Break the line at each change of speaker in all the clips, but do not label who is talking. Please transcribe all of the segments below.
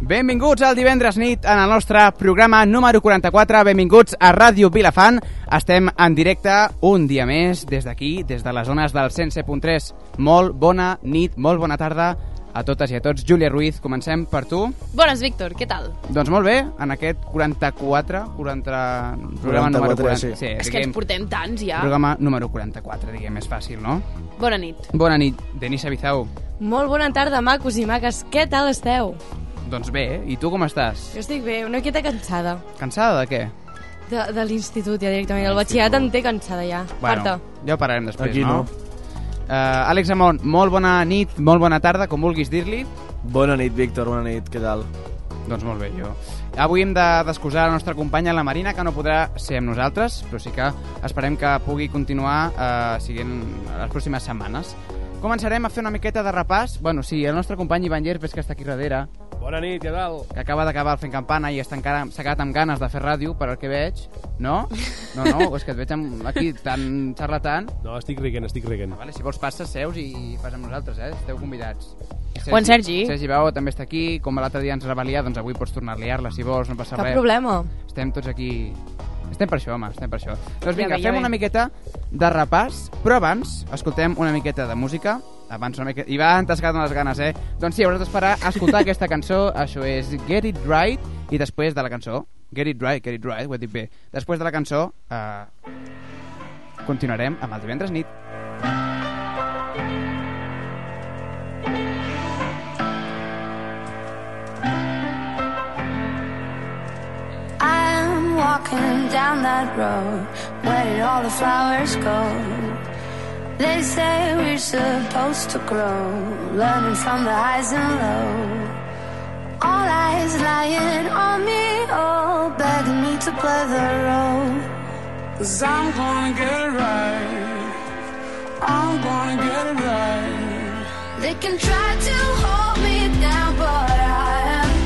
Benvinguts al divendres nit en el nostre programa número 44. Benvinguts a Ràdio Vilafant. Estem en directe un dia més des d'aquí, des de les zones del 107.3. Molt bona nit, molt bona tarda a totes i a tots. Júlia Ruiz, comencem per tu.
Bones, Víctor, què tal?
Doncs molt bé, en aquest 44, 40, programa
44,
número 40.
sí.
És que ens portem tants ja.
Eh, programa número 44, diguem, és fàcil, no?
Bona nit.
Bona nit, Denisa Bizau.
Molt bona tarda, macos i maques. Què tal esteu?
Doncs bé, i tu com estàs?
Jo estic bé, una miqueta cansada
Cansada de què?
de, de l'institut, ja directament.
De
El batxillerat
l'institut.
en té cansada, ja.
Bueno,
Farta.
ja ho parlarem després,
Aquí no.
Uh, Àlex Amon, molt bona nit, molt bona tarda, com vulguis dir-li.
Bona nit, Víctor, bona nit, què tal?
Doncs molt bé, jo. Avui hem de- d'excusar la nostra companya, la Marina, que no podrà ser amb nosaltres, però sí que esperem que pugui continuar uh, siguent les pròximes setmanes. Començarem a fer una miqueta de repàs. Bueno, sí, el nostre company Ivan Llerpes, que està aquí darrere,
Bona nit, què tal?
que acaba d'acabar el fent campana i està encara s'ha quedat amb ganes de fer ràdio, per el que veig, no? No, no, és que et veig amb, aquí tan xerratant.
No, estic riguent, estic riguent.
Vale, si vols passes, seus i fas amb nosaltres, eh? Esteu convidats.
O en Sergi.
Sergi Bau també està aquí. Com l'altre dia ens va liar, doncs avui pots tornar a liar-la, si vols, no passa
Cap
res.
problema.
Estem tots aquí... Estem per això, home, estem per això. Doncs vinga,
ve, ja
fem
ve.
una miqueta de repàs, però abans escoltem una miqueta de música. Abans una miqueta... Ivan, t'has quedat amb les ganes, eh? Doncs sí, hauràs d'esperar a escoltar aquesta cançó. Això és Get It Right, i després de la cançó... Get It Right, Get It Right, ho he dit bé. Després de la cançó... Eh, continuarem amb el divendres nit.
I'm walking down that road. Where did all the flowers go? They say we're supposed to grow, learning from the highs and lows. All eyes lying on me, oh, begging me to play the role.
Cause I'm gonna get it right. I'm gonna get it right.
They can try to hold me down, but I am.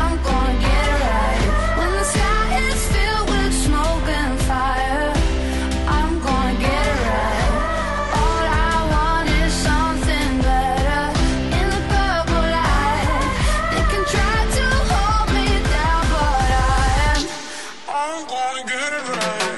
I'm gonna get it right. When the sky is filled with smoke and fire, I'm gonna get it right. All I want is something better in the purple light. They can try to hold me down, but I am.
I'm gonna get it right.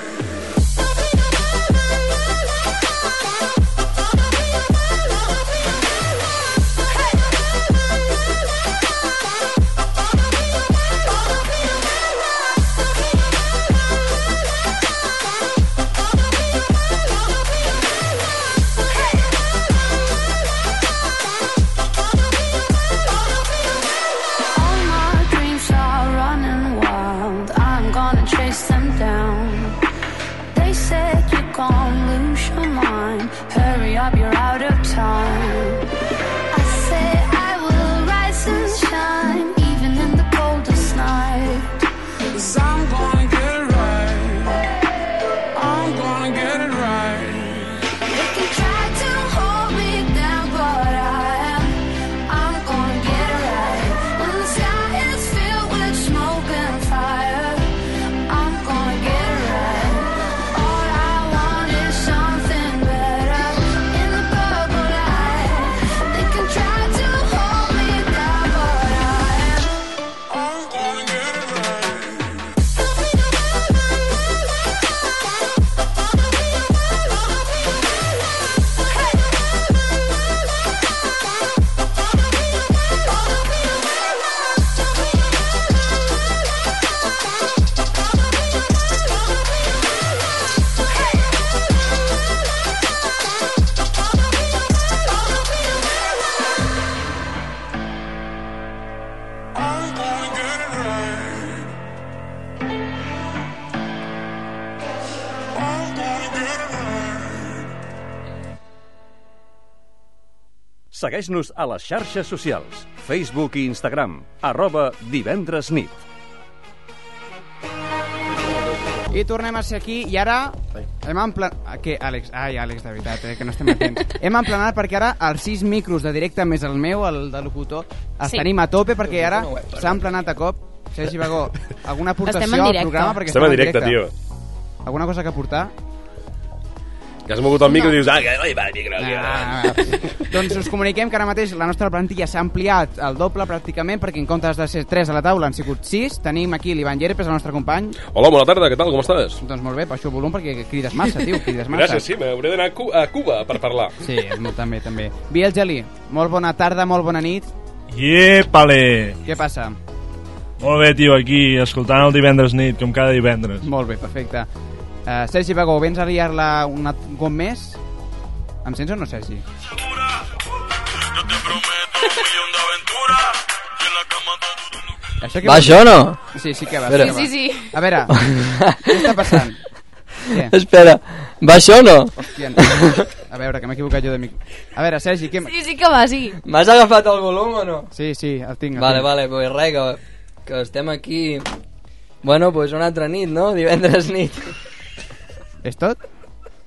All my dreams are running wild. I'm gonna chase them down. They said you're gonna lose your mind. Hurry up, you're out of time. I say I will rise and shine, even in the coldest night.
Cause I'm gonna get it right. I'm gonna get it right.
They can try to hold me down, but I am. I'm gonna get it right. When the sky is filled with smoke and fire, I'm gonna get it right. All I want is something better in the purple light. They can try to hold me down, but I am.
I'm gonna get it right. I'm gonna get it right. I'm gonna get it right.
Segueix-nos a les xarxes socials, Facebook i Instagram, arroba divendres nit.
I tornem a ser aquí i ara hem emplenat... Què, Àlex? Ai, Àlex, de veritat, eh, que no estem atents. hem emplenat perquè ara els sis micros de directe més el meu, el de locutor, els
Sí.
tenim a tope perquè ara s'ha emplenat de cop. Sergi Bagó, alguna aportació
Estem en
al
directe.
programa? Perquè
Estem en directe, tio.
Alguna cosa que aportar?
Que has mogut el micro i dius, ah, que no hi va el micro. aquí, va.
Ah, doncs us comuniquem que ara mateix la nostra plantilla s'ha ampliat al doble pràcticament perquè en comptes de ser 3 a la taula han sigut 6 tenim aquí l'Ivan Llerpes, el nostre company
Hola, bona tarda, què tal, com estàs?
doncs molt bé, baixo el volum perquè crides massa, tio, crides massa
Gràcies, sí, m'hauré d'anar a Cu- a Cuba per parlar.
Sí, és molt, també, també. Biel Gelí, molt bona tarda, molt bona nit.
Iepale!
Què passa?
Molt bé, tio, aquí, escoltant el divendres nit, com cada divendres.
Molt bé, perfecte. Uh, Sergi Bagó, vens a liar-la un at- un cop més? Em sents o no, Sergi? Això que
Va, això o no?
Sí, sí que va.
Espera.
que va.
Sí, sí, sí.
A veure, què està passant? Què?
Espera, va això o no?
Hòstia, no. A veure, que m'he equivocat jo de micro. A veure, Sergi, què...
Sí, sí que va, sí.
M'has agafat el volum o no?
Sí, sí, el tinc. El
Vale,
tinc.
vale, pues res, que, que estem aquí... Bueno, pues una altra nit, no? Divendres nit.
És tot?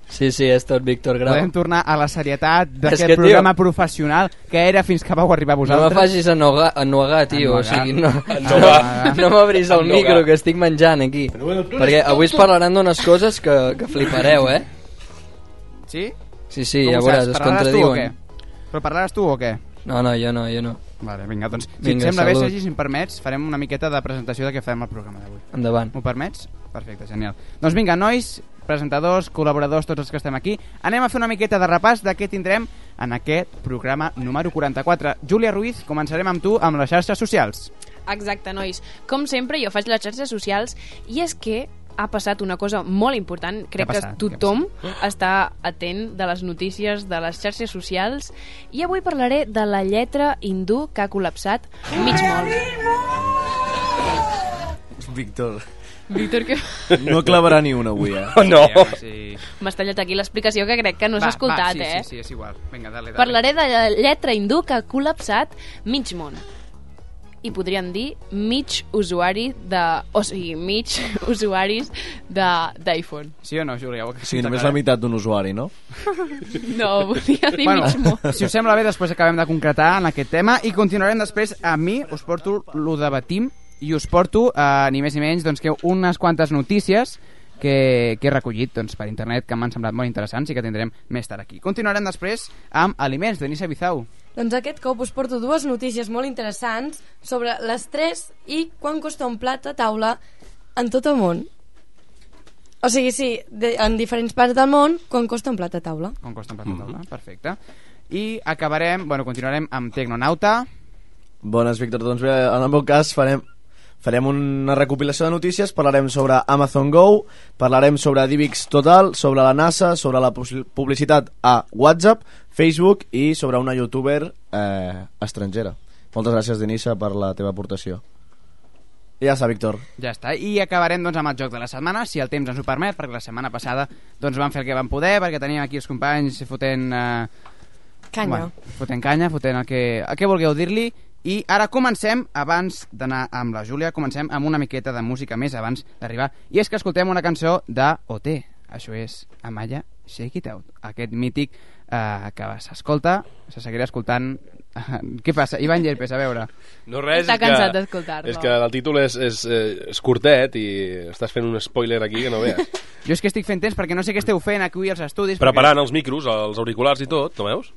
Sí, sí, és tot, Víctor Grau.
Podem tornar a la serietat
És
d'aquest
que, tio-
programa professional que era fins que vau arribar
No me
vosaltres.
facis ennogar, ennogar tio,
Ennogar.
o sigui, no,
Ennogar.
no, no m'obris el
Ennogar.
micro que estic menjant aquí. Perquè avui es parlaran d'unes coses que, que flipareu, eh?
Sí?
Sí, sí,
Com
ja
ho
veuràs,
saps?
es
Parlaràs tu o què?
contradiuen.
Però parlaràs tu o què?
No, no, jo no, jo no.
Vale, vinga, doncs, si
Vinga,
et sembla bé,
salut.
Sergi, si em permets, farem una miqueta de presentació de què farem el programa d'avui.
Endavant.
M'ho permets? Perfecte, genial. Doncs vinga, nois, presentadors, col·laboradors, tots els que estem aquí, anem a fer una miqueta de repàs de què tindrem en aquest programa número 44. Júlia Ruiz, començarem amb tu amb les xarxes socials.
Exacte, nois. Com sempre, jo faig les xarxes socials i és que ha passat una cosa molt important. Crec que
passat? Què ha
tothom està atent de les notícies de les xarxes socials i avui parlaré de la lletra hindú que ha col·lapsat mig molt.
Víctor,
Víctor, que
no clavarà ni una avui, eh?
Oh, no.
sí.
m'has tallat aquí l'explicació que crec que no s'ha escoltat,
va, sí,
eh?
Sí, sí, és igual. Vinga, dale, dale.
Parlaré de la lletra hindú que ha col·lapsat mig món. I podríem dir mig usuari de... O sigui, mig usuaris de- d'iPhone.
Sí o no, Júlia? Ho
Sí, només
acabes d'aclarir.
la meitat d'un usuari, no?
No, volia dir bueno. mig món.
si us sembla bé, després acabem de concretar en aquest tema i continuarem després. A mi us porto lo debatim i us porto, eh, ni més ni menys, doncs, que unes quantes notícies que, que he recollit doncs, per internet que m'han semblat molt interessants i que tindrem més tard aquí. Continuarem després amb aliments de Nissa Bizau.
Doncs aquest cop us porto dues notícies molt interessants sobre l'estrès i quan costa un plat a taula en tot el món. O sigui, sí, de, en diferents parts del món, quan costa un plat a taula.
Com costa en plata taula, perfecte. I acabarem, bueno, continuarem amb Tecnonauta.
Bones, Víctor. Doncs bé, en el meu cas farem, farem una recopilació de notícies, parlarem sobre Amazon Go, parlarem sobre DivX Total, sobre la NASA, sobre la pu- publicitat a WhatsApp, Facebook i sobre una youtuber eh, estrangera. Moltes gràcies, Denisa, per la teva aportació. I ja està, Víctor.
Ja està, i acabarem doncs, amb el joc de la setmana, si el temps ens ho permet, perquè la setmana passada doncs, vam fer el que vam poder, perquè teníem aquí els companys fotent... Eh,
Canya. Bueno.
Bueno, fotent canya, fotent el que, el que vulgueu dir-li. I ara comencem, abans d'anar amb la Júlia, comencem amb una miqueta de música més abans d'arribar. I és que escoltem una cançó de OT. Això és Amaya Shake It Out. Aquest mític eh, que s'escolta, se seguirà escoltant... Què passa? Ivan Llerpes, a veure.
No res,
Està
és que-
cansat d'escoltar-lo.
És que el títol és, és, eh, és curtet i estàs fent un spoiler aquí que no veus.
Jo és que estic fent temps perquè no sé què esteu fent aquí als estudis. doncs,
Preparant els micros, els auriculars i tot, no veus?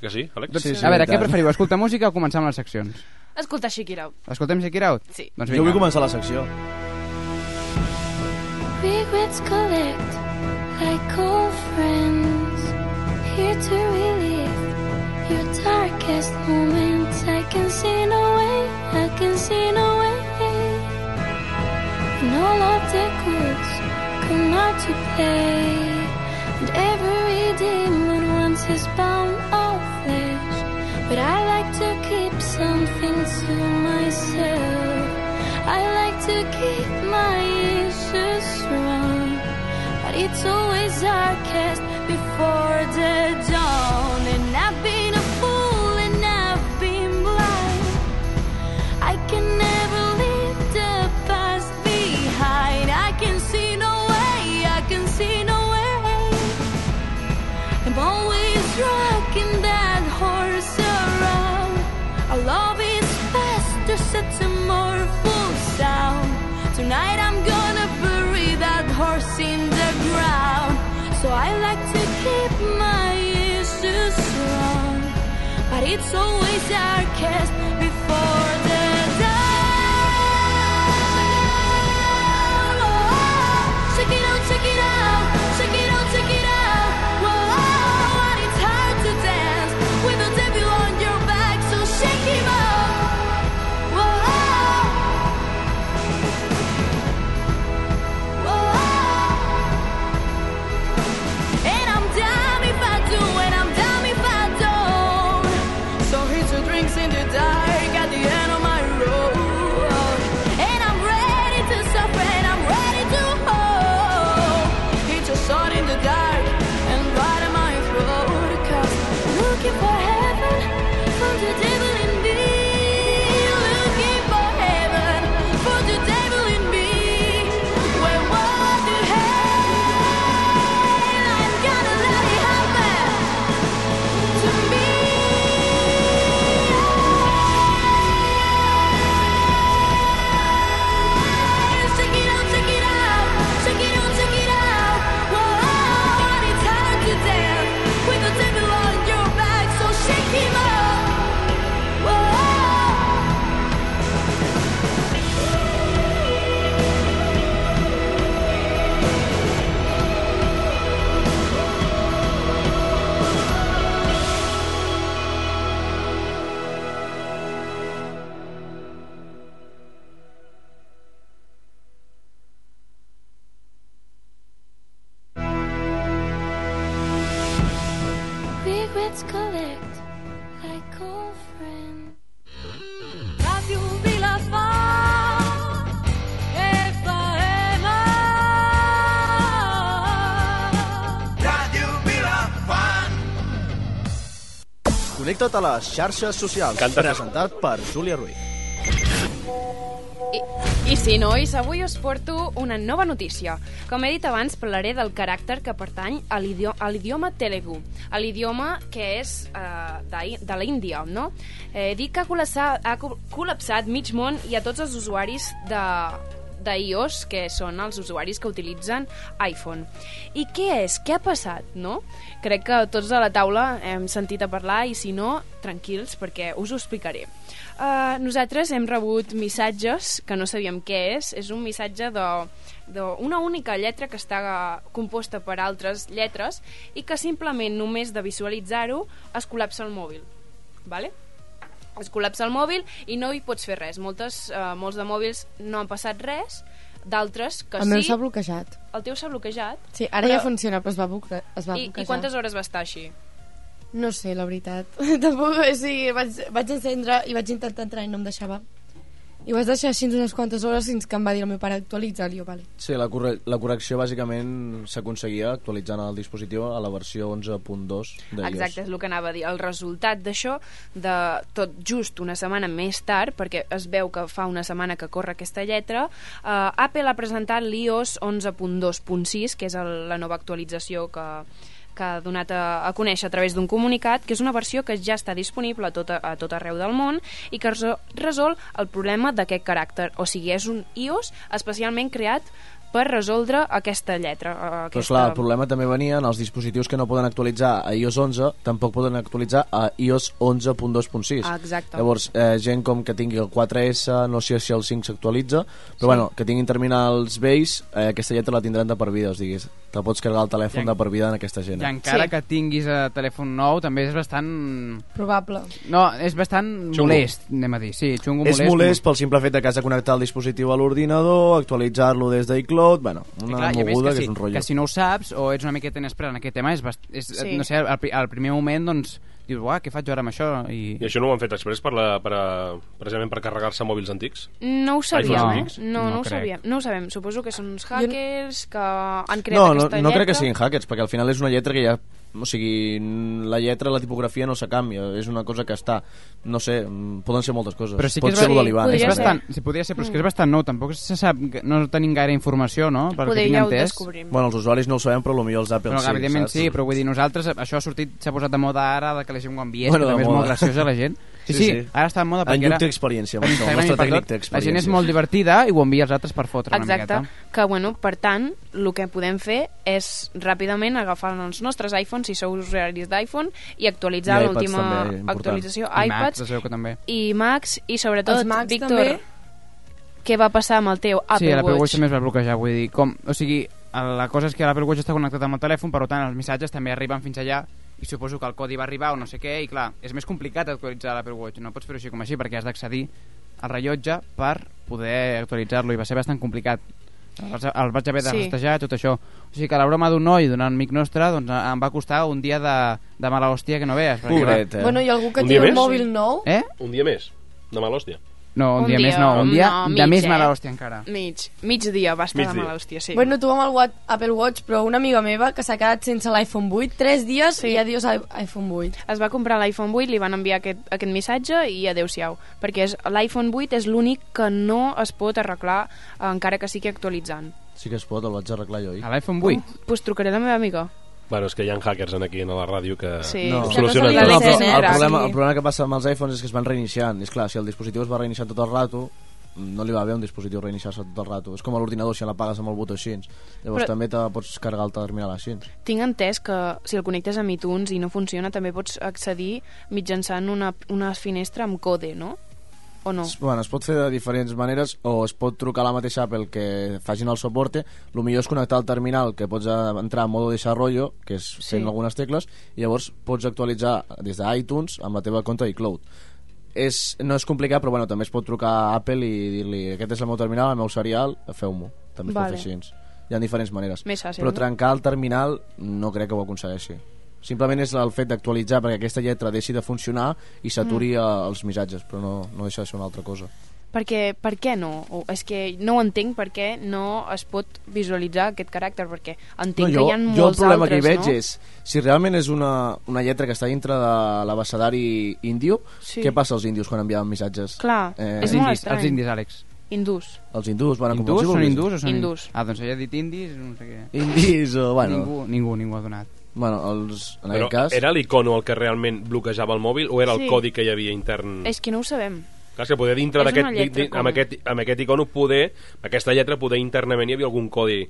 Que sí, Àlex?
Perquè...
Sí,
Doncs, a veure, què preferiu, escoltar música o començar amb les seccions?
Escolta, Shakira.
Escoltem Shake It Out?
Sí.
Doncs
Jo vull començar la secció.
Regrets collect like old friends. Here to relieve your darkest moments. I can see no way, I can see no way. And all of the goods come out to play. And every demon wants his bound of flesh. But I like to keep some things to myself. I like to keep my issues strong. But it's always darkest before the dawn. And I've been a fool and I've been blind. I can never leave the past behind. I can see no way, I can see no way. I'm always rocking that horse around. Our love is faster, such a mournful sound. Tonight I'm gonna bury that horse in the ground. So I like to
keep my issues strong, but it's always darkest before the dawn. Oh, check it out, check it out, check it out, check it out. Whoa, and it's hard to dance with the devil on your back, so shake him up. Whoa. And I'm dumb if I do, and I'm dumb if I don't. So here's two drinks in the dark at the end of my road. And I'm ready to suffer, and I'm ready to hope. Hit a shot in the dark and right at my throat. Cause looking for heaven from the devil in me. Looking for heaven from the devil in me. Where what the hell?
Regrets collect like old friends. Love you will be la fin. If I am
Connecta't a les xarxes socials. Canta. Presentat per Júlia Ruiz.
I sí, nois, avui us porto una nova notícia. Com he dit abans, parlaré del caràcter que pertany a l'idio- a l'idioma Telugu, a l'idioma que és eh, de, de la Índia, no? Eh, dic que ha col·lapsat, ha col- col·lapsat mig món i a tots els usuaris de de iOS, que són els usuaris que utilitzen iPhone. I què és? Què ha passat, no? Crec que tots a la taula hem sentit a parlar i si no, tranquils, perquè us ho explicaré. Uh, nosaltres hem rebut missatges que no sabíem què és. És un missatge de- d'una única lletra que està composta per altres lletres i que simplement només de visualitzar-ho es col·lapsa el mòbil. Vale? es col·lapsa el mòbil i no hi pots fer res. Moltes, eh, molts de mòbils no han passat res, d'altres que
El
sí.
meu s'ha bloquejat.
El teu s'ha bloquejat?
Sí, ara ja funciona, però es va, bucle, es va
I,
bloquejar.
I quantes hores va estar així?
No sé, la veritat. Tampoc, o sigui, vaig, vaig encendre i vaig intentar entrar i no em deixava. I ho vaig deixar així unes quantes hores fins que em va dir el meu pare actualitzar-li, jo, vale.
Sí, la, corre la correcció bàsicament s'aconseguia actualitzant el dispositiu a la versió 11.2 de iOS.
Exacte, és el que anava a dir. El resultat d'això, de tot just una setmana més tard, perquè es veu que fa una setmana que corre aquesta lletra, eh, Apple ha presentat l'iOS 11.2.6, que és el, la nova actualització que, que ha donat a, a conèixer a través d'un comunicat, que és una versió que ja està disponible a tot, a tot arreu del món i que reso- resol el problema d'aquest caràcter. O sigui, és un iOS especialment creat per resoldre aquesta lletra. eh, Aquesta...
Però clar, el problema també venia en els dispositius que no poden actualitzar a iOS 11, tampoc poden actualitzar a iOS 11.2.6.
Ah, exacte.
Llavors, eh, gent com que tingui el 4S, no sé si el 5 s'actualitza, però sí. bueno, que tinguin terminals vells, eh, aquesta lletra la tindran de per vida, o sigui, te pots carregar el telèfon de per vida en aquesta gent.
I encara sí. que tinguis eh, telèfon nou, també és bastant...
Probable.
No, és bastant
Xungo.
molest, anem a dir. Sí, xungo
És
molest.
molest pel simple fet de que has de connectar el dispositiu a l'ordinador, actualitzar-lo des d'iCloud, bueno,
I
una
clar, i a més
moguda que,
si,
és un rotllo.
Que si no ho saps o ets una miqueta inexpert en aquest tema, és, bast... és
Sí.
sí. no sé, al, pri- al primer moment, doncs, dius, uah, què faig jo ara amb això? I...
I això no ho han fet express per, la, per a, precisament per carregar-se mòbils antics?
No ho sabíem,
iPhones
eh?
antics?
No, no,
No
ho
crec.
sabíem. No ho sabem. Suposo que són uns hackers que han creat
No, no, no
aquesta lletra.
crec que siguin hackers, perquè al final és una lletra que ja... O sigui, n- la lletra, la tipografia no se canvia, és una cosa que està... No sé, mm, poden ser moltes coses.
Però sí que
Pot
és,
ser eh?
bastant-
lo de l'Ivan.
és bastant, sí, podria ser, però és que és bastant nou, tampoc se sap, no tenim gaire informació, no? Pel que
Poder
tinc
ja ho
entès.
descobrim.
Bueno, els usuaris no ho sabem, però potser els Apple
Però,
sí,
evidentment
saps?
sí, però vull dir, nosaltres, això ha sortit, s'ha posat de moda ara, de que la gent ho enviés,
Bueno,
que
de
també és molt
moda.
graciosa la gent. Sí, sí, ara està en moda perquè
En Lluc
era-
té experiència, amb
per
això, el
Instagram i
nostre
per
tècnic
tot,
té
La gent és
experiència.
molt divertida i ho envia als altres per fotre
Exacte,
una miqueta.
que bueno, per tant, el que podem fer és ràpidament agafar els nostres iPhones, si sou usuaris d'iPhone, i actualitzar
I iPads
l'última
també, important.
actualització,
I Macs,
iPads
es veu que també.
i Macs, i sobretot,
Els Macs
Víctor,
també.
què va passar amb el teu Apple
sí, l'Apple Watch.
Watch?
també es va bloquejar, vull dir, com, o sigui, la cosa és que l'Apple Watch està connectat amb el telèfon, per tant, els missatges també arriben fins allà i suposo que el codi va arribar o no sé què, i clar, és més complicat actualitzar l'Apple Watch, no pots fer-ho així com així perquè has d'accedir al rellotge per poder actualitzar-lo i va ser bastant complicat. El vaig- el vaig haver de
Sí.
rastrejar, tot això. O sigui que la broma d'un noi, d'un amic nostre, doncs eh, em va costar un dia de, de mala hòstia que no vees. perquè, clar,
Pobret, eh?
Bueno, i algú que
Un
té
dia
un
més?
mòbil nou...
Eh?
Un dia més. De mala hòstia.
No, un,
Un
dia,
dia,
més no, un dia de
mig,
més
eh?
mala hòstia encara.
Mig, mig dia va estar
Mig
de
dia.
mala hòstia, sí.
Bueno, tu amb el Wat- Apple Watch, però una amiga meva que s'ha quedat sense l'iPhone 8, 3 dies sí. i adiós i- iPhone 8.
es va comprar l'iPhone 8, li van enviar aquest, aquest missatge i adeu-siau, perquè és- l'iPhone 8 és l'únic que no es pot arreglar eh, encara que sigui actualitzant.
Sí que es pot, el vaig arreglar jo ahir.
A l'iPhone
Pues trucaré a la meva amiga.
Bueno, és que hi ha hackers en aquí, en la ràdio, que
Sí,
no.
que
solucionen tot.
no se li ha de
el,
ser negre,
problema,
sí.
el problema que passa amb els iPhones és que es van reiniciant. I és clar, si el dispositiu es va reiniciant tot el rato, no li va bé a un dispositiu reiniciar-se tot el rato. És com a l'ordinador, si l'apagues amb el botó així. Llavors
Però-
també te pots carregar el terminal així.
Tinc entès que si el connectes amb iTunes i no funciona, també pots accedir mitjançant una, una finestra amb code, no? O no?
Es- Bueno, es pot fer de diferents maneres o es pot trucar a la mateixa Apple que facin el soporte. El millor és connectar al terminal, que pots eh, entrar en modo desarrollo, que és fent
Sí.
sí. algunes tecles, i llavors pots actualitzar des d'iTunes amb la teva compte iCloud. És, no és complicat, però bueno, també es pot trucar a Apple i dir-li aquest és el meu terminal, el meu serial, feu-m'ho. També es
Vale.
vale. pot fer així. Hi ha diferents maneres.
Més fàcil,
però
no?
trencar el terminal no crec que ho aconsegueixi. Simplement és el fet d'actualitzar perquè aquesta lletra deixi de funcionar i s'aturi
Mm.
eh, els missatges, però no, no deixa de ser una altra cosa.
Perquè, per què no? O, és que no ho entenc per què no es pot visualitzar aquest caràcter, perquè entenc
jo,
que hi ha molts
jo el problema
altres,
que hi veig
no?
és si realment és una, una lletra que està dintre de l'abecedari índio,
Sí.
què passa als índios quan enviaven missatges? Eh,
Clar, és
els
molt
indis,
estrany.
els indis,
Àlex.
Hindús.
Els hindús, bueno, com
Hindús?
els
Són
vulguis.
hindús o són
Hindús.
Ah, doncs havia dit indis, no sé què.
Indis o, bueno...
Ningú, ningú, ningú ha donat.
Bueno, els, en
Però
aquest cas...
era l'icono el que realment bloquejava el mòbil o era el
Sí.
codi que hi havia
Mm.
intern?
És que no ho sabem.
Clar, és que poder dintre
És una
d'aquest... di-
lletra
di- Amb,
com-
aquest, amb aquest icono poder, amb aquesta lletra poder internament hi havia algun codi.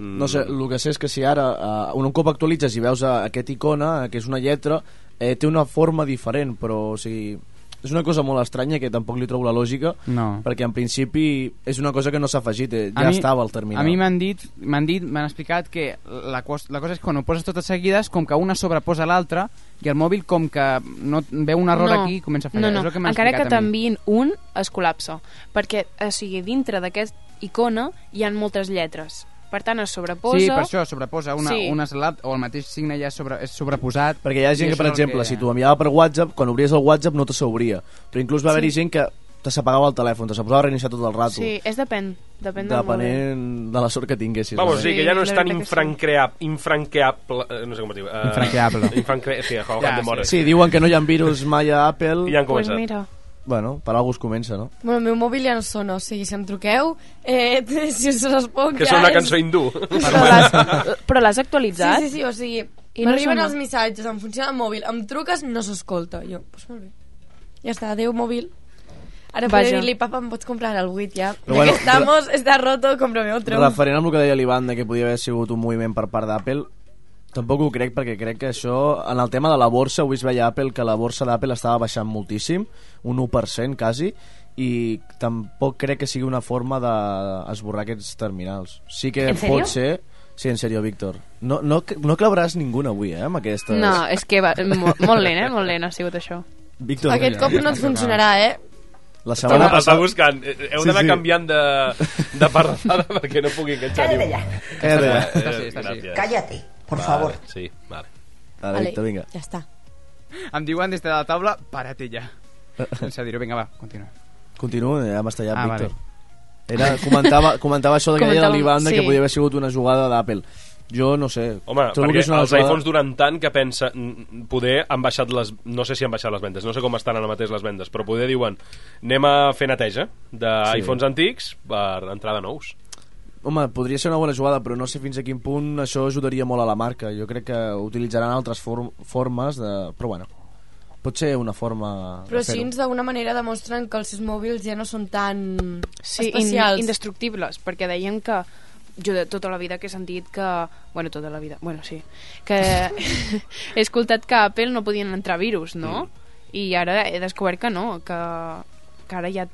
Mm,
No sé, el que sé és que si ara, uh, un cop actualitzes i veus uh, aquest icona, eh, que és una lletra, eh, té una forma diferent, però, o sigui... És una cosa molt estranya que tampoc li trobo la lògica,
No.
perquè en principi és una cosa que no s'ha afegit, eh,
A
ja
mi-
estava al terminal.
A mi m'han dit, m'han dit, m'han explicat que la, cos, la cosa és que quan ho poses totes seguides, com que una sobreposa l'altra, i el mòbil com que no veu un error
no.
aquí i comença a fallar.
No,
És
no.
el que m'han
Encara que
explicat a mi.
t'enviïn un, es col·lapsa. Perquè, o sigui, dintre d'aquest icona hi han moltes lletres. Per tant, es sobreposa...
Sí, per això sobreposa una,
Sí.
sí. una slat, o el mateix signe ja és sobre, és sobreposat.
Perquè hi ha gent que, per exemple, que... si t'ho enviava per WhatsApp, quan obries el WhatsApp no te s'obria. Però inclús va haver-hi
Sí.
gent que te s'apagava el telèfon, te s'apagava a reiniciar tot el rato.
Sí, és depèn. Depèn del moment.
Depenent de la sort que tinguessis.
Vamos, sí, que ja no
la
és tan
veritat que sí.
infranqueable... Infranqueable... eh, No sé com es diu. eh,
Infranqueable.
Infranque... Sí, joder, ja, de mores.
sí, diuen que no hi ha virus mai a Apple.
I ja han
Pues començat. mira.
Bueno, per algú es comença, no?
Bueno, el meu mòbil ja no sona, o sigui, si em truqueu, eh, si us respon...
Que
ja
sona una
és-
cançó hindú.
Però
l'has- Però l'has actualitzat?
Sí, sí, sí, o sigui,
I no
m'arriben
sona.
els missatges en funció del mòbil, em truques, no s'escolta. Jo, doncs molt bé. Ja està, adéu, mòbil. Ara
Vaja.
podré dir-li, papa, em pots comprar el 8 ja?
Però bueno,
Bueno, que estamos, está roto, cómprame otro.
Referent amb el que deia l'Ivan, de que podia haver sigut un moviment per part d'Apple, tampoc ho crec, perquè crec que això, en el tema de la borsa, avui es veia Apple que la borsa d'Apple estava baixant moltíssim, un 1% quasi, i tampoc crec que sigui una forma d'esborrar aquests terminals. Sí que
En serio?
pot ser... Sí, en serio, Víctor. No, no, no clavaràs ningú avui, eh, amb aquestes...
No, és que va, molt, molt lent, eh? Molt lent ha sigut això.
Víctor,
Aquest cop no et funcionarà, eh?
La
Estava, estava
setmana passada...
buscant. Eh, Heu d'anar
Sí, sí.
canviant de, de parlada perquè no pugui enganxar.
Calla
ningú.
d'allà.
Calla.
Eh,
Està
sí, està sí.
gràcies.
Cállate, por
Vale,
favor.
Sí, vale.
Vale, Víctor, vinga.
Ja està.
Em diuen des de la taula, para't ja. Sense dir-ho, vinga, va, continua.
Continua, ja m'has tallat,
Ah,
ah,
vale.
Víctor. Era, comentava, comentava això de que deia
Comentàvem,
l'Ivan de
sí.
que podia haver sigut una jugada d'Apple. Jo no sé.
Home,
trobo que
perquè
és una
els
jugada-
iPhones duren tant que pensa... mm, Poder han baixat les... No sé si han baixat les vendes, no sé com estan ara mateix les vendes, però poder diuen anem a fer neteja d'iPhones sí. antics per entrar de nous.
Home, podria ser una bona jugada, però no sé fins a quin punt això ajudaria molt a la marca. Jo crec que utilitzaran altres form formes de... Però bueno. pot ser una forma de
Però així
fer-ho.
d'alguna manera demostren que els seus mòbils ja no són tan
Sí, in,
especials.
indestructibles, perquè deien que jo de tota la vida que he sentit que... Bueno, tota la vida, bueno, sí. Que he escoltat que a Apple no podien entrar virus, no? Mm. I ara he descobert que no, que, que ara hi ha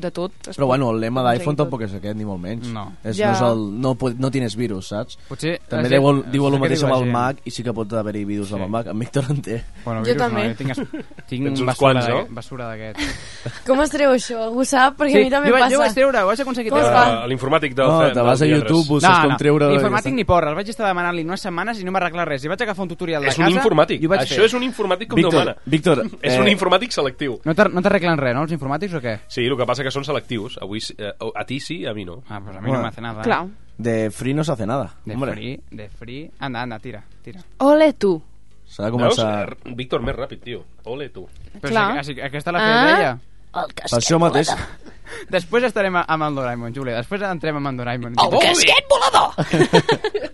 de tot. es
Però
pot
bueno, el lema
aconseguir
d'iPhone
tot.
tampoc és aquest, ni molt menys. No. És, no,
Ja.
és el, no, pot- no tienes virus, saps?
Potser
També
la gent-
diu, el- diu
és
el
el que
mateix
diu la
amb el
gent.
Mac i sí que pot haver-hi virus sí. amb el Mac. En Víctor en té.
Bueno,
Jo virus no, també. jo tinc
tinc
Tens uns
basura
quants,
de-
no?
basura d'aquests.
Com es treu això? Algú sap? Perquè
Sí,
a mi també
jo
em
vaig-
passa.
jo vaig treure, ho vaig aconseguir
Com es
treure.
fa?
Ah, L'informàtic del...
No,
fe-
te
del
vas a
divendres.
YouTube, busques com treure-
Informàtic ni porra, el vaig estar demanant-li unes setmanes i no m'ha arreglat res. I vaig agafar un tutorial de
És
casa...
un informàtic.
i ho vaig
Això
fer.
és un informàtic com
Víctor,
Déu mana.
Víctor,
és
eh,
un informàtic selectiu.
No t'ar- no t'arreglen res, no, els informàtics o què?
Sí, el que passa que són selectius. Avui, sí- eh, a ti sí, a mi no.
Ah, pues a
mi no Bueno.
m'hace nada. Clar.
De free no s'hace nada.
De
hombre.
free, de free... Anda, anda, tira, tira.
Ole, tu!
S'ha de començar...
Veus? Eh, Víctor, més ràpid, tio. Ole, tu.
Però Clar. si- si- aquesta l'ha fet ella.
El
Per això mateix.
Després estarem a- amb el Doraemon, Júlia. Després entrem amb el Doraemon.
Oh,
El casquet
volador!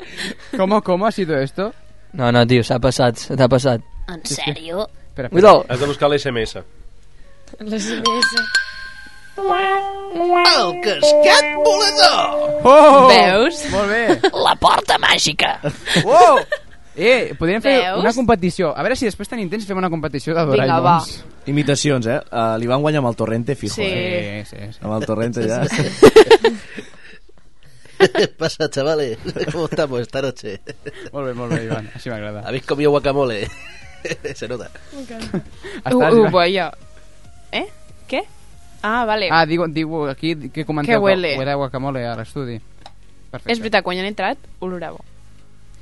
¿Cómo, cómo ha sido esto?
No, no, tio, s'ha passat, s'ha passat.
En sèrio?
Espera,
Cuidao.
Has de buscar l'SMS.
Les idees...
El casquet volador!
Oh!
Veus?
Molt bé.
La porta màgica.
Wow! Eh, podríem fer
Veus?
una competició. A veure si després tan intens fem una competició de
Vinga,
Doraemons.
Imitacions, eh? Uh, li van guanyar amb el Torrente, fijo.
Sí.
Eh?
Sí, sí, sí.
Amb el Torrente ja.
¿Qué pasa, chavales? ¿Cómo estamos esta noche?
Volve, volve, Iván. Así me agrada.
¿Habéis comido guacamole? Se nota.
Uh,
Estàs,
uh,
Iván?
vaya. Eh? Què? Ah, vale.
Ah, digo, digo aquí que comenteu
Que huele.
huele a guacamole a l'estudi. Perfecte.
és veritat, quan hi han entrat, olorava.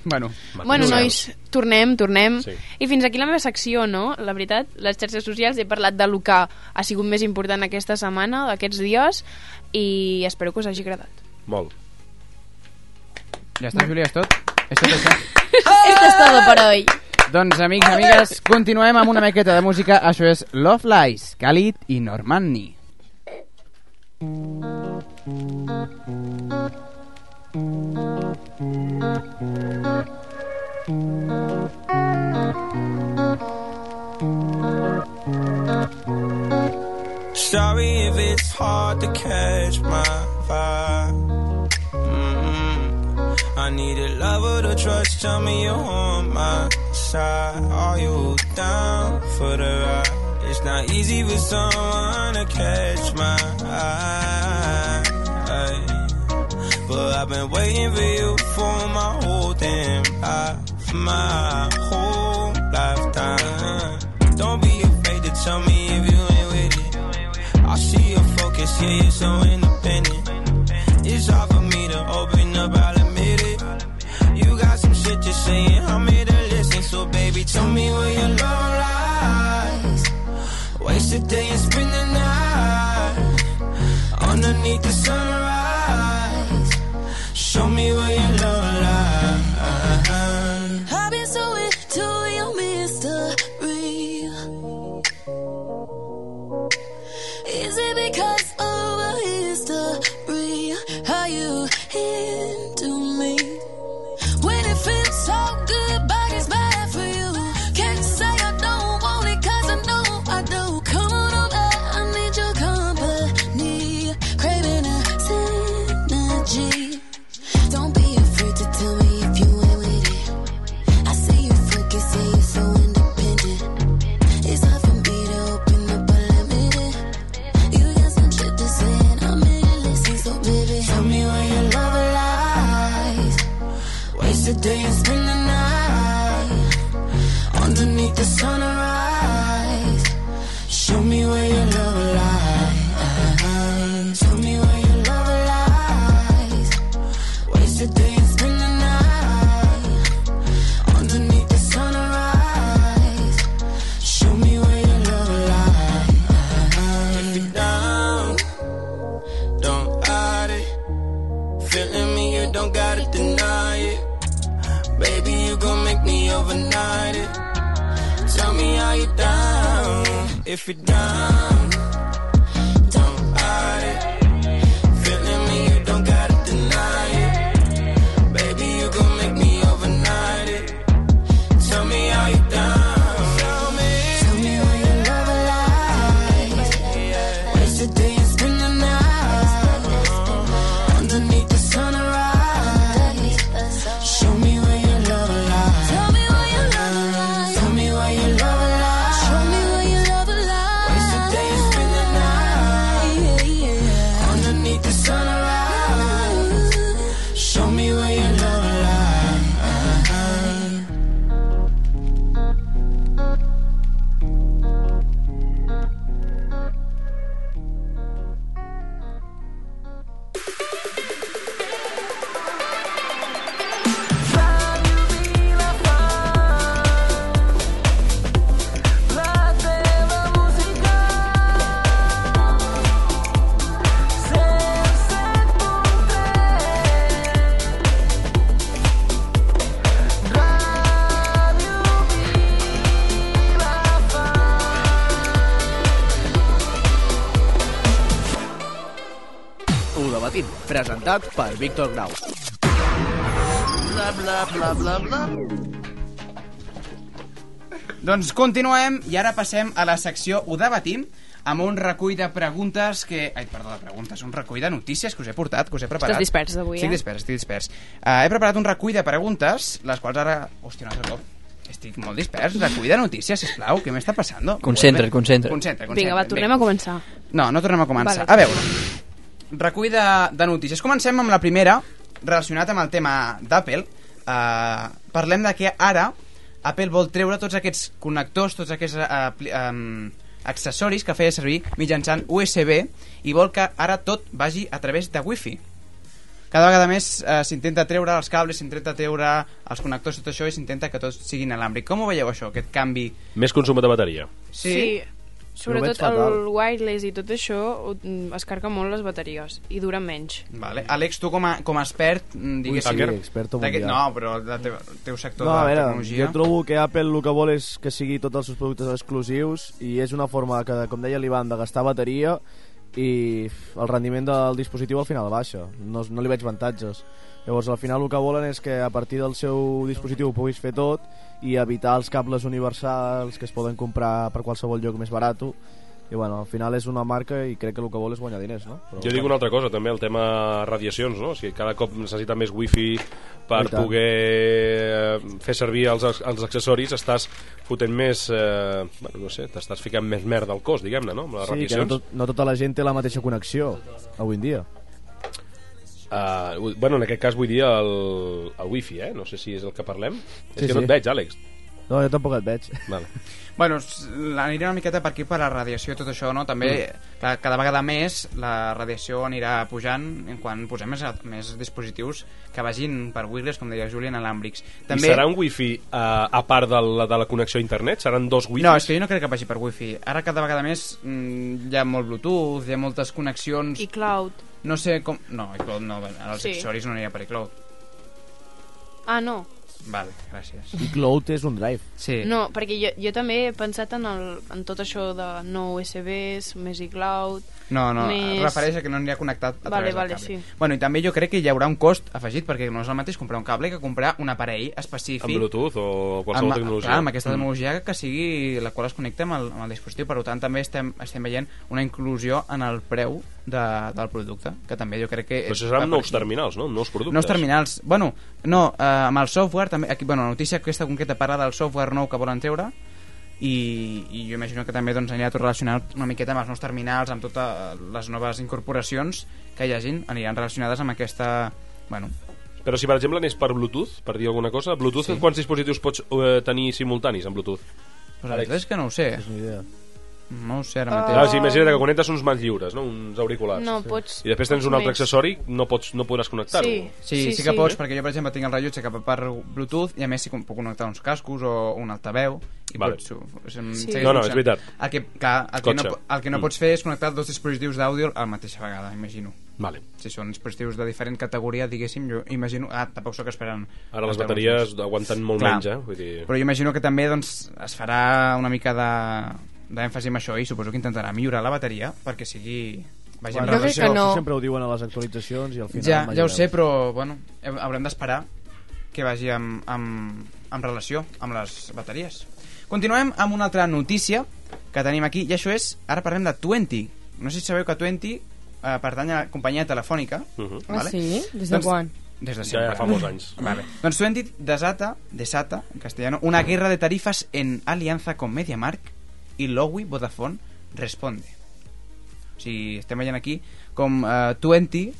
Bueno,
Bueno, nois, tornem, tornem.
Sí.
Sí. I fins aquí la meva secció, no? La veritat, les xarxes socials, he parlat de lo que ha sigut més important aquesta setmana, d'aquests dies, i espero que us hagi agradat.
Molt.
Ja està, Júlia, és tot? És tot això?
Esto es todo por hoy.
Doncs, amics, amigues, continuem amb una miqueta de música. Això és Love Lies, Khalid i Normanni.
Sorry if it's hard to catch my vibe. Mm-mm. I need a lover to trust. Tell me you're on my side. Are you down for the ride? It's not easy for someone to catch my eye. Ay. But I've been waiting for you for my whole damn life, my whole lifetime. Don't be afraid to tell me if you ain't with it. I see your focus, yeah, you're so independent. It's hard for me to open up, I'll admit it. You got some shit to say, and I'm here to listen. So, baby, tell me where your love lies. Waste a day and spend the night underneath the sunrise. Show me where your love lies.
I've been so into your mystery. Is it because of a history? Are you into me? When it feels so good, body's bad for you. Can't say I don't want it, cause I know I do. Come on over, I need your company. Craving a synergy. Don't be afraid to tell me if you ain't with it. I see you focus, yeah, you're so independent. It's hard for me to open up, but let me in. You got some shit to say, and I'm here to listen, so baby, help me when your love lies.
Waste a day and spend the night underneath the sunrise. Show me where your love lies. Show me where your love lies. Waste a day and spend the night underneath the sunrise. Show me where your love lies. If you're down, don't hide it. Feeling me, you don't gotta deny it. Baby, you gon' make me overnight it. Tell me how you down. If you're down, don't hide it. Feeling me, you don't gotta deny it. Baby, you gon' make me overnight it. Tell me how you down. Tell me, tell me how you
presentat per Víctor Grau.
Bla, bla, bla, bla, bla.
Doncs continuem i ara passem a la secció Ho debatim amb un recull de preguntes que... Ai, perdó, de preguntes, un recull de notícies que us he portat, que us he preparat.
dispers avui,
estic
eh?
dispers, estic dispers. Uh, he preparat un recull de preguntes, les quals ara... Hòstia, un altre cop. Estic molt dispers. Recull de notícies, sisplau. Què m'està passant?
Concentra't, concentra't.
Concentra, concentra.
Vinga, va, tornem a començar.
No, no tornem a començar.
Vale.
Vale. A veure, recull de, de notícies. Comencem amb la primera, relacionat amb el tema d'Apple. Uh, parlem de que ara Apple vol treure tots aquests connectors, tots aquests uh, um, accessoris que feia servir mitjançant USB i vol que ara tot vagi a través de Wi-Fi. Cada vegada més eh, s'intenta treure els cables, s'intenta treure els connectors, tot això, i s'intenta que tot sigui inalàmbric. Com ho veieu, això, aquest canvi?
Més consum de bateria.
Sí.
sí.
veig
Sobretot
fatal.
el wireless i tot això ho- mm, es carga molt les bateries i dura menys.
Vale. Àlex, tu com a, com a expert, mm, diguéssim...
hacker. Sí, experto
d'aquest-
mundial.
No, però del teu, teu sector
Tota
No, a
de
veure,
tecnologia...
jo trobo que Apple el que vol és que sigui tots els seus productes exclusius i és una forma que, com deia l'Ivan, de gastar bateria i el rendiment del dispositiu al final baixa. No, no li veig avantatges. Llavors, al final el que volen és que a partir del seu dispositiu ho puguis fer tot i evitar els cables universals que es poden comprar per qualsevol lloc més barat. I bueno, al final és una marca i crec que el que vol és guanyar diners, no? Però,
Jo dic una altra cosa, també, el tema radiacions, no? O sigui, cada cop necessita més wifi per
I tant.
poder eh, fer servir els, els accessoris, estàs fotent més... Eh, bueno, no sé, t'estàs ficant més merda al cos, diguem-ne, no? Amb les
Sí, que no,
radiacions.
tot, no tota la gent té la mateixa connexió avui en dia.
Uh, bueno, en aquest cas vull dir el, el wifi, eh? No sé si és el que parlem. Sí, és
Sí,
que no
sí.
et veig, Àlex.
No, jo tampoc et veig.
Vale.
Bueno, s- aniré una miqueta per aquí per la radiació i tot això, no? També, mm. clar, cada vegada més la radiació anirà pujant en quan posem més, a- més dispositius que vagin per wireless, com deia Julian, alàmbrics.
També... I serà un wifi uh, a part de la, de la connexió a internet? Seran dos wifi?
No, és que jo no crec que vagi per wifi. Ara cada vegada més mm, hi ha molt Bluetooth, hi ha moltes connexions...
I cloud.
No sé com... No, iCloud no, els
Sí.
sí. accessoris no anirà per iCloud.
Ah, no.
Vale, gràcies.
I Cloud és un drive.
Sí.
No, perquè jo, jo també he pensat en, el, en tot això de no USBs, més iCloud...
No, no,
més...
Més... refereix a que no anirà connectat a
Vale,
través
vale,
del cable.
sí.
Bueno, i també jo crec que hi haurà un cost afegit, perquè no és el mateix comprar un cable que comprar un aparell específic.
Amb Bluetooth o qualsevol
amb,
tecnologia.
Clar, amb aquesta
Mm.
tecnologia que sigui la qual es connecta amb el, amb el dispositiu. Per tant, també estem, estem veient una inclusió en el preu de, del producte, que també jo crec que...
Però això
és-
serà
va
amb
per
nous
aquí.
terminals, no? Amb nous productes.
Nous terminals. Bueno, no, eh, amb el software també... Aquí, bueno, la notícia aquesta concreta parla del software nou que volen treure i, i jo imagino que també doncs, anirà tot relacionat una miqueta amb els nous terminals, amb totes les noves incorporacions que hi hagin, aniran relacionades amb aquesta... Bueno,
Però si, per exemple, anés per Bluetooth, per dir alguna cosa, Bluetooth, sí. quants dispositius pots eh, tenir simultanis amb Bluetooth?
pues la veritat és que no ho sé. És
una idea.
No ho sé ara
Ah.
mateix.
Ah, sí, imagina't que connectes uns mans lliures, no? uns auriculars.
No, pots-
I després tens un
pots
altre
més.
accessori, no, pots, no podràs connectar-ho.
Sí.
Sí, sí, sí, que pots, perquè jo, per exemple, tinc el rellotge cap per Bluetooth i a més sí que puc connectar uns cascos o un altaveu i
Vale.
pots... Pues, em-
Sí.
segueix
No, no, és
funcionant.
veritat.
El que, clar, el que, no,
Cotxe.
po- el que no
Mm.
pots fer és connectar dos dispositius d'àudio a la mateixa vegada, imagino.
Vale.
Si són dispositius de diferent categoria, diguéssim, jo imagino... Ah, tampoc sóc esperant...
Ara les
els
bateries
tecnologies.
aguanten molt
Clar.
menys, eh? Vull dir...
Però jo imagino que també doncs, es farà una mica de d'èmfasi en això i suposo que intentarà millorar la bateria perquè sigui... Vagi amb
Bueno,
relació-
això- això Sempre ho diuen a les actualitzacions i al final...
ja,
mai
ja ho
veus.
sé, però bueno, he- haurem d'esperar que vagi amb, amb, amb relació amb les bateries. Continuem amb una altra notícia que tenim aquí, i això és, ara parlem de 20. No sé si sabeu que 20 eh, pertany a la companyia telefònica. Uh -huh.
Ah, sí? Des de quan?
Des de
Ja,
sempre.
ja fa molts anys.
Vale. Doncs 20 desata, desata, en castellano, una guerra de tarifas en alianza con MediaMark y Lowy Vodafone responde. O sigui, estem veient aquí com eh, 20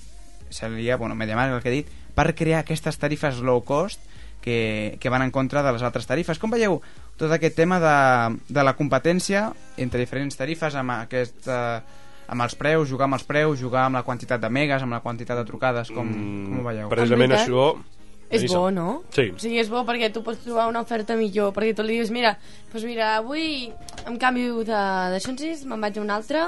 seria, bueno, MediaMark el que he dit, per crear aquestes tarifes low cost que, que van en contra de les altres tarifes. Com veieu tot aquest tema de, de la competència entre diferents tarifes amb aquest... Eh, amb els preus, jugar amb els preus, jugar amb la quantitat de megas, amb la quantitat de trucades, com,
Mm.
com ho veieu?
Precisament
En veritat,
això...
És
Elisa.
bo, no?
Sí.
O sigui, és bo perquè tu pots trobar una oferta millor, perquè tu li dius, mira, doncs mira, avui em canvio de, de xonsis, me'n vaig a una altra,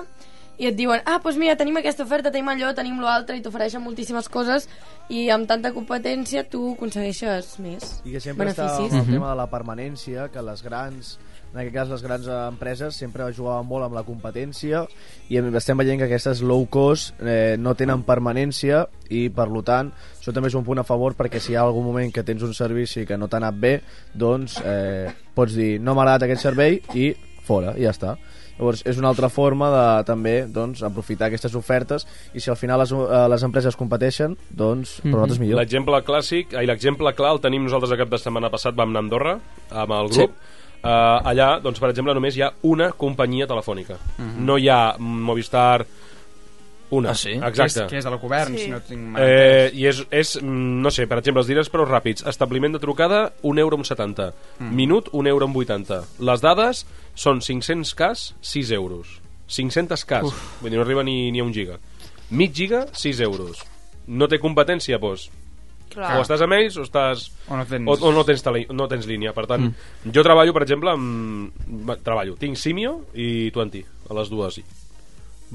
i et diuen, ah, doncs mira, tenim aquesta oferta, tenim allò, tenim l'altre, i t'ofereixen moltíssimes coses, i amb tanta competència tu aconsegueixes més
I que sempre
beneficis.
està amb el tema de la permanència, que les grans En aquest cas, les grans eh, empreses sempre jugaven molt amb la competència i estem veient que aquestes low cost eh, no tenen permanència i, per lo tant, això també és un punt a favor perquè si hi ha algun moment que tens un servici que no t'ha anat bé, doncs eh, pots dir no m'ha agradat aquest servei i fora, i ja està. Llavors, és una altra forma de també doncs, aprofitar aquestes ofertes i si al final les, eh, les empreses competeixen, doncs per nosaltres millor.
Mm. L'exemple clàssic, ai, l'exemple clar el tenim nosaltres el cap de setmana passat, vam anar a Andorra amb el
Sí.
grup. Sí. Uh, allà, doncs, per exemple, només hi ha una companyia telefònica.
Mhm.
No hi ha Movistar, una.
Ah, sí? Que
Exacte.
és- que és del govern, Sí. si no tinc mal
eh, I és, és, mm, no sé, per exemple, els diré els preus ràpids. Establiment de trucada, 1 euro amb 70.
Mm.
Minut, 1 euro amb 80. Les dades són 500 cas, 6 euros. 500 cas.
Uf.
Vull dir, no arriba ni, ni a un giga. Mig giga, 6 euros. No té competència, doncs.
Clar.
O estàs amb ells o estàs...
O no tens-
o, o no, tens tele, no tens línia. Per tant, mm. jo treballo, per exemple, amb... va, Treballo. Tinc Simio i Twenty, a les dues.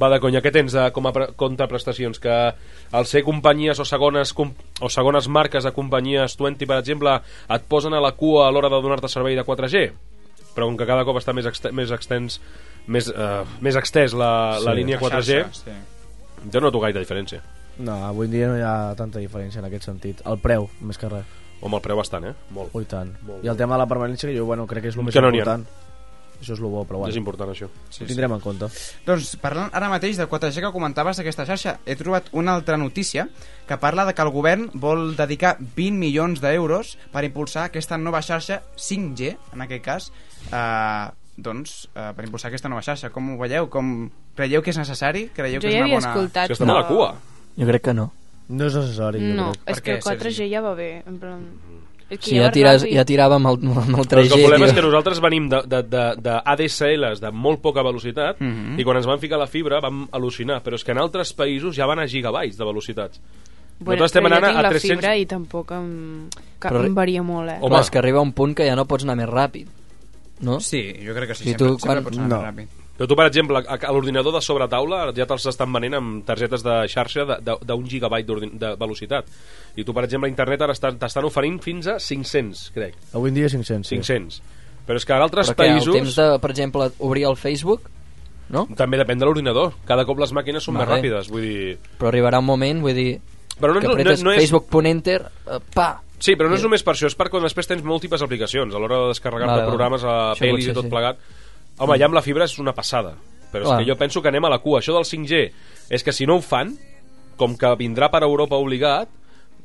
Va de conya, què tens de, com a pre contraprestacions? Que al ser companyies o segones, com o segones marques de companyies 20, per exemple, et posen a la cua a l'hora de donar-te servei de 4G? Però com que cada cop està més, exte més extens, més, uh, més extès la, sí, la
Sí.
línia
La
4G,
xarxa, sí.
jo no noto gaire diferència.
No, avui en dia no hi ha tanta diferència en aquest sentit. El preu, més que res.
Home, el preu bastant, eh? Molt.
Oh, i tant.
Molt.
I el tema de la permanència, que jo bueno, crec que és el més
Que no n'hi ha.
important. Això és el bo, però bueno.
És important, això.
Sí,
Ho tindrem en compte.
Doncs parlant ara mateix del 4G que comentaves d'aquesta xarxa, he trobat una altra notícia que parla de que el govern vol dedicar 20 milions d'euros per impulsar aquesta nova xarxa 5G, en aquest cas, eh, doncs, eh, per impulsar aquesta nova xarxa. Com ho veieu? Com creieu que és necessari? Creieu
Jo
que
ja
és
havia
una bona...
escoltat És que estem a la que- cua.
Jo crec que no.
No és necessari.
No, és
Per
que
què,
el 4G ja va bé. En plan... És que
Si Mm. ja,
va
tires,
ràpid.
ja tirava amb el, amb el 3G.
Però és que el problema
tio.
és que nosaltres venim de, de, de, de ADSLs de molt poca velocitat
Mhm.
i quan ens van ficar la fibra vam al·lucinar, però és que en altres països ja van a gigabytes de velocitats.
Bueno,
nosaltres estem
però
anant
jo tinc
a
la
300...
fibra i tampoc em, que
Però-
em varia molt, eh?
Home, és que arriba un punt que ja no pots anar més ràpid. No?
Sí, jo crec que sí,
Si
sempre-
tu,
sempre
quan...
pots anar més ràpid.
Però tu, per exemple, a, a l'ordinador de sobretaula ja te'ls estan venent amb targetes de xarxa de- de- d'un gigabyte d'ordin- de velocitat. I tu, per exemple, a internet ara estan- t'estan oferint fins a 500, crec.
Avui en dia 500. Sí.
500. Però és que a altres
Però què,
països...
el temps de, per exemple, obrir el Facebook, no?
També depèn de l'ordinador. Cada cop les màquines són
Vale.
més ràpides, vull dir...
però arribarà un moment, vull dir,
Però no-
que
no-
apretes
no- no és-
facebook.enter, eh, pa!
Sí, però no és només per això, és per quan després tens múltiples aplicacions, a l'hora de descarregar-te vale,
Vale, vale.
programes, a
Això
pel·lis
potser
i tot
sí.
plegat. Home, ja amb la fibra és una passada, però és
Clar.
que jo penso que anem a la cua. Això del 5G és que si no ho fan, com que vindrà per Europa obligat,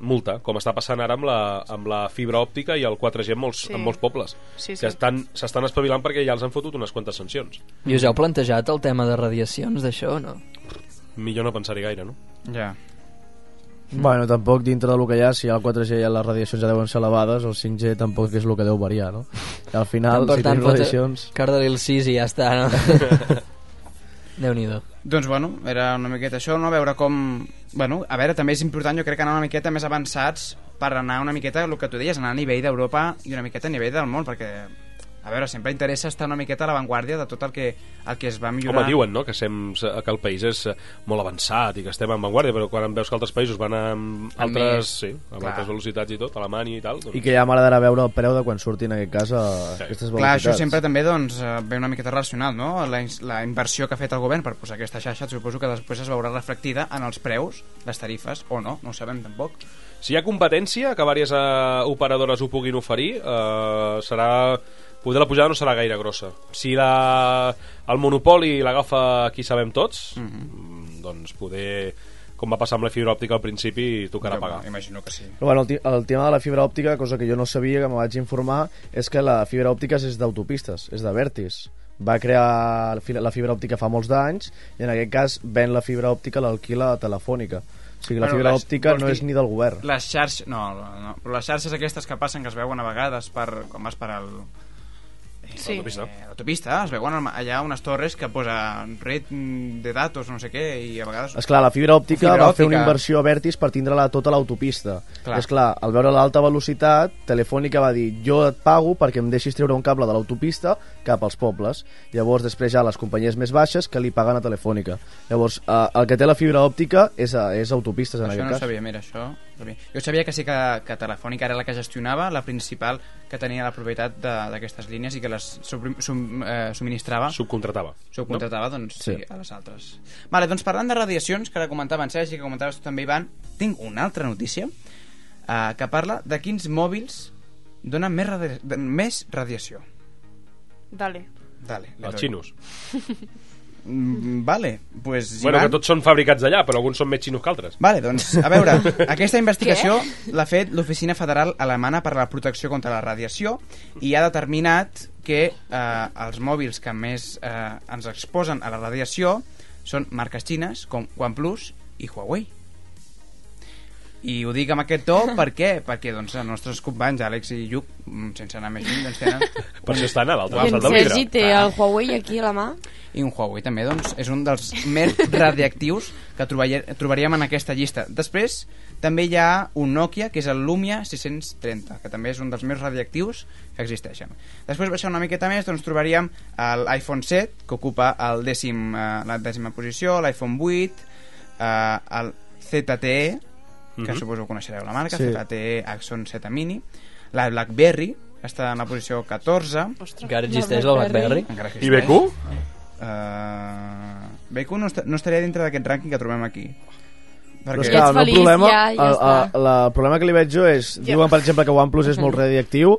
multa, com està passant ara amb la, amb la fibra òptica i el 4G en molts,
Sí.
sí. en molts pobles,
Sí, sí.
que estan- s'estan espavilant perquè ja els han fotut unes quantes sancions.
I us heu plantejat el tema de radiacions d'això, no?
Millor no pensar-hi gaire, no?
Ja.
Bueno, tampoc dintre del que hi ha, si hi ha el 4G ja les radiacions ja deuen ser elevades, el 5G tampoc és el que deu variar, no? I al final, si tens
fot-
radiacions...
Carda-li el 6 i ja està, no? Déu-n'hi-do.
Doncs bueno, era una miqueta això, no? A veure com... Bueno, a veure, també és important, jo crec que anar una miqueta més avançats per anar una miqueta, el que tu deies, anar a nivell d'Europa i una miqueta a nivell del món, perquè, a veure, sempre interessa estar una miqueta a l'avantguàrdia de tot el que, el que es va millorar.
Home, diuen, no?, que, sem, que el país és eh, molt avançat i que estem en vanguardia, però quan veus que altres països van amb
Amb
altres,
més.
sí, amb
Clar.
altres velocitats i tot, Alemanya i tal... Doncs...
I que ja m'agradarà veure el preu de quan surtin, en aquest cas, a aquestes velocitats.
Clar, això sempre també doncs, eh, ve una miqueta racional, no? La, ins- la inversió que ha fet el govern per posar aquesta xarxa suposo que després es veurà reflectida en els preus, les tarifes, o no, no ho sabem tampoc.
Si hi ha competència, que diverses eh, operadores ho puguin oferir, eh, serà... Poder la pujada no serà gaire grossa. Si la, el monopoli l'agafa qui sabem tots, mm
Mhm.
-hmm. doncs poder, com va passar amb la fibra òptica al principi, tocarà pagar.
Imagino que sí.
Però bueno, el, ti- el tema de la fibra òptica, cosa que jo no sabia, que me vaig informar, és que la fibra òptica és d'autopistes, és de Vertis. Va crear la fi- la fibra òptica fa molts d'anys i en aquest cas ven la fibra òptica l'alquila a telefònica. O sigui, la
Bueno,
fibra
les-
òptica
vols
no
dir-
és ni del govern.
Les xarxes... No, no, però les xarxes aquestes que passen, que es veuen a vegades per, quan vas per al...
Sí.
L'autopista. Eh, l'autopista, es veuen al- allà unes torres que posa red de datos, no sé què, i a vegades...
És clar, la fibra òptica
Fibra
va fer una
òptica.
inversió a Vertis per tindre-la a tota l'autopista.
Clar.
És clar, al veure l'alta velocitat, Telefònica va dir jo et pago perquè em deixis treure un cable de l'autopista cap als pobles. Llavors, després ja les companyies més baixes que li paguen a Telefònica. Llavors, eh, el que té la fibra òptica és, a, és autopistes, en
Això
aquest
no ho
cas.
sabia, mira, això... Però bé, Jo sabia que sí que, que Telefònica era la que gestionava, la principal que tenia la propietat de- d'aquestes línies i que les subrim- sum, eh, subministrava.
Subcontratava.
Subcontratava, no? doncs sí,
Sí.
a les altres. Vale, doncs parlant de radiacions, que ara comentava en Sergi, que comentaves tu també, Ivan, tinc una altra notícia eh, que parla de quins mòbils donen més, radi de- més radiació.
Dale.
Dale, le
Els
doy.
xinos.
Mm, vale, pues...
Bueno,
Ivan-
que tots són fabricats allà, però alguns són més xinos que altres.
Vale, doncs, a veure, aquesta investigació l'ha fet l'Oficina Federal Alemana per a la Protecció contra la Radiació i ha determinat que eh, els mòbils que més eh, ens exposen a la radiació són marques xines com OnePlus i Huawei. I ho dic amb aquest to, per què? Perquè doncs, els nostres companys, Àlex i Lluc, mm, sense anar més lluny, doncs tenen...
Per això estan a l'altre
I en Doncs Sergi té el Huawei aquí a la mà.
I un Huawei també, doncs, és un dels més radioactius que trobaria, trobaríem en aquesta llista. Després, també hi ha un Nokia, que és el Lumia 630, que també és un dels més radioactius que existeixen. Després, baixant una miqueta més, doncs, trobaríem l'iPhone 7, que ocupa el dècim, eh, la dècima posició, l'iPhone 8, eh, el ZTE, que
Mhm.
suposo que coneixereu la marca,
Sí.
sí. ZTE Axon 7 Mini, la BlackBerry, està en la posició 14.
Ostres, Encara existeix la BlackBerry?
Encara
I
existeix.
BQ?
Uh, BQ no, est no estaria dintre d'aquest rànquing que trobem aquí.
Però és que el meu problema, el, el, la, el problema que li veig jo és,
Ja.
diuen per exemple que OnePlus és molt radioactiu,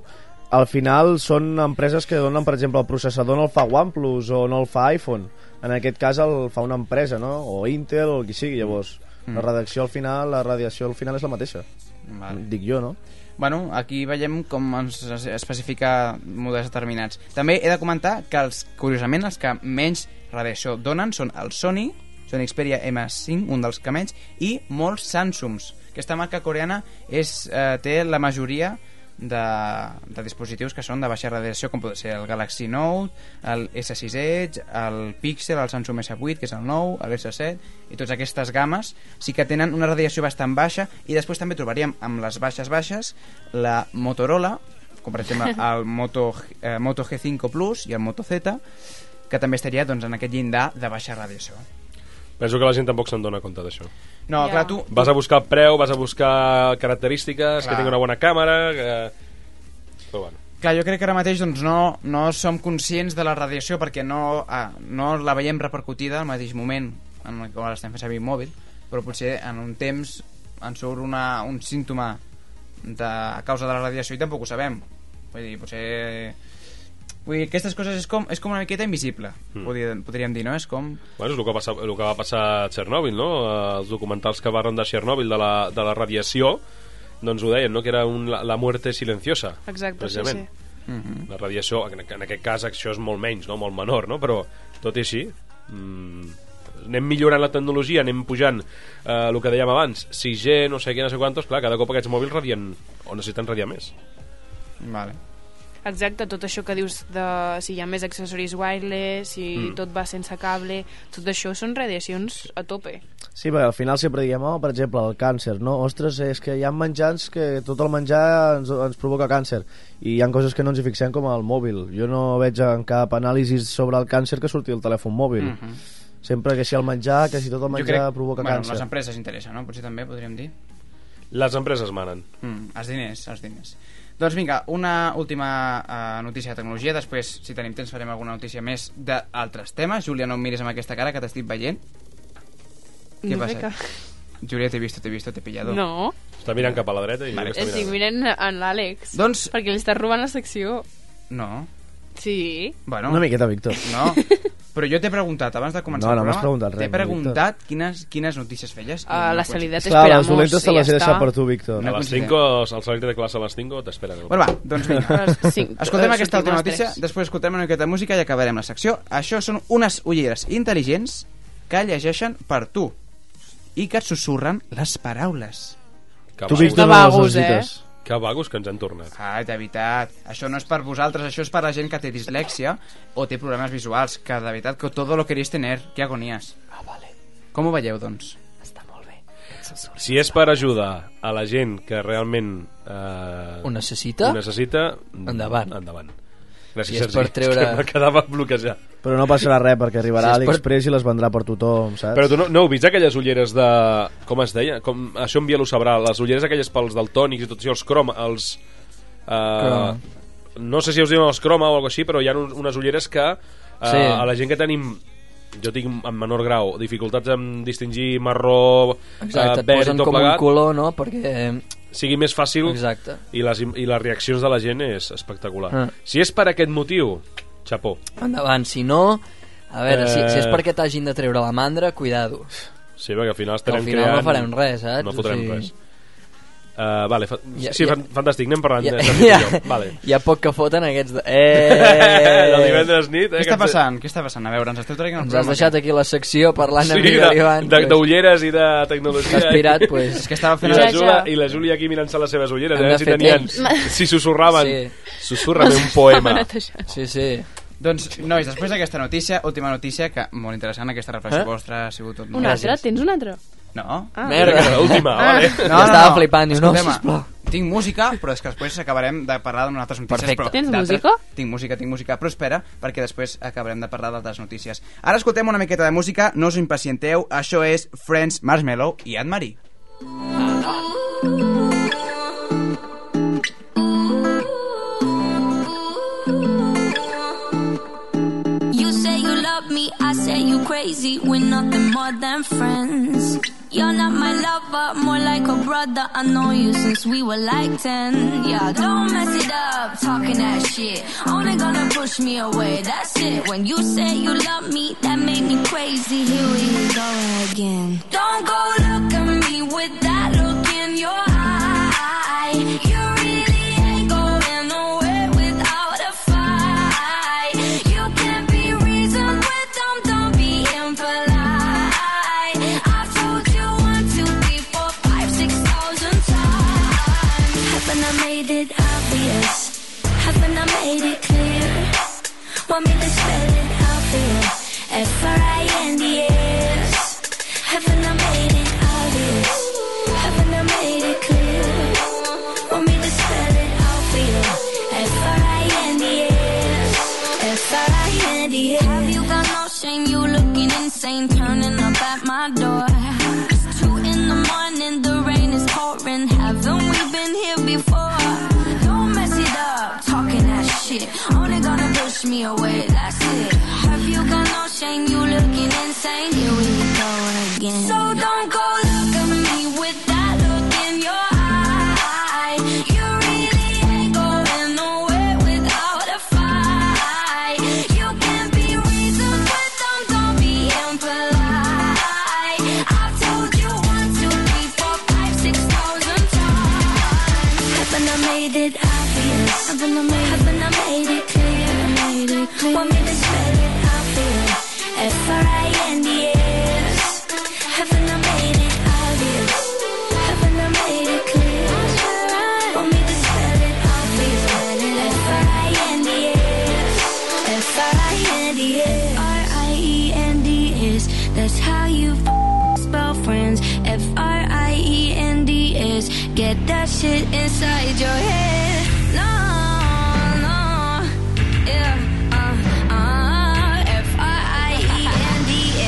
al final són empreses que donen, per exemple, el processador no el fa OnePlus o no el fa iPhone. En aquest cas el fa una empresa, no? O Intel o qui sigui, llavors. La redacció al final, la radiació al final és la mateixa.
Vale.
Dic jo, no?
Bueno, aquí veiem com ens es- especifica models determinats. També he de comentar que, els, curiosament, els que menys radiació donen són el Sony, Sony Xperia M5, un dels que menys, i molts Samsungs. Aquesta marca coreana és, eh, té la majoria de, de dispositius que són de baixa radiació, com pot ser el Galaxy Note, el S6 Edge, el Pixel, el Samsung S8, que és el 9, el S7, i totes aquestes games sí que tenen una radiació bastant baixa i després també trobaríem amb les baixes baixes la Motorola, com per exemple el Moto, eh, Moto G5 Plus i el Moto Z, que també estaria doncs, en aquest llindar de baixa radiació.
Penso que la gent tampoc se'n dona compte d'això.
No, Ja. clar, tu-
Vas a buscar preu, vas a buscar característiques, clar.
Clar.
que tingui una bona càmera... Que... Però bueno.
Clar, jo crec que ara mateix doncs, no, no som conscients de la radiació perquè no, ah, no la veiem repercutida al mateix moment en el que ara estem fent servir mòbil, però potser en un temps ens surt una, un símptoma de, a causa de la radiació i tampoc ho sabem. Vull dir, potser... Vull dir, aquestes coses és com, és com una miqueta invisible,
Mm.
mm. podríem, podríem dir, no? És com...
Bueno, és el que, va passar, el que va passar a Txernòbil, no? Eh, Els documentals que van de Txernòbil, de la, de la radiació, doncs ho deien, no? Que era un, la, la muerte silenciosa.
Exacte, sí,
precisament.
Mhm.
La radiació, en, en aquest cas, això és molt menys, no? Molt menor, no? Però, tot i així, mm, anem millorant la tecnologia, anem pujant eh, el que dèiem abans, 6G, no sé què, no sé quantos, clar, cada cop aquests mòbils radien, o necessiten radiar més.
Vale.
Exacte, tot això que dius de si hi ha més accessoris wireless, si
Mm.
mm. tot va sense cable, tot això són radiacions a tope.
Sí, perquè al final sempre diem, oh, per exemple, el càncer, no? Ostres, és que hi ha menjans que tot el menjar ens, ens provoca càncer i hi ha coses que no ens hi fixem com el mòbil. Jo no veig en cap anàlisi sobre el càncer que surti el telèfon mòbil.
Mhm.
Sempre que si el menjar, que si tot el
Jo
menjar
crec,
provoca
bueno,
càncer.
les empreses interessa, no? Potser també podríem dir.
Les empreses manen.
Mm, els diners, els diners. Doncs vinga, una última eh, notícia de tecnologia, després, si tenim temps, farem alguna notícia més d'altres temes. Júlia, no em miris amb aquesta cara que t'estic veient. Què
No
passa?
sé
Júlia, t'he vist, t'he vist, t'he pillado.
No. Eh,
Està mirant cap a la dreta i
vale.
Estic mirant en l'Àlex,
Doncs-
perquè li estàs robant la secció.
No,
Sí.
bueno.
Una miqueta, Víctor.
No, però jo t'he preguntat, abans de començar
No,
el
no m'has
programa,
preguntat res,
t'he preguntat quines, quines notícies feies. i
Ah,
no
la
coincideix.
salida
Clar, les dolentes te les he deixat per tu, Víctor.
A les 5, al salari de classe a les 5, t'esperen.
Bueno, va, doncs vinga. Escoltem
eh,
aquesta
sortim
última
les
notícia,
tres.
després escoltem una miqueta de música i acabarem la secció. Això són unes ulleres intel·ligents que llegeixen per tu i que et sussurren les paraules.
Que
Tu,
vagos.
Víctor, De no les vagos, eh? necessites.
Que vagos que ens han tornat.
Ah, de veritat. Això no és per vosaltres, això és per la gent que té dislèxia o té problemes visuals, que de veritat que todo lo queréis tener, que agonías. Ah, vale. Com ho veieu, doncs?
Si és per ajudar a la gent que realment... Eh,
Ho necessita?
Ho necessita...
Endavant.
Endavant. Gràcies,
I es
Sergi.
pot treure-
És que me quedava bloquejat.
Però no passarà res, perquè arribarà
Si es
si
pot-
l'Aliexpress i les vendrà per tothom, saps?
Però tu no, no heu vist aquelles ulleres de... Com es deia? Com, això en Biel ho sabrà. Les ulleres aquelles pels daltònics i tot això, els crom, els... Eh,
Croma.
No sé si us diuen els croma o alguna així, però hi ha un, unes ulleres que eh,
Sí.
sí. a la gent que tenim jo tinc en menor grau dificultats en distingir marró, eh,
Exacte, et
verd i
posen
tot
com un
plegat,
color, no? Perquè...
sigui més fàcil
Exacte.
i les, im- i les reaccions de la gent és espectacular.
Ah.
Si és per aquest motiu, xapó.
Endavant, si no... A veure, eh... si,
Eh.
si és perquè t'hagin de treure la mandra, cuidado.
Sí, perquè al final
Que al
estarem
final
creant...
no farem res, saps?
No
O
fotrem
sigui-
res. Uh, vale, fa... ja,
Ja-
sí,
ja-
ja, fantàstic, anem parlant.
Ja,
de- de
ja,
Pipinyol. Vale.
hi ha poc que foten aquests... De... Eh!
Del divendres nit, eh,
Què
que
està
ens-
passant? Què està passant? A veure, ens esteu traient un
Ens has
programa.
deixat aquí la secció parlant amb Miguel Ivan.
de,
pues.
d'ulleres i de tecnologia.
T'has pirat, pues.
És que estava fent
I la,
el-
Júlia, I la Júlia aquí mirant-se les seves ulleres,
Hem
a
de
veure si
fer
tenien...
temps.
Si susurraven.
Sí.
Sí. Susurrame un poema.
Sí, sí.
Doncs, nois, després d'aquesta notícia, última notícia, que molt interessant, aquesta reflexió
Eh?
vostra, ha sigut tot...
Un altre? Tens un altre?
No.
Ah.
Merda.
L'última,
Ah.
vale.
No, no, Estava no. flipant, diu, no,
Escolta'm,
sisplau.
Tinc música, però és que després acabarem de parlar d'unes altres notícies.
Perfecte.
Però
Tens
d'altres-
música?
Tinc música, tinc música, però espera, perquè després acabarem de parlar d'altres notícies. Ara escoltem una miqueta de música, no us impacienteu, això és Friends, Marshmallow i Anne-Marie.
You say you love me, I say you crazy. We're nothing more than friends. You're not my lover, more like a brother. I know you since we were like 10. Yeah, don't mess it up, talking that shit. Only gonna push me away, that's it. When you say you love me, that made me crazy. Here we go again. Don't go look at me with that look in your eye. You really ain't going nowhere without a fight. You can't be reasoned with them, don't be impolite. I've told you one, two, three, four, five, six thousand times. Haven't I made it obvious? Haven't I made it clear? Want me to spell it out for you? F R I N D S. Haven't I made it obvious? Haven't I made it clear? Want me to spell it out for you? F R I N D S. F R I N D S. Have you got no shame? You looking insane, turning up at my door. It's two in the morning, the rain is pouring. Haven't we been here before? Don't mess it up, talking that shit. Only gonna push me away, that's it. Have you got no shame? You looking insane? Here we go again. So don't go look at me with that look in your eye. You really ain't going nowhere without a fight. You can't be reasoned with them, don't be impolite. I've told you one, two, three, four, five, six thousand times. Haven't I made it obvious? Haven't I made, haven't I made it clear? Made it clear. Want me to spell it out for you? F R I N D S. Haven't I made it obvious? Haven't I made it clear? Want me to spell it out for you? F R I N D S. F R I N D S. R I E N D S. That's how you f- spell friends. F R I E N D S. Get that shit inside your head. No, no. Yeah, uh, uh, F R I E N D S.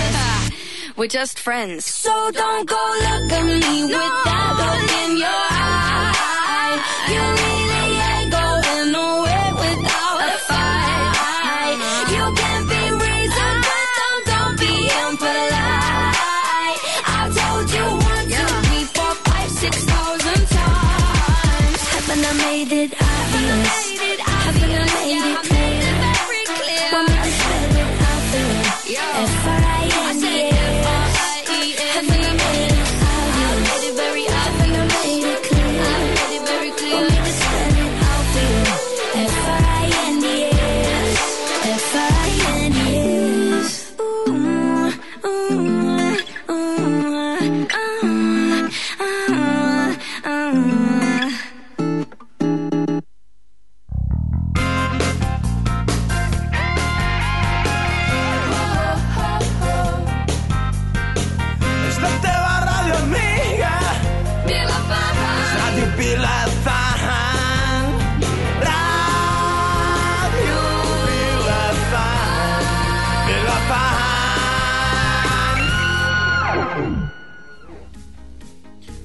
We're just friends. So don't go look at me with that look in your eye. You really ain't going nowhere without a fight. You can't be reasoned with them, don't be impolite. I've told you one, two, three, four, five, six thousand times. Haven't I made it obvious? Haven't I made it clear? Want me to spell it out for you? F-R-I-N-D-S. Haven't I made it obvious? Haven't I made it clear? Want me to spell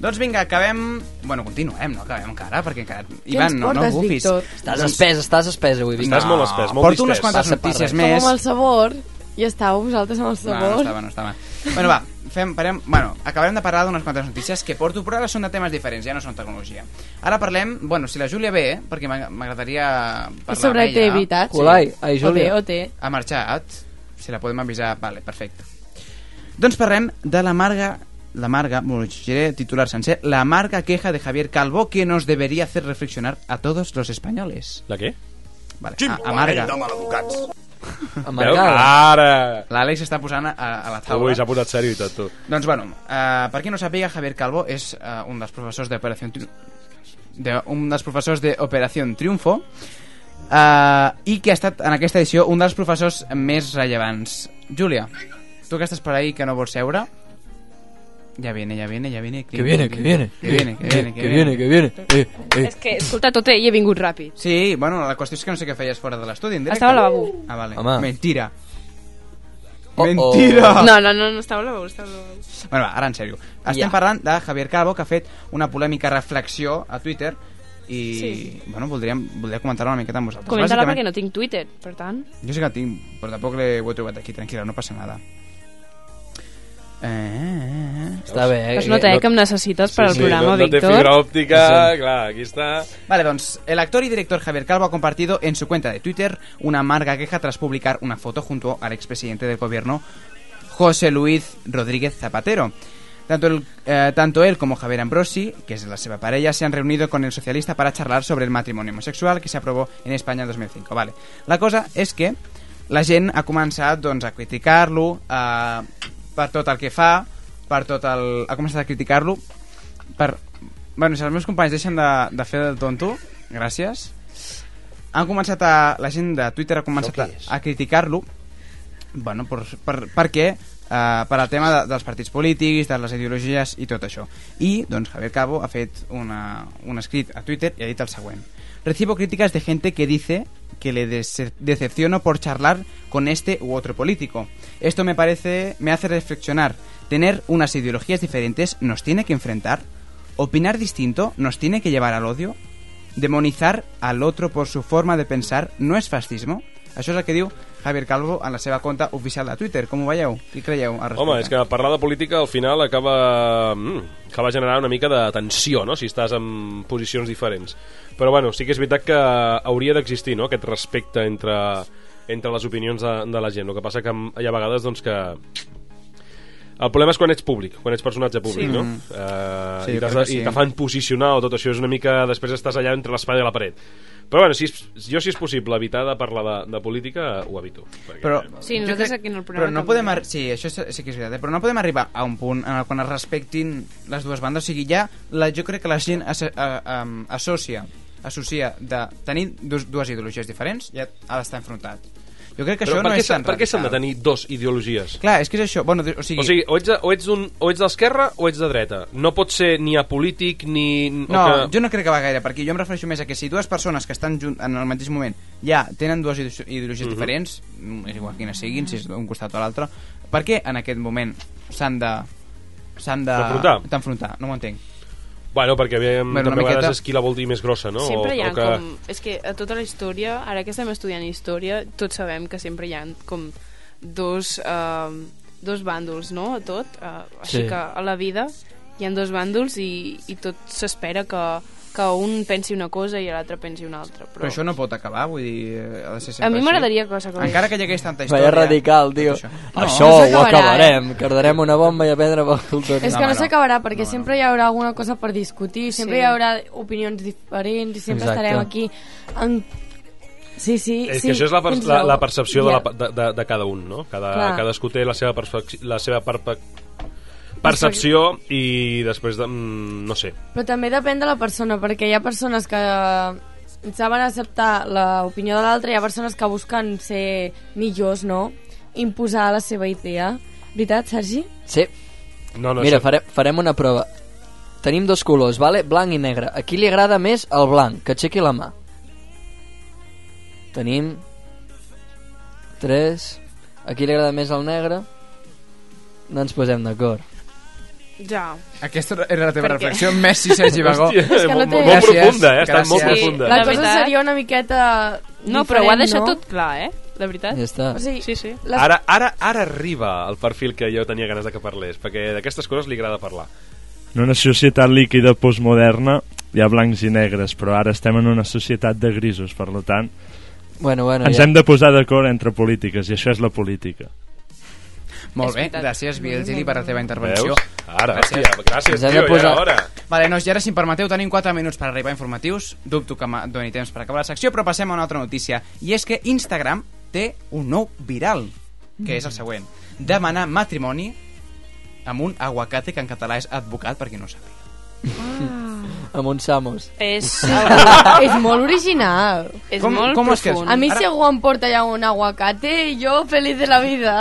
Doncs vinga, acabem... Bueno, continuem, no acabem encara, perquè encara...
Què ens
Ivan, no, no
portes,
bufis.
Víctor?
Estàs espès, estàs espès avui, Víctor.
Estàs molt espès, molt Porto distès. unes quantes
Doncs Passa
notícies
parra.
més.
Com el sabor. I estàveu vosaltres amb el
No,
sabor.
no estava, no estava. Bueno, va, fem, parem, bueno, acabarem de parlar d'unes quantes notícies que porto, però ara són de temes diferents, ja no són tecnologia. Ara parlem, bueno, si la Júlia ve, perquè m'ag- m'agradaria parlar
sobre
amb ella.
activitats. Colai, ai, Júlia. OT, OT.
Ha marxat, si la podem avisar, vale, perfecte. Doncs parlem de la marga la marga, bueno, llegiré el titular sencer, la marga queja de Javier Calvo que nos debería hacer reflexionar a todos los españoles.
¿La qué?
Vale, a, amarga.
Veus? Ara!
L'Àlex està posant a, a la taula.
Ui, s'ha posat sèrio i tot, tu.
Doncs bueno, uh, per qui no sàpiga, Javier Calvo és uh, un dels professors d'Operació Tri- de, un dels professors d'Operació Triunfo uh, i que ha estat en aquesta edició un dels professors més rellevants. Júlia, tu que estàs per ahí que no vols seure, ja viene, ja viene, ja viene.
Que viene, que viene.
Que viene, que viene,
Que viene, que viene. Eh, eh.
És que, escolta, tot ell he vingut ràpid.
Sí, bueno, la qüestió és que no sé què feies fora de l'estudi, en directe.
Estava al lavabo.
Ah, vale.
Home.
Mentira. Mentira!
No, no, no, no estava al lavabo, estava al lavabo.
Bueno, va, ara en sèrio. Estem
Ja.
parlant de Javier Calvo, que ha fet una polèmica reflexió a Twitter i,
Sí.
bueno, voldríem, voldria comentar-la una miqueta amb vosaltres.
Comenta-la perquè
Bàsicament-
no tinc Twitter, per tant.
Jo sí que la tinc, però tampoc l'he ho he trobat aquí, tranquil·la, no passa nada. Eh, eh, eh.
Està bé, eh?
Es nota, eh, que em necessites per al programa,
no, no té
Víctor.
fibra òptica,
Sí.
clar, aquí està.
Vale, doncs, el actor y director Javier Calvo ha compartido en su cuenta de Twitter una amarga queja tras publicar una foto junto al expresidente del gobierno, José Luis Rodríguez Zapatero. Tanto, el- eh, tanto él como Javier Ambrosi, que es la seva parella, se han reunido con el socialista para charlar sobre el matrimonio homosexual que se aprobó en España en 2005. Vale. La cosa és que la gent ha començat doncs, a criticar-lo eh, per tot el que fa, per tot el... ha començat a criticar-lo per... Bueno, si els meus companys deixen de, de fer del tonto, gràcies, han començat a... La gent de Twitter ha començat a, a criticar-lo bueno, per, per, perquè eh, per al tema de, dels partits polítics, de les ideologies i tot això. I, doncs, Javier Cabo ha fet una, un escrit a Twitter i ha dit el següent. Recibo críticas de gente que dice que le dece- decepciono por charlar con este u otro político. Esto me parece, me hace reflexionar. Tener unas ideologías diferentes nos tiene que enfrentar. Opinar distinto nos tiene que llevar al odio. Demonizar al otro por su forma de pensar no és fascismo. Això és el que diu Javier Calvo en la seva compte oficial de Twitter. Com ho veieu? Qui creieu al respecte?
Home, és que parlar de política al final acaba, mm, acaba generant una mica de tensió, no?, si estàs en posicions diferents. Però, bueno, sí que és veritat que hauria d'existir, no?, aquest respecte entre, entre les opinions de, de la gent. El que passa que mm, hi ha vegades, doncs, que... El problema és quan ets públic, quan ets personatge públic,
Sí.
no?
Mm.
Uh,
Sí,
I
jo
t'has de-
crec que
i
sí. eh?
te fan posicionar o tot això és una mica... Després estàs allà entre l'espai i la paret. Però, bueno, si és, jo, si és possible, evitar de parlar de, de política, ho evito.
Però,
Sí,
jo
nosaltres aquí en el programa
Però no
també.
podem... ar- Sí, això és- sí que és veritat, eh? però no podem arribar a un punt en el quan es respectin les dues bandes. O sigui, ja la, jo crec que la gent as, a, a, associa, associa de tenir dues, dues ideologies diferents ja ha d'estar enfrontat. Jo crec que
Però
això no
per què
és tan
s'ha- Per què s'han de
radical.
tenir dos ideologies?
Clar, és que és això. Bueno, de- o sigui,
O sigui, o ets, de- o ets, un, o ets d'esquerra o ets de dreta. No pot ser ni apolític ni... o
No,
que...
jo no crec que va gaire per aquí. Jo em refereixo més a que si dues persones que estan junt en el mateix moment ja tenen dues ideo- ideologies
Mhm.
diferents, mm, és igual quines siguin, si és d'un costat o l'altre, per què en aquest moment s'han de... s'han de...
D'enfrontar?
D'enfrontar, no m'ho entenc.
Bueno, perquè veiem bueno,
Bueno, una
també a vegades
miqueta-
és qui la vol dir més grossa, no?
Sempre hi ha
o, o que...
com... És que a tota la història, ara que estem estudiant història, tots sabem que sempre hi ha com dos, eh, dos bàndols, no?, a tot. Eh, així
Sí.
que a la vida hi ha dos bàndols i, i tot s'espera que, que un pensi una cosa i l'altre pensi una altra.
Però, però això no pot acabar, vull dir... eh, Ha de ser sempre
A mi
així.
m'agradaria que s'acabés.
Encara que hi hagués tanta
Vaya
història...
radical, tio.
Això,
Això
no
ho
s'acabarà,
acabarem.
eh?
Cardarem una bomba i a prendre pel cultura.
És que no s'acabarà perquè sempre hi haurà alguna cosa per discutir, sempre
Sí.
hi haurà opinions diferents i sempre
Exacte.
estarem aquí amb... Sí, sí,
És
sí.
eh, que això és la, per
tens
la,
raó.
la percepció
Ja.
de, la, de, de, de cada un, no? Cada,
Clar.
cadascú té la seva, perspec- la seva perpe... percepció i després de... mm, no sé.
Però també depèn de la persona, perquè hi ha persones que saben acceptar l'opinió de l'altre, hi ha persones que busquen ser millors, no? Imposar la seva idea. Veritat, Sergi?
Sí.
No, no,
Mira,
això-
farem, farem una prova. Tenim dos colors, vale? blanc i negre. A qui li agrada més el blanc? Que aixequi la mà. Tenim... Tres... A qui li agrada més el negre? No ens posem d'acord.
Ja.
Aquesta era la teva
Per què?
reflexió. Messi, Sergi Bagó.
Hòstia, És que no molt- té- molt profunda, eh? Ha estat molt
gràcies.
profunda.
La
La
cosa
veritat-
seria una miqueta
No, però ho ha
diferent,
deixat
no?
tot clar, eh? De veritat.
Ja està.
O sigui,
sí, sí.
Les-
Ara, ara, ara arriba el perfil que jo tenia ganes de que parlés, perquè d'aquestes coses li agrada parlar.
En una societat líquida postmoderna hi ha blancs i negres, però ara estem en una societat de grisos, per lo tant,
Bueno, bueno,
ens
ja.
hem de posar d'acord entre polítiques, i això és la política.
Molt
És
bé,
veritat.
gràcies, Biel Gili, per la teva intervenció.
Veus? Ara, hòstia, gràcies, Ens hem de tio, eh, ja era posar- hora.
Vale, nois, i ara, si em permeteu, tenim 4 minuts per arribar a informatius. Dubto que me doni temps per acabar la secció, però passem a una altra notícia. I és que Instagram té un nou viral, que és el següent. Demanar matrimoni amb un aguacate que en català és advocat, per qui no ho sàpiga.
Amb uns samos.
És...
és molt original.
És
Com- molt com és que és? profund.
A mi si
Ara-
algú em porta ja un aguacate, jo feliç de la vida.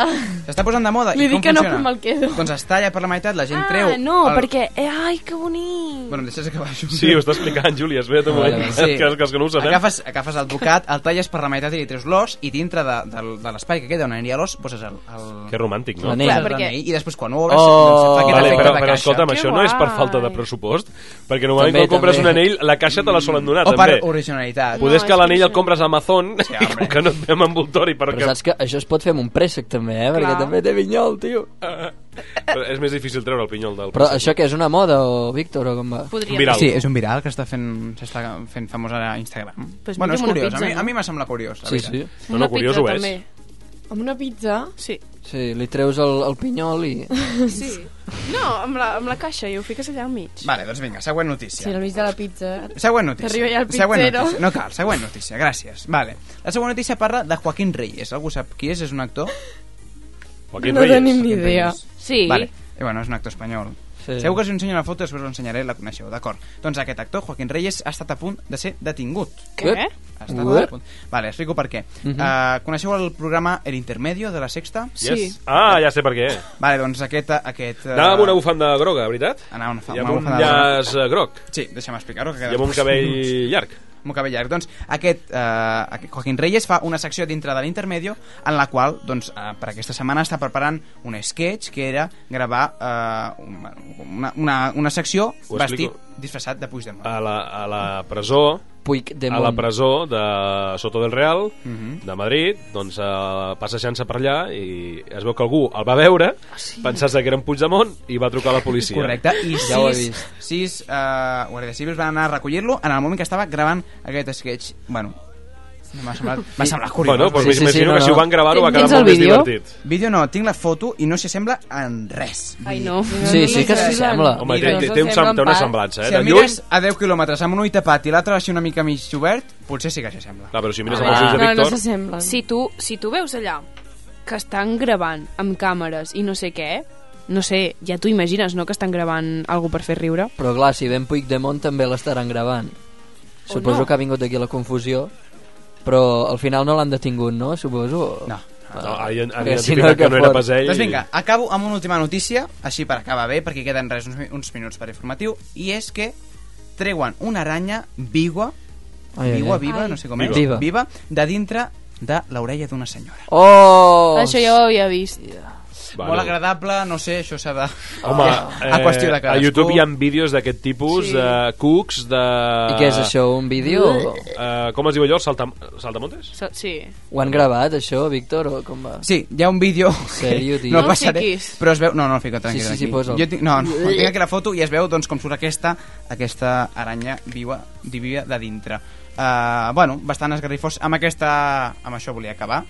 S'està posant de moda.
Li
I com
dic que no,
funciona?
però me'l quedo.
Doncs es talla per la meitat, la gent treu...
Ah, no,
el...
perquè... Eh, ai, que bonic!
Bueno, em deixes acabar això.
Sí, ho està explicant, Júlia, espera't un moment, que, que, que no ho sabem.
Agafes, agafes el bocat, el talles per la meitat i li treus l'os i dintre de, de, de l'espai que queda on aniria l'os poses el... el...
Que romàntic, no?
L'anell. Clar,
L'anell.
perquè... I després quan ho obres... Oh! Fa aquest
vale,
efecte
però,
de
però
caixa.
escolta'm, això no és per falta de pressupost, perquè normalment
També,
quan compres
també.
un anell, la caixa te la solen donar,
O per
també.
originalitat.
Poder és
No,
que
és
l'anell el compres a Amazon i com que no et ve amb envoltori
Però
perquè...
saps que això es pot fer amb un préssec, també, eh? Perquè
Clar.
també té vinyol, tio.
Però és més difícil treure el pinyol del...
Però això que és una moda, o Víctor, o com va?
Viral.
Sí, és un viral que està fent, s'està fent famós a Instagram.
Pues
bueno, és
mira'm una
curiós.
pizza,
a mi,
no?
a mi me sembla curiós, la
Sí,
veritat.
sí.
No, no, curiós ho és.
Amb una pizza?
Sí.
Sí, li treus el, el pinyol i...
Sí. No, amb la, amb la caixa i ho fiques allà al mig.
Vale, doncs vinga, següent notícia.
Si al mig de la pizza...
Següent notícia.
T'arriba ja el
següent
pizzero.
notícia. No cal, següent notícia, gràcies. Vale. La següent notícia parla de Joaquín Reyes. Algú sap qui és? És un actor?
Joaquín No Reyes. tenim ni
Joaquín
idea.
Reyes.
Sí.
Vale. Eh, bueno, és un actor espanyol.
Sí.
Segur que us ensenyo la foto, després us l'ensenyaré, la coneixeu, d'acord. Doncs aquest actor, Joaquín Reyes, ha estat a punt de ser detingut.
Què?
Ha estat
What?
a punt. Vale, explico per què.
Mhm.
Eh, coneixeu el programa El Intermedio de la Sexta?
Yes. Ah, ja sé per què.
Vale, doncs aquest... aquest eh,
Anava amb una bufanda groga, veritat?
Anava amb una,
I
una
amb un
bufanda groga.
llaç eh, groc.
Sí, deixa'm explicar-ho. Que
I amb un cabell llarg.
Amb un cabell llarg. Doncs aquest, eh, aquest Joaquín Reyes fa una secció dintre de l'intermedio en la qual, doncs, eh, per aquesta setmana està preparant un sketch que era gravar eh, una, una, una, una secció
Ho
vestit
explico.
disfressat de Puigdemont.
A la, a la presó...
Puigdemont.
A la presó de Soto del Real,
Mhm.
de Madrid, doncs eh, passejant-se per allà i es veu que algú el va veure,
Ah,
pensant que era en Puigdemont, i va trucar a la policia.
Correcte. I sis, sis eh, guàrdies civils van anar a recollir-lo en el moment que estava gravant aquest sketch. Bueno, m'ha semblat, m'ha semblat curiós.
Bueno, doncs Sí, sí, sí, m'imagino no, que no. si ho van gravar ho va quedar
Tens
molt
el
més
vídeo?
divertit.
Vídeo no, tinc la foto i no s'hi sembla en res. Vull
Ai,
dir,
no.
Sí, sí que s'hi sembla.
Home, té- té- té un sem- té una semblança, eh?
Si el
De lluny-
mires a 10 quilòmetres amb un ull tapat i l'altre així una mica mig obert, potser sí que s'hi sembla. Doncs
Clar, Ah, però si
Ah,
mires amb els ulls de Víctor...
Ah, s'assemblen.
Si tu, si tu veus allà que estan gravant amb càmeres i no sé què, no sé, ja t'ho imagines, no?, que estan gravant algú per fer riure.
Però clar, si ven Puigdemont també l'estaran gravant. Suposo
no.
que ha vingut aquí la confusió, però al final no l'han detingut, no? Suposo.
No.
No, han- han
Perquè si
identificat que no era
fot?
pas ell.
Doncs vinga, acabo amb una última notícia, així per acabar bé, perquè queden res, uns, mi- uns minuts per informatiu, i és que treuen una aranya vigua,
Ai, ai,
vigua,
ai.
viva,
Ai.
no sé com és,
Viva.
viva de dintre de l'orella d'una senyora.
Oh!
Això ja ho havia vist.
Bueno.
Molt agradable, no sé, això s'ha de...
Home, eh,
a qüestió de
a
cadascú.
YouTube hi ha vídeos d'aquest tipus,
Sí.
sí. de cucs, de...
I què és això, un vídeo?
Uh, com es diu allò? Saltam Saltamontes?
So, sí.
Ho han gravat, això, Víctor, o com va?
Sí, hi ha un vídeo...
Sèrio, tio?
No el passaré, però es veu... No, no el fico tranquil.
Sí, sí, sí,
aquí.
posa'l.
Jo tinc... No, no, tinc aquí la foto i es veu doncs, com surt aquesta, aquesta aranya viva, viva de dintre. Uh, bueno, bastant esgarrifós. Amb aquesta... Amb això volia acabar.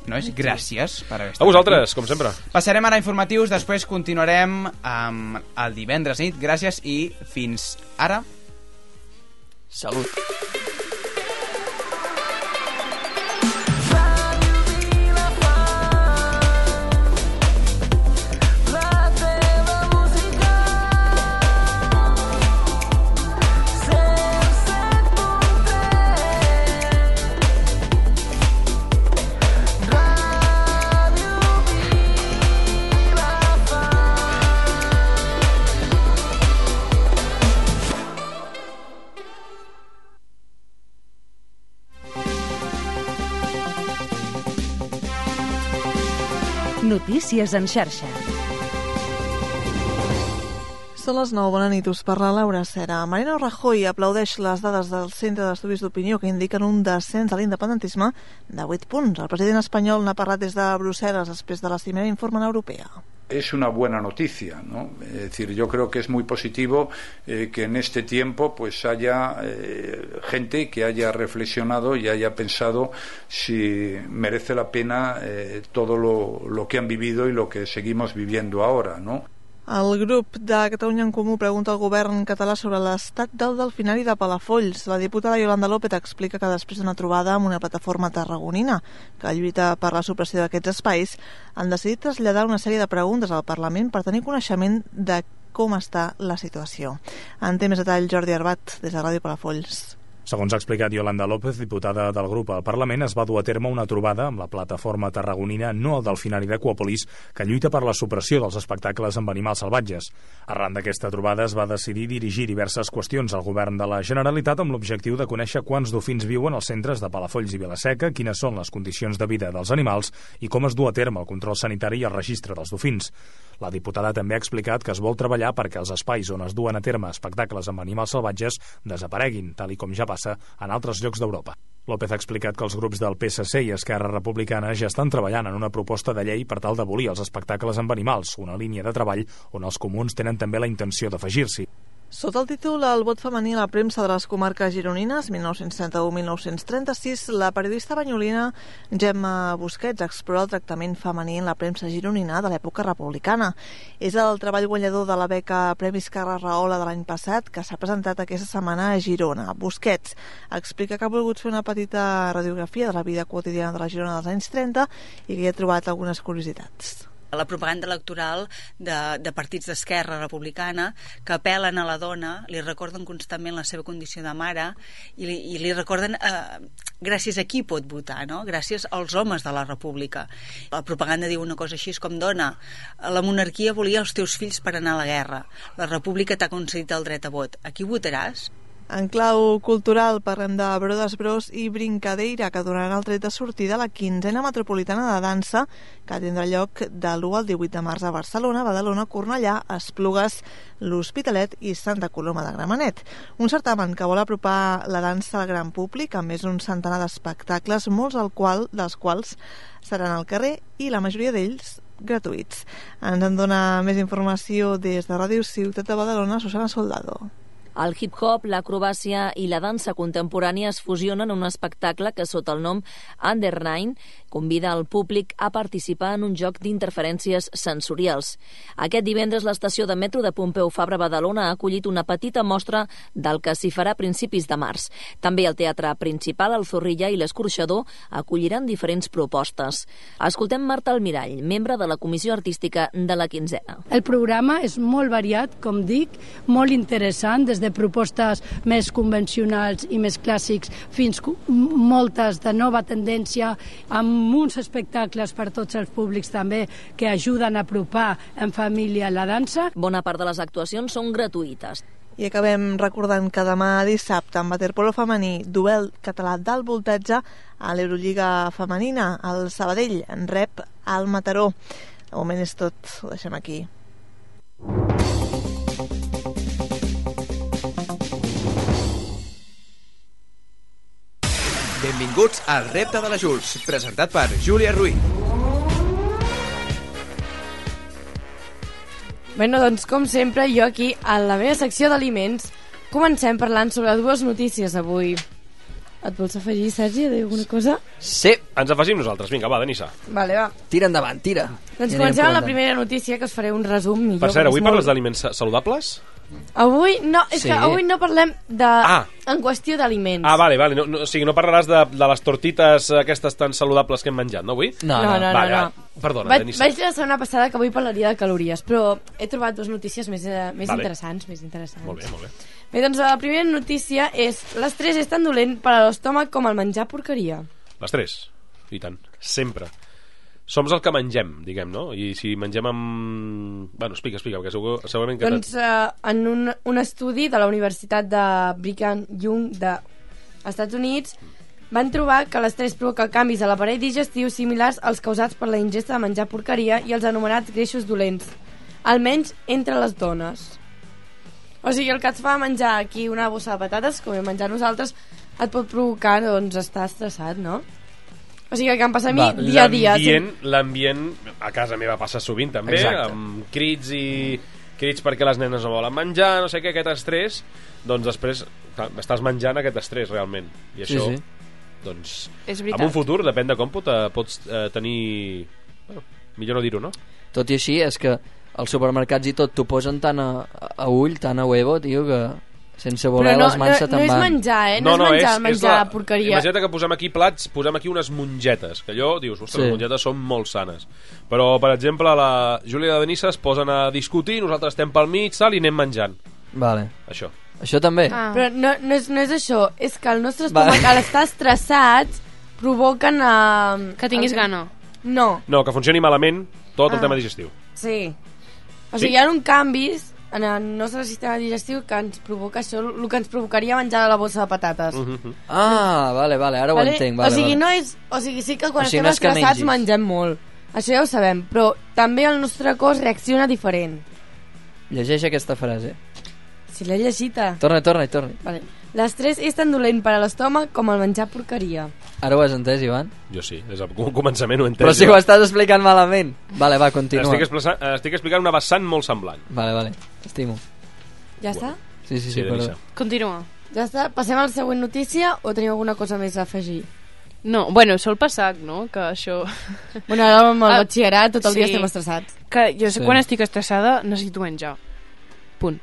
Nois, gràcies per haver estat
A vosaltres,
aquí.
com sempre.
Passarem ara a informatius, després continuarem amb el divendres nit. Gràcies i fins ara.
Salut.
La teva música
Notícies en xarxa. Són les 9, bona nit, us parla Laura Cera. Mariano Rajoy aplaudeix les dades del Centre d'Estudis d'Opinió que indiquen un descens a l'independentisme de 8 punts. El president espanyol n'ha parlat des de Brussel·les després de la cimera informant europea.
es una buena noticia, ¿no? Es decir, yo creo que es muy positivo eh, que en este tiempo pues haya eh, gente que haya reflexionado y haya pensado si merece la pena eh, todo lo, lo que han vivido y lo que seguimos viviendo ahora, ¿no?
El grup de Catalunya en Comú pregunta al govern català sobre l'estat del delfinari de Palafolls. La diputada Yolanda López explica que després d'una trobada amb una plataforma tarragonina que lluita per la supressió d'aquests espais, han decidit traslladar una sèrie de preguntes al Parlament per tenir coneixement de com està la situació. En té més detall Jordi Arbat, des de Ràdio Palafolls.
Segons ha explicat Yolanda López, diputada del grup al Parlament, es va dur a terme una trobada amb la plataforma tarragonina No al Delfinari d'Aquapolis, que lluita per la supressió dels espectacles amb animals salvatges. Arran d'aquesta trobada es va decidir dirigir diverses qüestions al govern de la Generalitat amb l'objectiu de conèixer quants dofins viuen als centres de Palafolls i Vilaseca, quines són les condicions de vida dels animals i com es du a terme el control sanitari i el registre dels dofins. La diputada també ha explicat que es vol treballar perquè els espais on es duen a terme espectacles amb animals salvatges desapareguin, tal i com ja passa en altres llocs d'Europa. López ha explicat que els grups del PSC i Esquerra Republicana ja estan treballant en una proposta de llei per tal d'abolir els espectacles amb animals, una línia de treball on els comuns tenen també la intenció d'afegir-s'hi.
Sota el títol El vot femení a la premsa de les comarques gironines 1931-1936, la periodista banyolina Gemma Busquets explora el tractament femení en la premsa gironina de l'època republicana. És el treball guanyador de la beca Premis Carla Rahola de l'any passat que s'ha presentat aquesta setmana a Girona. Busquets explica que ha volgut fer una petita radiografia de la vida quotidiana de la Girona dels anys 30 i que hi ha trobat algunes curiositats.
la propaganda electoral de, de partits d'esquerra republicana que apel·len a la dona, li recorden constantment la seva condició de mare i li, i li recorden eh, gràcies a qui pot votar, no? gràcies als homes de la república. La propaganda diu una cosa així com dona, la monarquia volia els teus fills per anar a la guerra, la república t'ha concedit el dret a vot, a qui votaràs?
En clau cultural parlem de Brodes Bros i Brincadeira, que donaran el tret de sortida a la quinzena metropolitana de dansa, que tindrà lloc de l'1 al 18 de març a Barcelona, Badalona, Cornellà, Esplugues, l'Hospitalet i Santa Coloma de Gramenet. Un certamen que vol apropar la dansa al gran públic, amb més d'un centenar d'espectacles, molts al qual, dels quals seran al carrer i la majoria d'ells gratuïts. Ens en dona més informació des de Ràdio Ciutat de Badalona, Susana Soldado.
El hip-hop, l'acrobàcia i la dansa contemporània es fusionen en un espectacle que, sota el nom Under Nine, convida al públic a participar en un joc d'interferències sensorials. Aquest divendres, l'estació de metro de Pompeu Fabra Badalona ha acollit una petita mostra del que s'hi farà a principis de març. També el teatre principal, el Zorrilla i l'Escorxador acolliran diferents propostes. Escoltem Marta Almirall, membre de la Comissió Artística de la Quinzena.
El programa és molt variat, com dic, molt interessant, des de propostes més convencionals i més clàssics fins co- m- moltes de nova tendència, amb uns espectacles per tots els públics també que ajuden a apropar en família la dansa.
Bona part de les actuacions són gratuïtes.
I acabem recordant que demà dissabte amb waterpolo femení, duel català d'alt voltatge a l'Eurolliga femenina, el Sabadell en rep al Mataró. De moment és tot, ho deixem aquí.
Benvinguts al Repte de la Jules, presentat per Júlia Ruiz.
Bueno, doncs, com sempre, jo aquí, a la meva secció d'aliments, comencem parlant sobre dues notícies avui. Et vols afegir, Sergi, a dir alguna cosa?
Sí. Ens afegim nosaltres. Vinga, va, Denissa.
Vale, va.
Tira endavant, tira.
Doncs comencem amb la primera notícia, que us faré un resum millor.
Per cert,
perquè
avui
és
parles d'aliments sa- saludables?
molt- Avui no, és
Sí.
que avui no parlem de...
Ah.
en qüestió d'aliments.
Ah, vale, vale. No, no, o sigui, no parlaràs de, de les tortites eh, aquestes tan saludables que hem menjat, no, avui?
No, no, no,
vale,
no.
Vale. Perdona,
vaig,
Denissa.
vaig dir la setmana passada que avui parlaria de calories, però he trobat dues notícies més, eh, més
Vale.
interessants, més interessants.
Molt bé, molt bé.
Bé, doncs la primera notícia és l'estrès és tan dolent per a l'estómac com el menjar porqueria.
Les tres. I tant. Sempre. Som el que mengem, diguem, no? I si mengem amb... Bueno, explica, explica, perquè segur, segurament que...
Doncs eh, en un, un estudi de la Universitat de Brigham Young de Estats Units van trobar que l'estrès provoca canvis a l'aparell digestiu similars als causats per la ingesta de menjar porqueria i els anomenats greixos dolents, almenys entre les dones. O sigui, el que et fa menjar aquí una bossa de patates, com hem menjat nosaltres, et pot provocar, doncs, estar estressat, no? O sigui, el que em passa a mi,
Va,
dia a dia...
l'ambient- L'ambient a casa meva passa sovint també,
Exacte.
amb crits i crits perquè les nenes no volen menjar, no sé què, aquest estrès, doncs després clar, estàs menjant aquest estrès realment. I
Sí,
això,
sí.
doncs,
És veritat.
en un futur, depèn de com pot, eh, pots eh, tenir... Bueno, millor no dir-ho, no?
Tot i així, és que els supermercats i tot t'ho posen tan a, a ull, tan a huevo, tio, que sense voler les mans se te'n
no és
van.
menjar, eh? No, no és menjar, menjar la... porqueria.
Imagina't que posem aquí plats, posem aquí unes mongetes, que allò, dius, ostres,
Sí.
sí. les mongetes són molt sanes. Però, per exemple, la Júlia i la Benissa es posen a discutir, nosaltres estem pel mig, tal, i anem menjant.
Vale.
Això.
Això també?
Ah. Però no, no, és, no és això, és que el nostre
Va.
estómac, al estar estressat, provoquen... Eh, que
tinguis gana.
No,
No, que funcioni malament tot ah.
Ah.
el tema digestiu.
Sí. O
Sí.
sigui, hi ha un canvis en el nostre sistema digestiu que ens provoca això, el que ens provocaria menjar la bossa de patates.
Mm -hmm. Ah, vale, vale, ara ho entenc. Vale,
o sigui,
vale.
no és... O sigui, sí que quan
O sigui,
estem
no és que
estressats
mengis.
mengem molt. Això ja ho sabem, però també el nostre cos reacciona diferent.
Llegeix aquesta frase.
Si l'he llegita...
Torna, torna, torna.
Vale. L'estrès és tan dolent per a l'estómac com el menjar porqueria.
Ara ho has entès, Ivan?
Jo sí, des del com- començament ho he entès.
Però si ho estàs explicant malament. Vale, va, continua.
Estic, expressa- eh, estic explicant una vessant molt semblant.
Vale, vale, estimo.
Ja està?
Sí, sí, sí,
Sí,
sí perdó.
Denisa.
Continua.
Ja està? Passem a la següent notícia o teniu alguna cosa més a afegir?
No, bueno, sol passar, no? Que això...
Bueno, ara amb el
Ah,
batxillerat tot el dia estem estressats.
Que jo
Sí.
sí. quan estic estressada necessito menjar. Punt.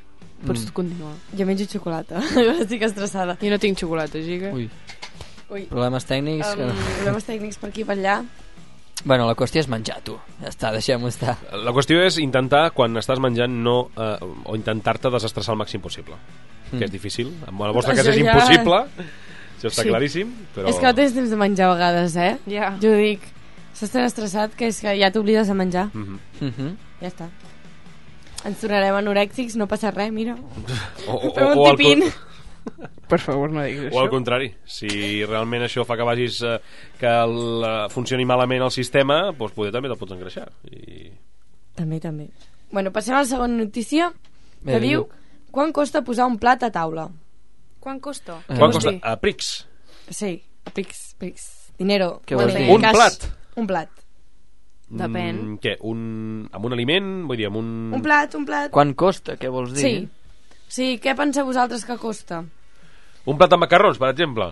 Pots
Mm.
mm. continuar.
Jo menjo xocolata. Jo estic estressada.
Jo no tinc xocolata, així que...
Ui.
Ui.
Problemes tècnics...
Um, problemes tècnics per aquí i per allà.
Bueno, la qüestió és menjar, tu. Ja està, deixem-ho estar.
La qüestió és intentar, quan estàs menjant, no, eh, o intentar-te desestressar el màxim possible.
Mm.
Mm. Que és difícil. Amb la vostra
Això
casa és
ja-
impossible. Això està
Sí.
sí. claríssim. Però...
És que no tens temps de menjar a vegades, eh?
Ja.
Jo dic, estàs tan estressat que és que ja t'oblides de menjar.
Mhm.
Mhm.
Ja està. Ens tornarem anorèxics, no passa res, mira.
O- o-
Fem un
o al
tipín.
Per favor, no diguis
O al contrari, si realment això fa que vagis eh, que el, eh, funcioni malament el sistema, doncs poder també te'l pots engreixar. I...
També, també. Bueno, passem a la segona notícia, que
Vinga,
diu... Quan costa posar un plat a taula?
Quan costa?
Quan costa? A Prix.
Sí, a pics, pics. Dinero.
Què
money,
vols dir? Un
cash.
plat?
Un plat. Depèn.
Mm, què? Un, amb un aliment? Vull dir, amb un...
Un plat, un plat.
Quan costa, què vols
Sí. Sí, què penseu vosaltres que costa?
Un plat amb macarrons, per exemple.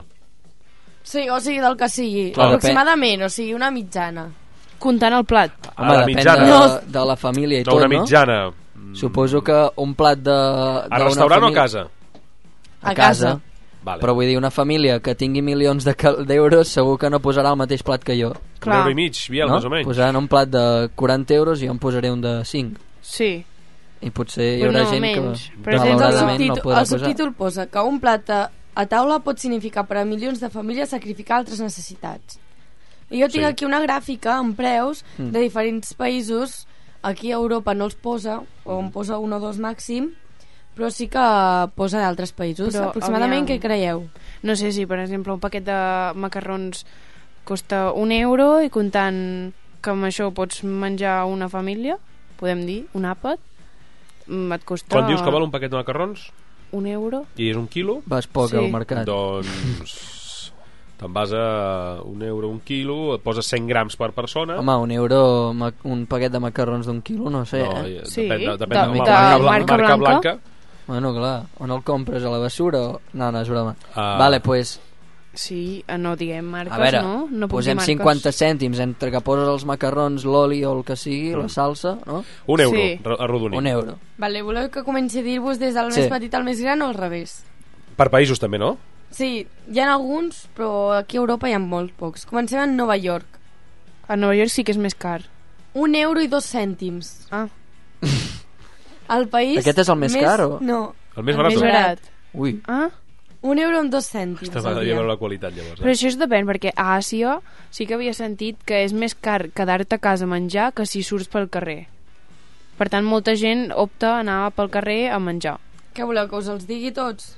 Sí, o sigui, del que sigui.
Clar, depèn.
aproximadament, o sigui, una mitjana.
Comptant el plat.
Home,
la
depèn
mitjana.
de,
No.
de la família i
No,
tot,
una
no?
mitjana.
Suposo que un plat de...
A restaurant o a casa?
A
A
casa.
casa. Vale.
Però vull dir, una família que tingui milions de cal- d'euros segur que no posarà el mateix plat que jo.
Clar. euro i mig, Biel,
no?
més o menys.
Posaran un plat de 40 euros i jo en posaré un de 5.
Sí.
I potser hi
Però
haurà
no,
gent
menys.
que
Però
el,
malauradament no
subtítol,
podrà
el
posar.
subtítol posa que un plat a, a taula pot significar per a milions de famílies sacrificar altres necessitats. I jo tinc
Sí.
aquí una gràfica amb preus
Mm.
de diferents països. Aquí a Europa no els posa, o
Mm.
en posa un o dos màxim, però sí que posa d'altres països. Però, Aproximadament, aviam. què creieu?
No sé si, per exemple, un paquet de macarrons costa un euro i comptant que amb això pots menjar una família, podem dir, un àpat, mm, et costa...
Quan dius que val un paquet de macarrons
Un euro?
i és un quilo...
Vas poc Sí. al mercat.
Doncs... Te'n vas a un euro, un quilo, et poses 100 grams per persona...
Home, un euro, ma- un paquet de macarrons d'un quilo, no sé,
No,
eh?
ja, Sí, depèn de- depèn de- de- marca blan- marca marca blanca. blanca.
Bueno, clar, on el compres, a la bessura o... No, no, és broma.
Ah.
Vale, pues,
Sí, eh, no diguem marques,
a veure,
no? No puc
posem
dir marques.
50 cèntims entre que poses els macarrons, l'oli o el que sigui, la salsa, no?
Mm. Un euro, Sí. ro- arrodonit.
Un euro.
Vale, voleu que comenci a dir-vos des del
Sí.
sí. més petit al més gran o al revés?
Per països també, no?
Sí, hi ha alguns, però aquí a Europa hi ha molt pocs. Comencem en Nova York.
A Nova York sí que és més car.
Un euro i dos cèntims.
Ah.
El país...
Aquest és el més car, o?
No.
El més barat. eh? Ui.
Ah?
Un euro amb dos cèntims.
Aquesta
al
m'agradaria
dia.
veure la qualitat, llavors. eh?
Però això és depèn, perquè a Àsia sí que havia sentit que és més car quedar-te a casa a menjar que si surts pel carrer. Per tant, molta gent opta a anar pel carrer a menjar.
Què voleu, que us els digui tots?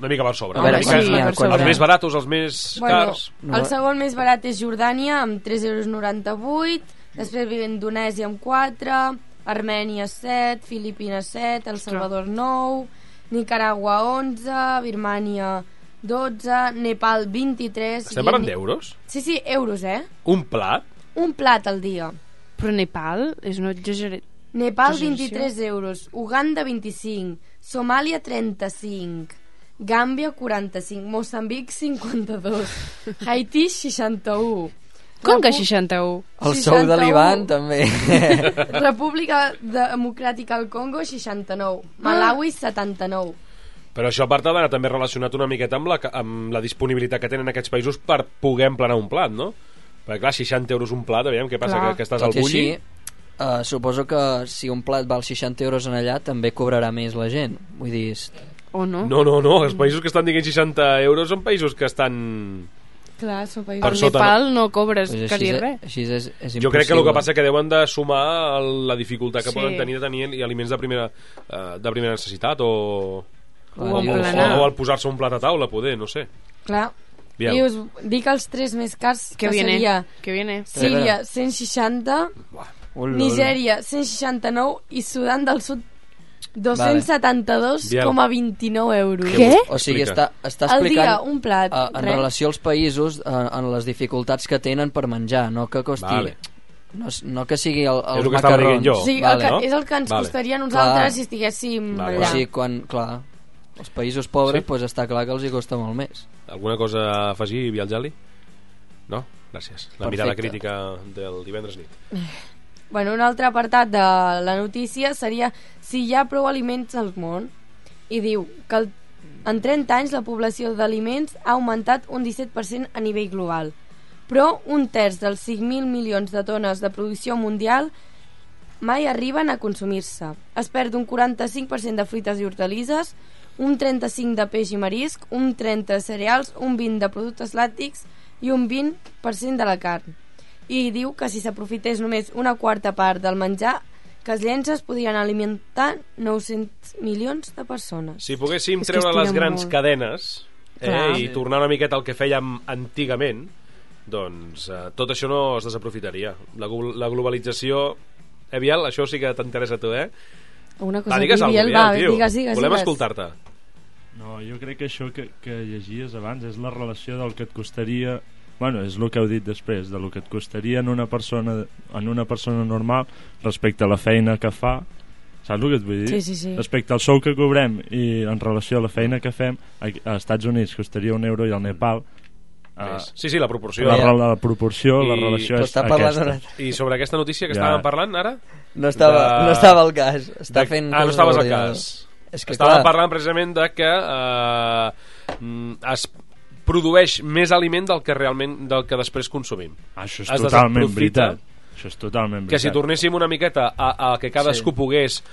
Una mica per sobre.
A
Una
veure,
mica-
sí, per sobre.
els més baratos, els més cars...
Bueno, el segon més barat és Jordània, amb 3,98 euros. Després ve Indonèsia amb 4, Armènia 7, Filipines 7, El Salvador 9, Nicaragua 11, Birmània 12, Nepal 23...
Estem
i
parlant
Indi-
d'euros?
Sí, sí, euros, eh?
Un plat?
Un plat al dia.
Però Nepal és una exagerat...
Nepal
exageració.
23 euros, Uganda 25, Somàlia 35, Gàmbia 45, Moçambic 52, Haití 61.
Com que
Repu-
61?
El sou de
61.
l'Ivan, també.
República Democràtica del Congo 69,
Ah.
Malawi 79.
Però això a part ha d'anar també relacionat una miqueta amb la, ca- amb la disponibilitat que tenen aquests països per poder emplenar un plat, no? Perquè clar, 60 euros un plat, aviam què passa, que, que estàs
Tot
al
i
bulli...
així, Uh, suposo que si un plat val 60 euros en allà també cobrarà més la gent vull dir, és-
O no?
No, no, no, els països que estan dient 60 euros són països que estan...
Clar, són països.
Per
Al
sota,
Nepal no cobres
Doncs
pues
així
quasi
és-
res.
així és, és
Jo crec que el
impossible.
que passa és que deuen de sumar el- la dificultat que
Sí.
poden tenir de tenir aliments de primera, eh, de primera necessitat o...
Clar,
o, o,
jo-
o, o al posar-se un plat a taula, poder, no sé.
Clar.
Aviam.
I us dic els tres més cars
Que
que,
viene,
seria
que viene.
Síria 160
Ula,
Nigèria 169 i Sudan del Sud 272,29 euros
O sigui, està, està
Al
explicant...
dia, un plat,
eh, en
res.
relació als països, eh, en les dificultats que tenen per menjar, no que costi...
Vale.
No, s- no que sigui el,
És
els
el que estava dient
macarrons.
jo. Sí,
el que- és el que ens costaria a nosaltres si estiguéssim Vale, allà.
O sigui, quan, clar, els països pobres, sí. pues està clar que els hi costa molt més.
Alguna cosa a afegir, Vialjali? No? Gràcies. La mirada
Perfecte.
crítica del divendres nit.
Bueno, un altre apartat de la notícia seria si hi ha prou aliments al món i diu que el, en 30 anys la població d'aliments ha augmentat un 17% a nivell global. Però un terç dels 5.000 milions de tones de producció mundial mai arriben a consumir-se. Es perd un 45% de fruites i hortalisses, un 35% de peix i marisc, un 30% de cereals, un 20% de productes làctics i un 20% de la carn. I diu que si s'aprofités només una quarta part del menjar, que els llences podrien alimentar 900 milions de persones.
Si poguéssim
És que
treure les
estiren
grans
molt.
cadenes eh,
Clar.
i
Sí.
tornar una miqueta al que fèiem antigament, doncs eh, tot això no es desaprofitaria. La, glo- la globalització... Eh, Biel, això sí que t'interessa a tu, eh?
Una
Va, digues alguna cosa, Biel, tio. Volem escoltar-te.
No, jo crec que això que, que llegies abans és la relació del que et costaria... Bueno, és el que heu dit després, del que et costaria en una persona, en una persona normal respecte a la feina que fa, saps el que et vull dir?
Sí, sí, sí.
Respecte al sou que cobrem i en relació a la feina que fem, a, a Estats Units costaria un euro i al Nepal... A,
Més. Sí, sí, la proporció.
Ah.
eh?
La, rel- la proporció, I... la relació és aquesta.
I sobre aquesta notícia que
Ja.
ja. estàvem parlant ara?
No estava- no estava al cas. Està fent
Ah, no
coses
estaves al
d'ordinador.
cas.
És
És
que,
que, estàvem
clar.
parlant precisament de que eh, mm, es produeix més aliment del que realment del que després consumim.
Això és
Es
totalment
desaprofita.
veritat. Això és totalment
que
veritat.
si tornéssim una miqueta a, a que cadascú
Sí.
sí. pogués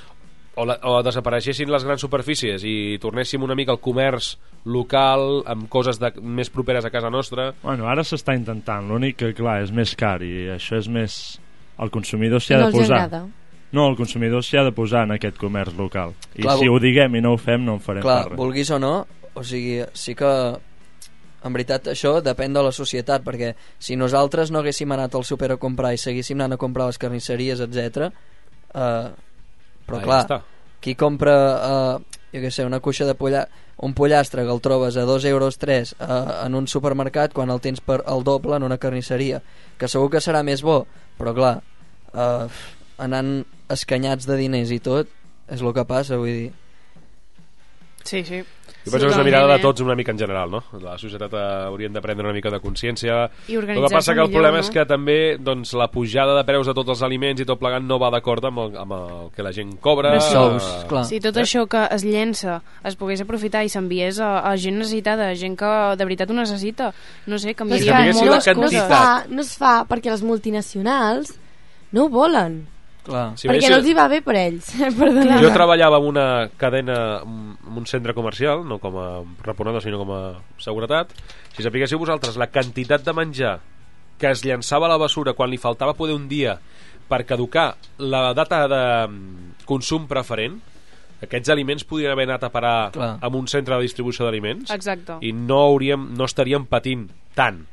o, la, o desapareixessin les grans superfícies i tornéssim una mica al comerç local amb coses de, més properes a casa nostra
Bueno, ara s'està intentant, l'únic que, clar, és més car i això és més... El consumidor s'hi ha
No
de
els
posar.
agrada.
No, el consumidor s'hi ha de posar en aquest comerç local. I
Clar,
si
vol-
ho diguem i no ho fem, no en farem
Clar,
part.
vulguis o no, o sigui, sí que en veritat això depèn de la societat, perquè si nosaltres no haguéssim anat al súper a comprar i seguíssim anant a comprar a les carnisseries, etc. Eh, però
Ah, ja
clar,
està.
qui compra eh, jo què sé, una cuixa de polla, un pollastre que el trobes a 2 euros 3 eh, en un supermercat quan el tens per el doble en una carnisseria, que segur que serà més bo, però clar, eh, anant escanyats de diners i tot, és el que passa, vull dir.
Sí, sí. eh?
jo penso que és una mirada
eh?
de tots una mica en general, no? La societat eh, haurien de prendre una mica de consciència.
I
El que
organitzar-se
passa que el
millor,
problema
no?
és que també doncs, la pujada de preus de tots els aliments i tot plegat no va d'acord amb, el- amb el que la gent cobra. eh,
Més sous, clar.
Si tot això que es llença es pogués aprofitar i s'enviés a, a gent necessitada, a gent que de veritat ho necessita, no sé, canviaria
canviessin la
moltes
No es,
coses.
fa, no es fa perquè les multinacionals no ho volen.
Clar.
Sí, perquè no els hi va bé per ells. Perdona.
Jo treballava en una cadena, en un centre comercial, no com a reponedor, sinó com a seguretat. Si sapiguéssiu vosaltres la quantitat de menjar que es llançava a la bessura quan li faltava poder un dia per caducar la data de mm, consum preferent, aquests aliments podrien haver anat a parar
Clar.
amb un centre de distribució d'aliments
Exacte.
i no, hauríem, no estaríem patint tant.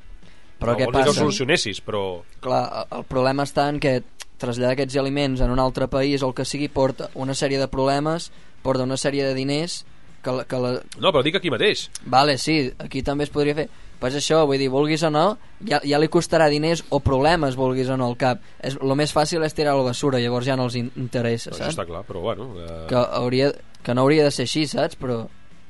Però
no
què
vol dir que
passa?
ho solucionessis, però...
clar, el problema està en que traslladar aquests aliments en un altre país o el que sigui porta una sèrie de problemes, porta una sèrie de diners Que la, que la...
No, però dic aquí mateix.
Vale, sí, aquí també es podria fer. Però és això, vull dir, vulguis o no, ja, ja li costarà diners o problemes, vulguis o no, al cap. És, lo més fàcil és tirar la basura, llavors ja no els in- interessa,
Això
saps?
està clar, però bueno... Eh...
Que, hauria, que no hauria de ser així, saps? Però...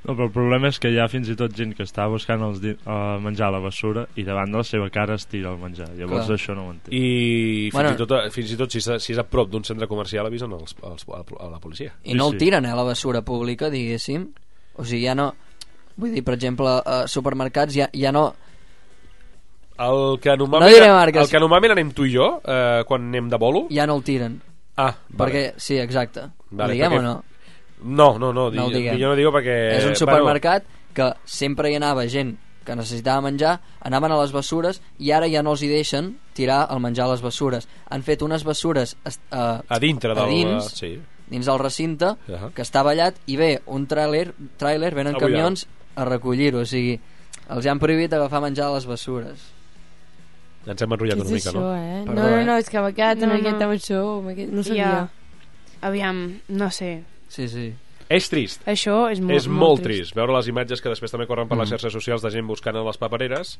No, però el problema és que hi ha fins i tot gent que està buscant els di- eh, menjar a la bessura i davant de la seva cara es tira el menjar. Llavors
Clar.
això no ho entenc.
I fins,
Bueno.
bueno, i tot, eh, fins i tot si, és- si és a prop d'un centre comercial avisen els, els, a la policia.
I no el tiren, eh, a la bessura pública, diguéssim. O sigui, ja no... Vull dir, per exemple, a supermercats ja, ja no...
El que
No
normalment,
diré marques.
el que normalment anem tu i jo, eh, quan anem de bolo...
Ja no el tiren.
Ah, vale.
Perquè, sí, exacte.
Vale,
ho diguem
perquè-
o no?
No, no, no,
no ho
digui-
diguem.
millor no digo perquè, eh,
És un
bueno.
supermercat que sempre hi anava gent que necessitava menjar, anaven a les bessures i ara ja no els hi deixen tirar el menjar a les bessures. Han fet unes bessures est- eh,
A dintre del- eh,
a dins,
sí.
dins del recinte,
Ahà.
que està ballat, i ve un tràiler, tràiler venen
A
camions a recollir-ho, o sigui, els han prohibit agafar menjar a les bessures.
Ens hem enrotllat
Què
una
és
mica,
això,
no?
eh?
No, no, no, és que m'ha quedat una miqueta amb això, m'ha quedat- no sabia.
Ja. Aviam, no sé.
Sí, sí.
És trist.
Això és molt-
és
molt
molt
trist.
trist. Veure les imatges que després també corren per
Mm.
les xarxes socials de gent buscant a les papereres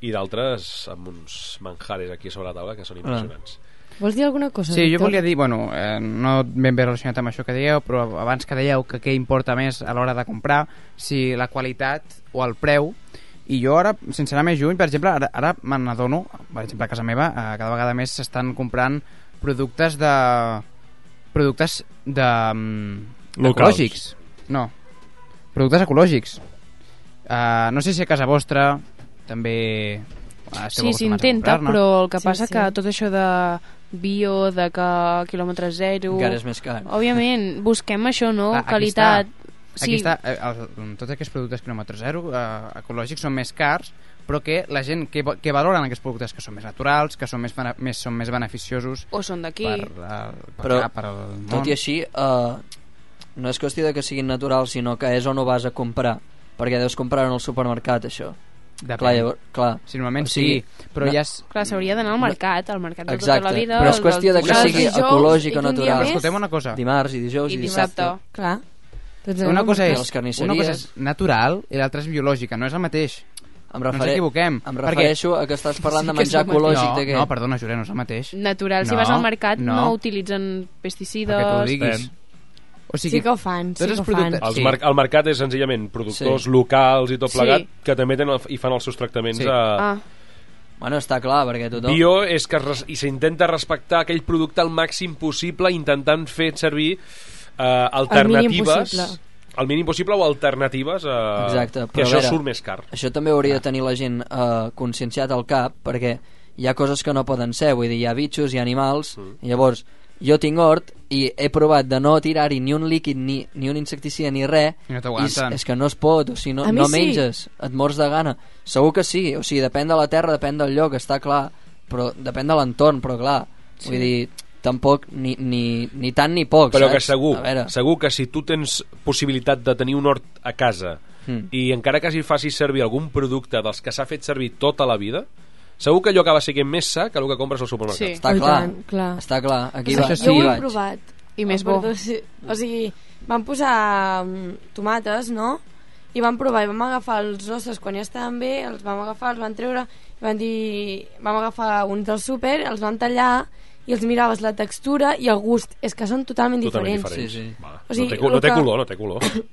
i d'altres amb uns manjares aquí sobre la taula que són impressionants.
Vols dir alguna cosa,
Sí, jo
Víctor?
volia dir, bueno, eh, no ben bé relacionat amb això que dieu, però abans que dèieu que què importa més a l'hora de comprar, si la qualitat o el preu, i jo ara, sense anar més lluny, per exemple, ara, ara me n'adono, per exemple, a casa meva, eh, cada vegada més s'estan comprant productes de... productes de... mm,
Locals.
ecològics. No, productes ecològics. Eh, no sé si a casa vostra també... eh,
Sí,
esteu acostumats a
s'intenta,
comprar-ne.
però el que passa
sí.
que tot això de bio, de que quilòmetre zero...
Encara és més car.
Òbviament, busquem això, no?
Clar,
Clar, Qualitat...
Aquí està, aquí està eh, el, tots aquests productes quilòmetre zero eh, ecològics són més cars, però que la gent que, vo- que valoren aquests productes que són més naturals, que són més, bene- més, són més beneficiosos
O són d'aquí.
per, el- per,
Però,
per el món.
tot i així, eh, no és qüestió de que siguin naturals, sinó que és on ho vas a comprar, perquè deus comprar en el supermercat, això.
Depèn.
Clar, llavor, clar.
Si normalment sí, però
no-
ja és-
Clar, s'hauria d'anar al mercat, al mercat de
Exacte,
tota la vida.
però és
el
qüestió de
dels
que
dijous,
sigui
dijous,
ecològic o
i que un dia
natural.
més-
Escolteu una cosa.
Dimarts i dijous i,
I dissabte.
Clar. Tots
una cosa,
I
és,
les carnisseries.
una cosa és natural i l'altra és biològica, no és el mateix.
Em
no ens
refere-
equivoquem.
em
perquè-
refereixo a que estàs parlant de
que és
menjar
el mateix.
ecològic,
No,
de què?
No, perdona, Jure, no és el mateix.
Natural, si
No,
vas al mercat no,
no
utilitzen pesticides...
que t'ho diguis. O sigui,
Sí que ho fan, sí
tots
que
els
ho
productes...
Els mar el mercat és senzillament productors
Sí.
sí. locals i tot
Sí.
plegat sí. que també tenen, el- i fan els seus tractaments sí.
Ah.
Ah.
a...
Bueno, està clar, perquè tothom...
Bio és que es res- i s'intenta respectar aquell producte al màxim possible intentant fer servir eh, alternatives
possible.
el mínim possible o alternatives eh,
Exacte,
que
però
això
a veure,
surt més car
Això també hauria de tenir la gent eh, conscienciat al cap, perquè hi ha coses que no poden ser, vull dir, hi ha bitxos, hi ha animals, mm. llavors jo tinc hort i he provat de no tirar-hi ni un líquid, ni, ni un insecticida, ni res,
I no t'aguanten.
és, és que no es pot, o sigui, no,
A mi
no
sí.
menges, et mors de gana. Segur que sí, o sigui, depèn de la terra, depèn del lloc, està clar, però depèn de l'entorn, però clar,
Sí.
vull dir, tampoc ni, ni, ni tant ni poc,
però que
saps?
segur,
A veure,
segur que si tu tens possibilitat de tenir un hort a casa
Mm.
i encara que s'hi faci servir algun producte dels que s'ha fet servir tota la vida segur que allò acaba sent més sa que el que compres al supermercat
Sí. Està Oh, i clar, tant, clar.
està clar, aquí
O
va.
sigui, jo ho he provat.
I més
Perdó,
bo.
sí. O sigui, vam posar mm, tomates, no? I vam provar, i vam agafar els nostres quan ja estaven bé, els vam agafar, els van treure, i van dir... Vam agafar uns del súper, els van tallar, i els miraves la textura i el gust. És que són totalment,
Totalment diferents.
diferents.
Sí, sí. Va,
O sigui,
no té, cul-
lo
no té
que-
color, no té color.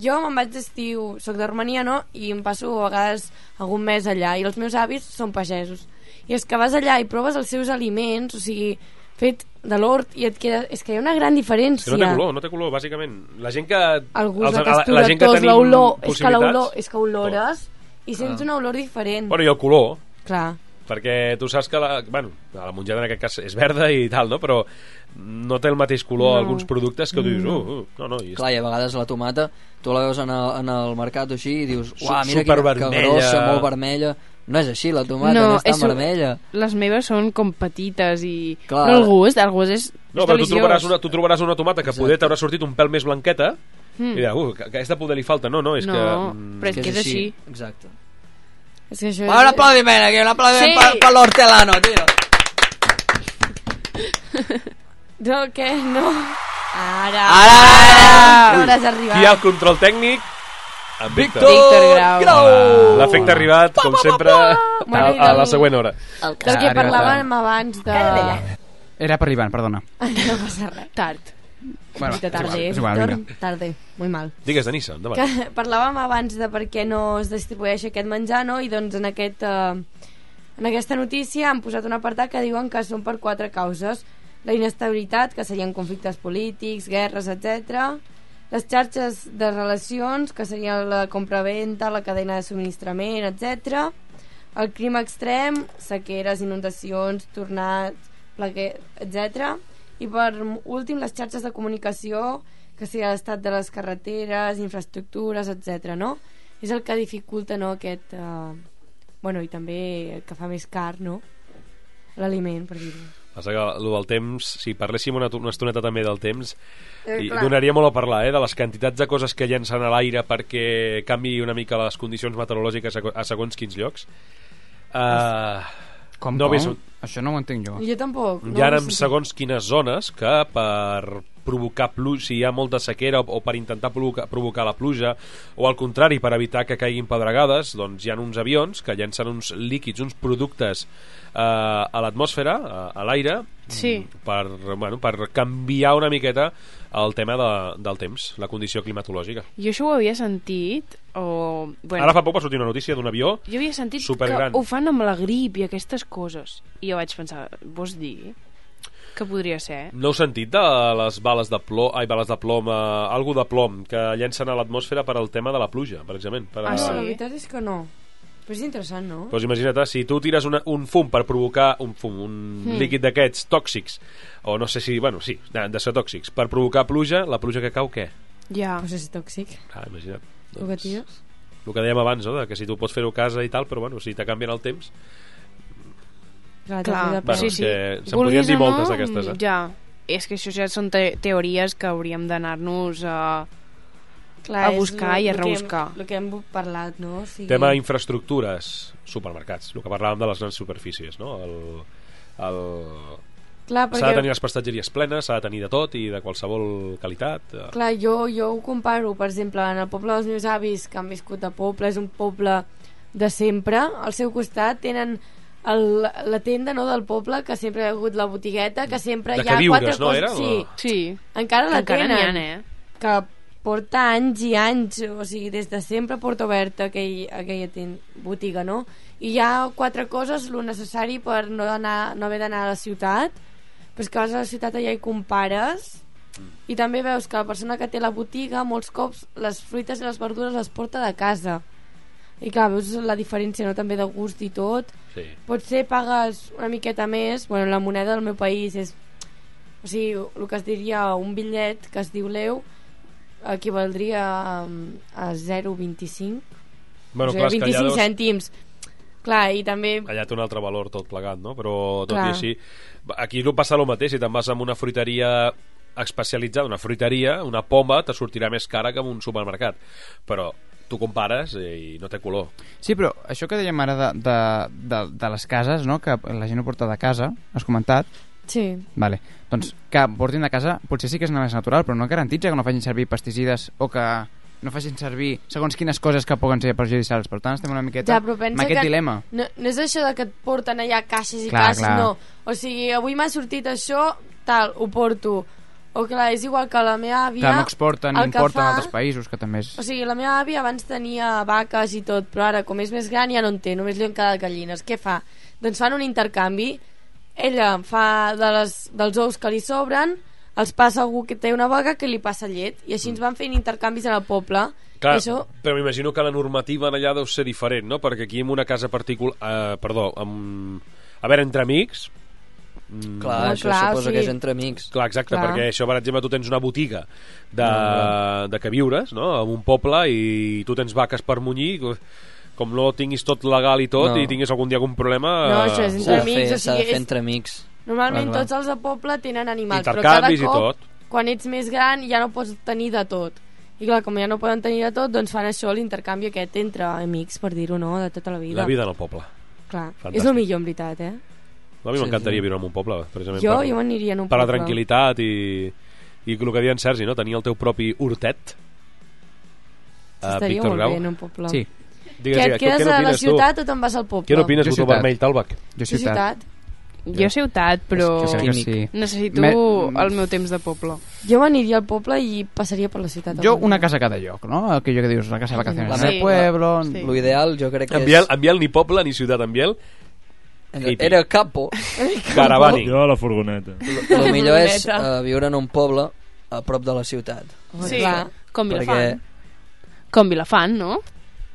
Jo me'n vaig d'estiu, sóc de Romania, no? I em passo a vegades algun mes allà. I els meus avis són pagesos. I és que vas allà i proves els seus aliments, o sigui, fet de l'hort, i et queda... És que hi ha una gran
Sí,
diferència.
no té color, no té color, bàsicament. La gent que...
El gust,
els-
la
a
textura, la, tot,
tenim
l'olor... És que
possibilitats-
l'olor... És que olores i sents
Ah.
una olor diferent.
Bueno, i el color,
Clar.
perquè tu saps que la, bueno, la mongeta en aquest cas és verda i tal, no? Però no té el mateix color
No.
alguns productes que tu dius,
No.
uh, uh, no, no, i
Mm. Clar, i a vegades la tomata, tu la veus en el, en el mercat o així i dius,
Su-
uah, mira quina que
supervermella."
grossa, molt vermella. No és així, la tomata no, és tan
és-
eh.
vermella.
Les meves són com petites i...
Clar.
Però el gust, el gust és,
No,
és
però tu
deliciós.
trobaràs, una, tu trobaràs una tomata que poder t'haurà sortit un pèl més blanqueta
Mm.
mm. i dirà, uh, que- que aquesta poder li falta. No, no, és
No,
que... mm,
però és Que és que és així. així.
Exacte.
És que això
Va, un aplaudiment aquí, un aplaudiment sí. per, per l'hortelano, tio.
No, què? No. Ara, ara, ara, ara, has arribat.
Qui hi ha el control tècnic? En Víctor.
Víctor Grau. Grau.
Hola. L'efecte arribat, com sempre, a,
M'agrada
a la
el-
següent hora.
el
Del que parlàvem abans de...
Era per l'Ivan, perdona.
No passa res.
Tard.
Bueno,
Mica
és igual,
tarde,
és igual,
Víctor.
vinga.
Tarde, muy mal.
Digues, Denisa, endavant.
Que parlàvem abans de per què no es distribueix aquest menjar, no? I doncs en, aquest, eh, en aquesta notícia han posat un apartat que diuen que són per quatre causes. La inestabilitat, que serien conflictes polítics, guerres, etc. Les xarxes de relacions, que serien la compraventa, la cadena de subministrament, etc. El clima extrem, sequeres, inundacions, tornats, plague, etc. I per últim, les xarxes de comunicació, que sigui l'estat de les carreteres, infraestructures, etc. no? És el que dificulta, no, aquest... Uh... Bueno, i també el que fa més car, no? L'aliment, per dir-ho.
Passa que el del temps, si parléssim una, una estoneta també del temps,
Eh,
i
clar.
donaria molt a parlar, eh, de les quantitats de coses que llencen a l'aire perquè canvi una mica les condicions meteorològiques a, a segons quins llocs. Uh,
Com,
no
com?
Ves,
Això no ho entenc jo.
Jo tampoc.
hi ha
ho he
en
sentit.
segons quines zones que per provocar pluja, si hi ha molta sequera o, o per intentar provocar, provocar la pluja o al contrari, per evitar que caiguin pedregades doncs hi ha uns avions que llencen uns líquids, uns productes eh, a l'atmosfera, a, a l'aire mm,
Sí.
per, bueno, per canviar una miqueta el tema de, del temps, la condició climatològica.
Jo això ho havia sentit, o...
Bueno.
Bueno,
Ara fa poc va sortir una notícia d'un avió
Jo havia sentit
Supergran.
que ho fan amb la grip i aquestes coses. I jo vaig pensar, vols dir que podria ser?
No heu sentit de les bales de plom, ai, bales de plom, eh, algo de plom que llencen a l'atmosfera per al tema de la pluja, precisament. Per a...
Ah, sí? La veritat és que no. Però és interessant, no?
Doncs imagina't, si tu tires una, un fum per provocar un fum, un
Mm.
mm. líquid d'aquests tòxics, o no sé si, bueno, sí, de, de ser tòxics, per provocar pluja, la pluja que cau, què?
Ja.
Pues és tòxic.
Ah, imagina't. Doncs,
Ho que tires?
El que dèiem abans, no? de que si tu pots fer-ho a casa i tal, però bueno, si te canvien el temps...
Clar,
Bueno,
sí,
és
sí.
que
Vulguis
se'n podrien dir
o no,
moltes d'aquestes, eh?
Ja, és que això ja són te teories que hauríem d'anar-nos a,
Clar,
a
és
buscar i a
lo- lo que hem-
rebuscar.
El que hem parlat, no? O sigui...
Tema infraestructures, supermercats, el que parlàvem de les grans superfícies, no? El, el...
Clar,
S'ha de
perquè-
tenir les prestatgeries plenes, s'ha de tenir de tot i de qualsevol qualitat. eh.
Clar, jo, jo ho comparo, per exemple, en el poble dels meus avis, que han viscut a poble, és un poble de sempre, al seu costat tenen el, la tenda no, del poble, que sempre hi ha hagut la botigueta, que sempre
De
hi ha
queviures,
quatre
no,
coses...
era?
Sí,
sí.
encara la
Encara n'hi ha,
tenen.
eh?
Que porta anys i anys, o sigui, des de sempre porta oberta aquell, aquella ten- botiga, no? I hi ha quatre coses, lo necessari per no, anar, no haver d'anar a la ciutat, però és que vas a la ciutat allà hi compares i també veus que la persona que té la botiga molts cops les fruites i les verdures les porta de casa. I clar, veus la diferència no? també de gust i tot.
Sí.
Potser pagues una miqueta més, bueno, la moneda del meu país és... O sigui, el que es diria un bitllet que es diu l'eu equivaldria a, a 0,25
Bueno,
o
clar, és
sigui,
que allà
25
deus-
cèntims clar, i també
Allà té un altre valor tot plegat, no? Però tot
Clar.
i així... Aquí no passa el mateix, si te'n vas a una fruiteria especialitzada, una fruiteria, una poma, te sortirà més cara que en un supermercat. Però tu compares i no té color.
Sí, però això que dèiem ara de, de, de, de les cases, no? que la gent ho porta de casa, has comentat,
sí,
vale. doncs que portin de casa potser sí que és una més natural, però no garantitza que no facin servir pesticides o que no facin servir segons quines coses que poden ser perjudicials. Per tant, estem una miqueta
ja, però
amb
pensa
aquest
que
dilema.
No, no és això de que et porten allà caixes i
Clar,
caixes,
clar.
no. O sigui, avui m'ha sortit això, tal, ho porto. O clar, és igual que la meva àvia...
Que no exporten i
el que
importen
fa-
a altres països, que també és...
O sigui, la meva àvia abans tenia vaques i tot, però ara, com és més gran, ja no en té, només li han quedat gallines. Què fa? Doncs fan un intercanvi. Ella fa de les, dels ous que li sobren, els passa algú que té una vaga que li passa llet, i
Mm.
així ens van fent intercanvis en el poble.
Clar,
I això...
però m'imagino que la normativa en allà deu ser diferent, no? Perquè aquí en una casa particular... Eh, perdó, amb... a veure, entre amics... Mm,
Clar, Home, això clar, suposo o sigui- que és entre amics.
Clar, exacte,
Clar.
clar. perquè això, per exemple, tu tens una botiga de,
Mm.
de que viures, no?, en un poble i tu tens vaques per munyir... Com no tinguis tot legal i tot
No.
i tinguis algun dia algun problema...
No, això és entre S'ha de amics, fer- o
S'ha de
sigui,
fer
és-
entre amics.
Normalment
Clar, clar.
tots els de poble tenen animals, però cada
Intercanvis i
cop,
tot.
quan ets més gran, ja no pots tenir de tot. I clar, com ja no poden tenir de tot, doncs fan això, l'intercanvi aquest entre amics, per dir-ho, no?, de tota la vida.
La vida en el poble.
Clar,
Fantàstic.
és el millor, en veritat, eh?
A mi m'encantaria viure en un poble, precisament.
Jo-
per,
jo m'aniria en un
Per la
poble.
tranquil·litat i, I el que deia en Sergi, no? Tenir el teu propi hortet. a
Estaria
Ah, Víctor
molt
Grau.
bé en un poble.
Sí.
Digues,
que
digues,
et quedes
què
a la
n'opines tu?
ciutat o te'n vas al poble?
Què n'opines, botó
ciutat.
vermell, Talbac?
Jo
Sí, ciutat.
Jo ciutat, però
Jo crec que sí.
necessito
Me-
el meu temps de poble.
Jo m'aniria al poble i passaria per la ciutat.
Jo una casa a cada lloc, no? Aquello que dius, una casa de vacaciones
La
en el
me-
pueblo...
Sí. Lo ideal jo crec que
En Biel,
és...
en Biel ni poble ni ciutat, en Biel. hippie.
Era capo.
Caravani.
Jo a la furgoneta.
El millor és
Bruneta.
uh, viure en un poble a prop de la ciutat.
Sí, clar. com
Perquè-
Vilafant. Com Vilafant, no?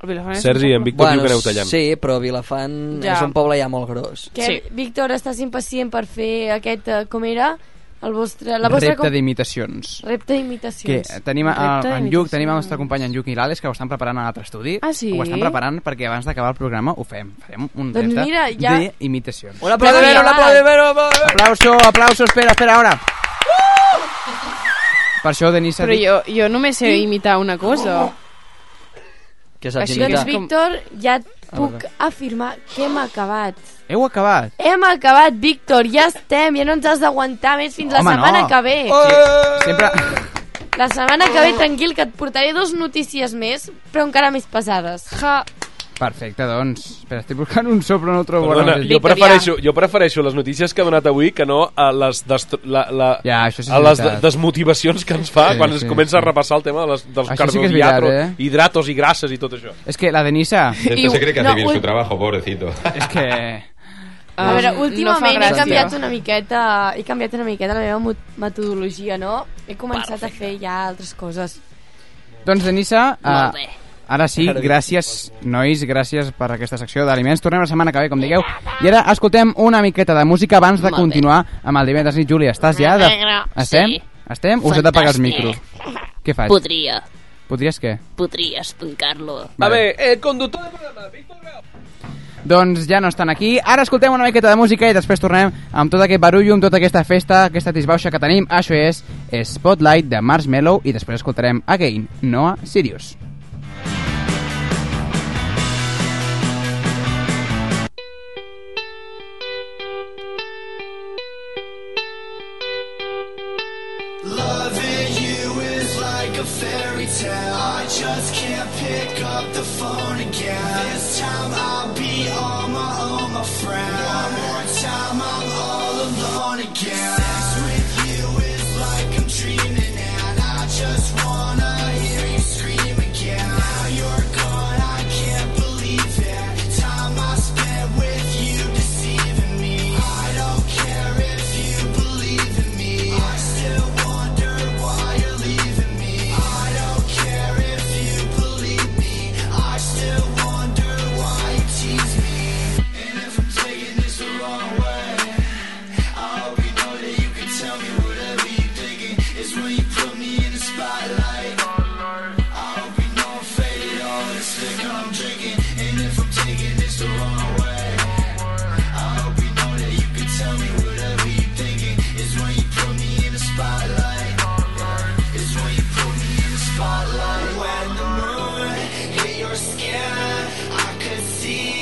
El Vilafant és un poble.
bueno, Sí, però Vilafant
Ja.
ja. és un poble ja molt gros.
Que, sí. Víctor, estàs impacient per fer aquest, eh, com era, el vostre... La vostra
Repte d'imitacions.
Repte
Que
d'imitacions.
tenim a,
Repte
en Lluc,
d'imitacions.
tenim el nostre company en Lluc i l'Àlex que ho estan preparant a l'altre estudi.
Ah, sí?
Ho estan preparant perquè abans d'acabar el programa ho fem. Farem un
Doncs
repte
mira, ja- pues-
d'imitacions.
Un aplaudiment, un aplaudiment, un aplaudiment!
Aplauso, aplauso, espera, espera, ara.
Uh!
Per això, Denisa... ha
Però
dit-
jo, jo només sé imitar una cosa.
Que
saps
Així
imitar.
Doncs, Víctor, ja et puc afirmar que hem acabat.
Heu acabat.
Hem acabat, Víctor, ja estem, ja no ens has d'aguantar més fins la
Home,
setmana
no. Eh,
que ve. Eh.
Sempre...
La setmana que ve, tranquil, que et portaré dos notícies més, però encara més pesades.
Ja. eh,
Perfecte, doncs. Espera, estic buscant un so, però no el trobo.
Perdona,
ara mateix.
jo, prefereixo, jo prefereixo les notícies que ha donat avui que no a les, destro- la, la,
ja, això sí que
a
és
les de-
veritat.
desmotivacions que ens fa
Sí,
sí, quan
sí,
es comença
sí.
a repassar el tema de les, dels
Això sí que és veritat,
carbohidratos,
eh?
hidratos i grasses i tot això.
És que la Denisa...
Este se cree que hace bien su trabajo, pobrecito.
Es que...
A veure,
no fa
últimament he
gràcia.
canviat una miqueta, he canviat una miqueta la meva mot- metodologia, no? He començat a fer ja altres coses.
Doncs, Denisa...
Molt
Uh, ara sí, gràcies, nois, gràcies per aquesta secció d'aliments. Tornem la setmana que ve, com digueu. I ara escoltem una miqueta de música abans de continuar amb el divendres nit. Júlia, estàs ja? De...
Negre,
Estem?
sí.
Estem? Us he de pagar el micro.
Fantàstic.
Què faig?
Podria,
Podries què?
podria estancar-lo.
Vale.
el conductor del programa,
Doncs ja no estan aquí. Ara escoltem una miqueta de música i després tornem amb tot aquest barullo, amb tota aquesta festa, aquesta disbauxa que tenim. Això és Spotlight de Marshmallow i després escoltarem Again, Noah Sirius.
Loving you is like a fairy tale. I just can't pick up the phone again. This time I'll be on my own, my friend. One more time, I'm all alone again. Sex with you is like I'm dreaming, and I just wanna hear you scream again. Now you're gone, I can't believe it. Time I spent with you deceiving me. I don't care if you believe in me. I still wonder why you're leaving me. I don't care if you believe me. I still wonder why you tease me. And if I'm taking this the wrong way, I hope you know that you can tell me whatever you're thinking. It's when you put me in the spotlight. I hope you know I'm faded, all this liquor I'm drinking. And if I'm taking this the wrong way, I hope you Uh, know that you can tell me whatever you're thinking. It's when you put me in the spotlight. It's when you put me in the spotlight. When the moon hit your skin, I could see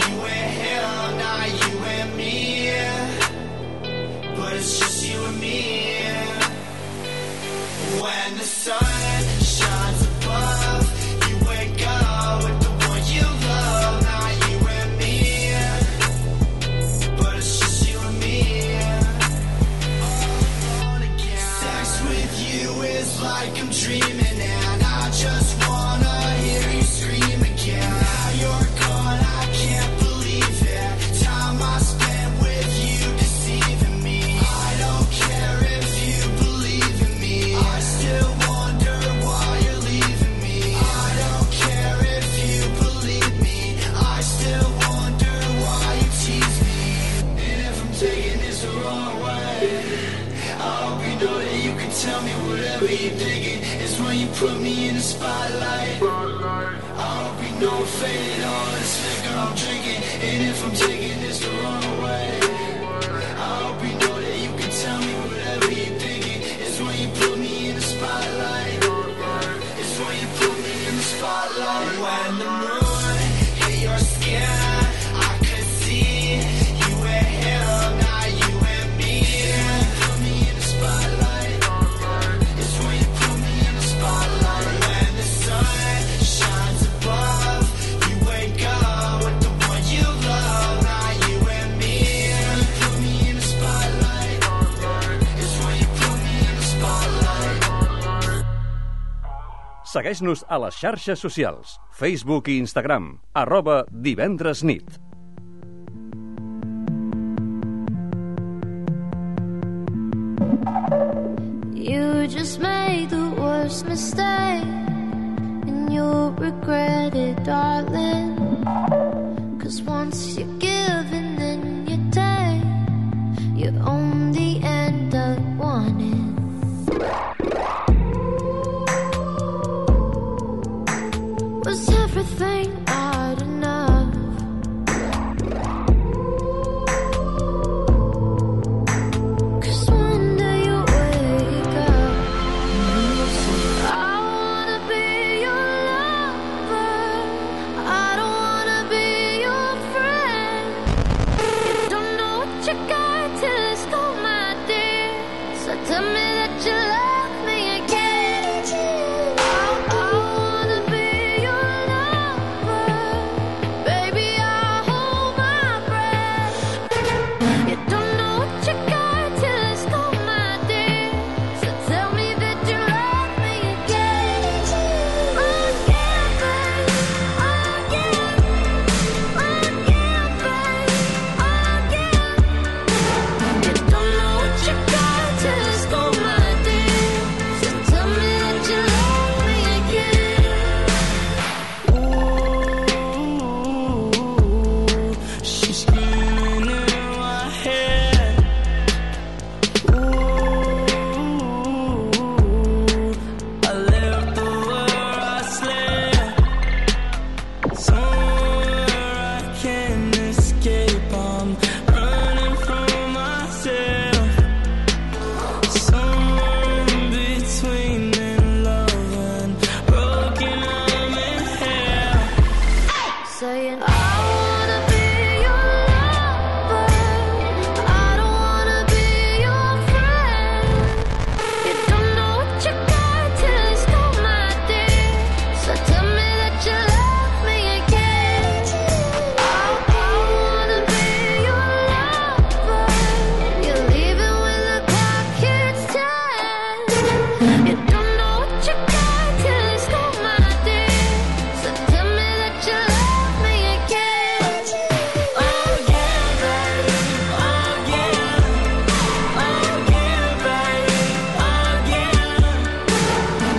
you and him, not you and me. But it's just you and me. When the sun shines above, you wake up with the one you love, not you and me. But it's just you and me. Sex with you is like I'm dreaming, and I just wanna hear you scream again. Now you're gone, I can't believe it. Time I spent with you deceiving me. I don't care if you believe in me. I still wonder why you're leaving me. I don't care if you believe me. I still wonder why you tease me. And if I'm taking this the wrong way. I hope you know that you can tell me whatever you're thinking. It's when you put me in the spotlight. I hope you know I'm faded, all this liquor I'm drinking. And if I'm taking this the wrong way, I hope you know that you can tell me whatever you're thinking. It's when you put me in the spotlight. It's when you put me in the spotlight. When the moon hit your skin, I could see you and him, not you and me. Put me in the spotlight.
Segueix-nos a les xarxes socials, Facebook i Instagram, arroba divendres nit.
You just made the worst mistake, and you'll regret it, darling. Cause once you give and then you take, you only end up wanting. Was everything odd enough? Cause one day you wake up and you say, I wanna be your lover. I don't wanna be your friend. You don't know what you got till it's gone, my dear. So tell me that you love me again. I, I wanna be your lover. Baby, I hold my breath. You don't know what you got till it's gone, my dear. So tell me that you love me again. Again, babe. Again. Again, babe. Again. You don't know what you got till it's gone, my dear. So tell me that you love me again.
She's spinning my head. Ooh, I left the where I slept. Somewhere I can escape. I'm running from myself. Somewhere in between in love and broken arm and hell.
Saying, I wanna be your lover. I don't wanna be your friend. You don't know what you got till it's gone, my dear. So tell me that you love me again. I, I wanna be your lover. You're leaving when the clock hits ten. You don't know what you got till it's gone, my dear. So tell me that you love me again. Again, babe. Again. Again, babe. Again.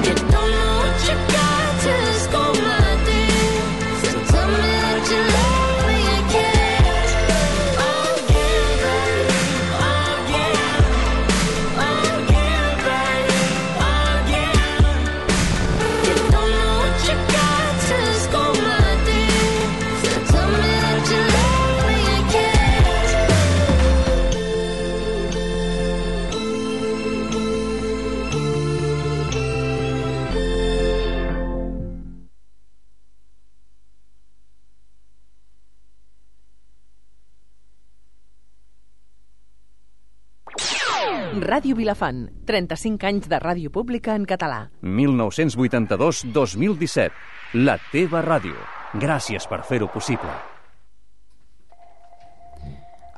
You don't know what you got till it's gone, my dear. So tell me that you love me again. Again, babe. Again. Again, babe. Again. You don't know what you got till it's gone, my dear. So tell me that you love me again.
Ràdio Vilafant, 35 anys de ràdio pública en català.
1982-2017. La teva ràdio. Gràcies per fer-ho possible.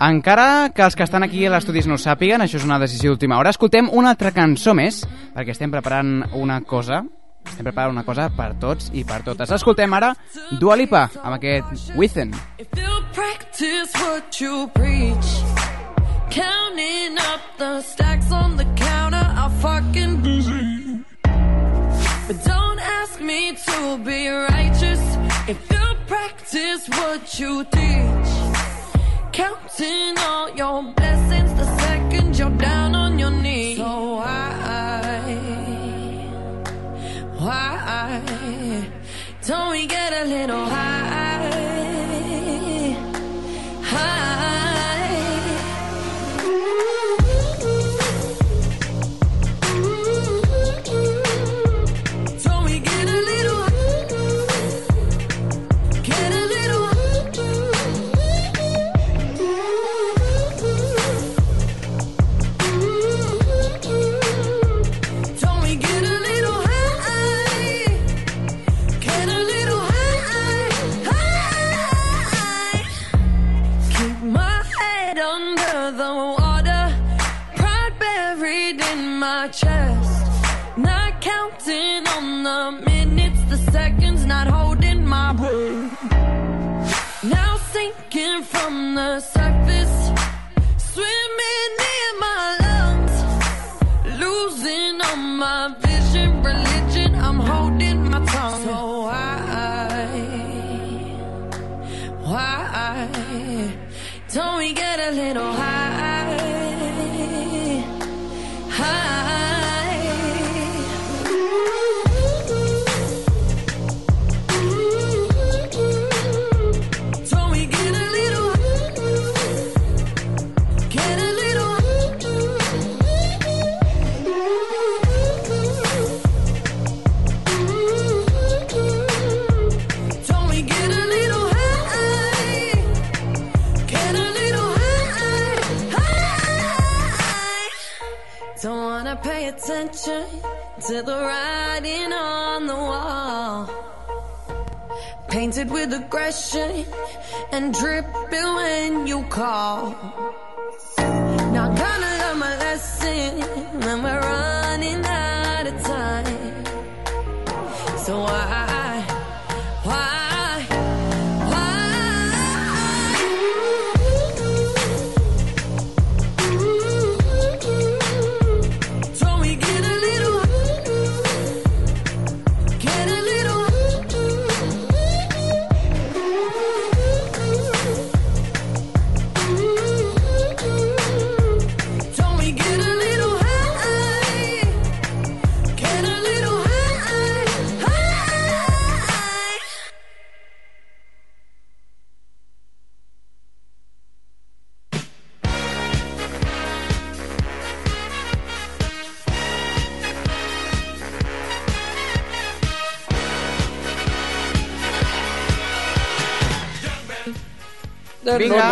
Encara que els que estan aquí a l'estudis no ho sàpiguen, això és una decisió d'última hora, escoltem una altra cançó més, perquè estem preparant una cosa, estem preparant una cosa per tots i per totes. Escoltem ara Dua Lipa, amb aquest Within.
You practice what you preach. Counting up the stacks on the counter, I fucking busy. But don't ask me to be righteous if you practice what you teach. Counting all your blessings the second you're down on your knees. So why, why don't we get a little high? High. Don't we get a little Get a little Don't we get a little high? Get a little high, high. Keep my head under the water, pride buried in my chest. Not counting on the minutes. seconds, not holding my breath. Now sinking from the surface, swimming in my lungs, losing all my vision, religion. I'm holding my tongue. So why, why don't we get a little high? Don't wanna pay attention to the writing on the wall. Painted with aggression and dripping when you call. Not gonna learn my lesson when we're running out of time. So why, why, why? Don't we get a little, get a little? Don't we get a little high? Get a little high, high.
Doncs
Vinga.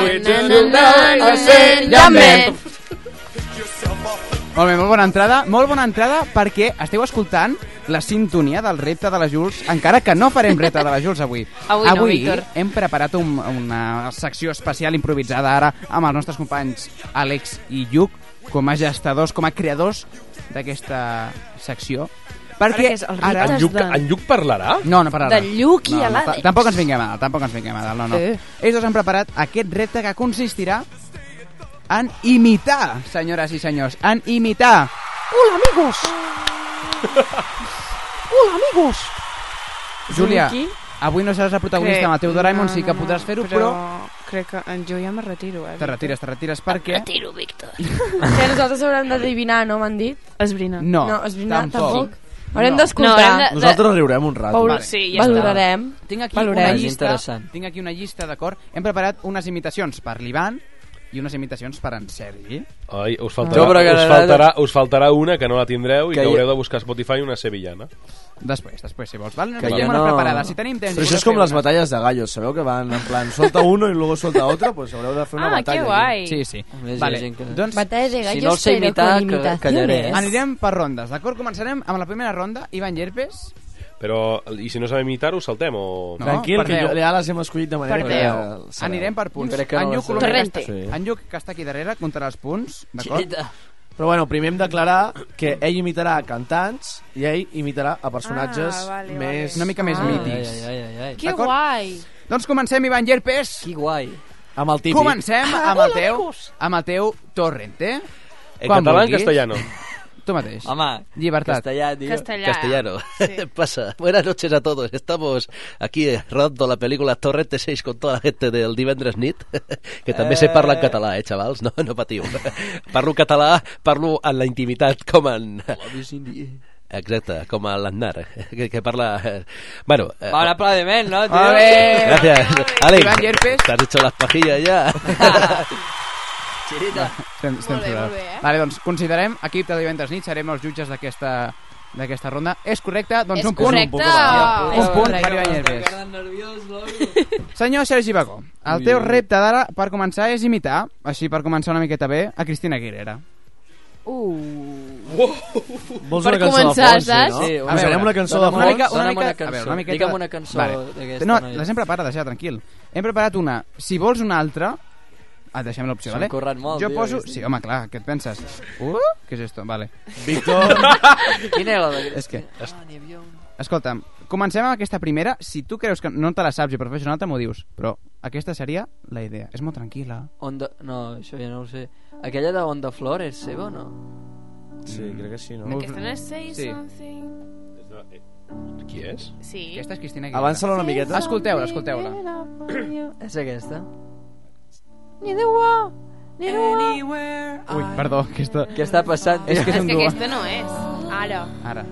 Molt bé, molt bona entrada, molt bona entrada perquè esteu escoltant la sintonia del repte de la Jules, encara que no farem repte de la Jules avui.
Avui no,
avui
Víctor.
hem preparat un, una secció especial improvisada ara amb els nostres companys Àlex i Lluc com a gestadors, com a creadors d'aquesta secció. Perquè ara...
En Lluc, en Lluc parlarà?
No, no parlarà.
De Lluc i
no, no,
Alex.
ta- Tampoc ens vinguem a dalt, tampoc ens vinguem a dalt, no, no.
Eh.
Ells dos han preparat aquest repte que consistirà en imitar, senyores i senyors, en imitar.
Hola, amigos. Hola, amigos.
Júlia,
Aquí?
avui no seràs la protagonista amb el teu Doraemon, sí que podràs fer-ho, però...
Crec que eh, jo ja me retiro, eh?
Te retires, te retires, perquè... Em
retiro, Víctor.
Que nosaltres haurem d'adivinar, no m'han dit?
Esbrinar.
No,
no esbrinar
tampoc.
tampoc. Haurem
No.
d'escoltar.
No, haurem de- Nosaltres riurem un rato.
Valor-
Vale. Sí, ja està.
Valorarem.
Tinc aquí
Valorem.
una llista, tinc aquí una llista, d'acord? Hem preparat unes imitacions per l'Ivan i unes imitacions per en Sergi.
Ai, us
Jo, però que
faltarà, us,
la-
faltarà, us faltarà una que no la tindreu i
Ah. Que
que
hi-
haureu de buscar a Spotify una sevillana.
Després, després, si vols. Val?
Que
Que ja
jo
no...
no-
preparada. Si tenim temps...
Però això és com les batalles de gallos, sabeu que van en plan solta uno i luego solta otro, pues haureu de fer una
Ah, que
batalla.
guai. Sí, sí.
Home, hi ha
Vale,
gent que-
doncs...
Batalles de Si gallos, no el sé pero imitar, con ca- callaré, imitaciones. eh?
Anirem per rondes, d'acord? Començarem amb la primera ronda. Ivan Llerpes.
Però, i si no sabem imitar-ho, saltem o...
No, Tranquil, per que Déu. jo-
Ja les hem escollit de manera...
Per
que el
Déu.
sabeu.
Anirem per punts.
Crec que no
en,
les
Lluc, Colomer, que
sabeu.
està,
Sí.
en Lluc, que està aquí darrere, comptarà els punts, d'acord?
Xieta. Però bueno, primer hem d'aclarar que ell imitarà a cantants i ell imitarà a
Ah,
personatges més...
Una mica més Ah. mítics.
Ai, ai, ai, ai, ai.
Que D'acord? Doncs comencem, Ivan Llerpes. Que
guai. Amb el típic.
Comencem amb el teu, amb el teu torrent, eh?
En
Quan
català, en
vulguis.
castellano.
Tu mateix.
Home,
Llibertat.
Castellà, tío.
Castellà.
Castellano. Pasa. Buenas noches a todos. Estamos aquí eh, rodando la película Torrente 6 con toda la gente del Divendres Nit, que també se parla en
Eh.
català, eh, xavals? No, no patiu. Parlo català, parlo en la intimitat, com en... Exacte, com a l'Aznar, que, que parla... eh, Bueno, eh,
Va, un aplaudiment, no, tio?
Molt
bé!
Gracias.
Iván
Alex,
Yerpes.
te has hecho las pajillas ya.
Xerita.
Estem, estem molt bé, molt bé, eh? Vale, doncs considerem, equip de divendres nit, serem els jutges d'aquesta d'aquesta ronda. És correcte? Doncs
És
un punt.
correcte.
Un
És
punt
correcte.
per Ivan Llerpes.
Estic nerviós,
Senyor Sergi Bagó, el
Ui,
teu
ui.
repte d'ara per començar és imitar, així per començar una miqueta bé, a Cristina Aguilera.
Uh.
Vols
Per
una cançó
començar,
d'Alfonso,
saps?
no?
Sí,
A veure, una cançó
Una
d'Alfonso. Dona'm
mica, una mica,
una
a veure,
cançó.
una miqueta...
Digue'm una cançó d'aquesta,
No,
noia.
les hem preparat, deixa, tranquil. Hem preparat una, si vols una altra, et deixem l'opció,
S'ho
vale?
han currat molt,
jo
tio,
poso...
aquest.
Sí, home, clar, què et penses? Uh? Què és esto? Vale.
Víctor.
Quina era la de... És que...
Ah, n'hi havia una.
Escolta'm, comencem amb aquesta primera. Si tu creus que no te la saps i per fer això una altra m'ho dius. Però aquesta seria la idea. És molt tranquil·la.
On the... No, això ja no ho sé. Aquella de On the Floor és seva o no?
Sí, crec que sí, no?
Aquesta no és Say
Sí.
Something...
Qui és?
Sí.
Aquesta és Cristina
Aguilera. Avança-la una miqueta.
Escolteu-la, escolteu-la.
És aquesta?
Ni de wo, ni de wo.
Anywhere
Ui, perdó, aquesta...
Què està passant?
És que és
És
un
que
duo.
aquesta no és. Ara.
Ara.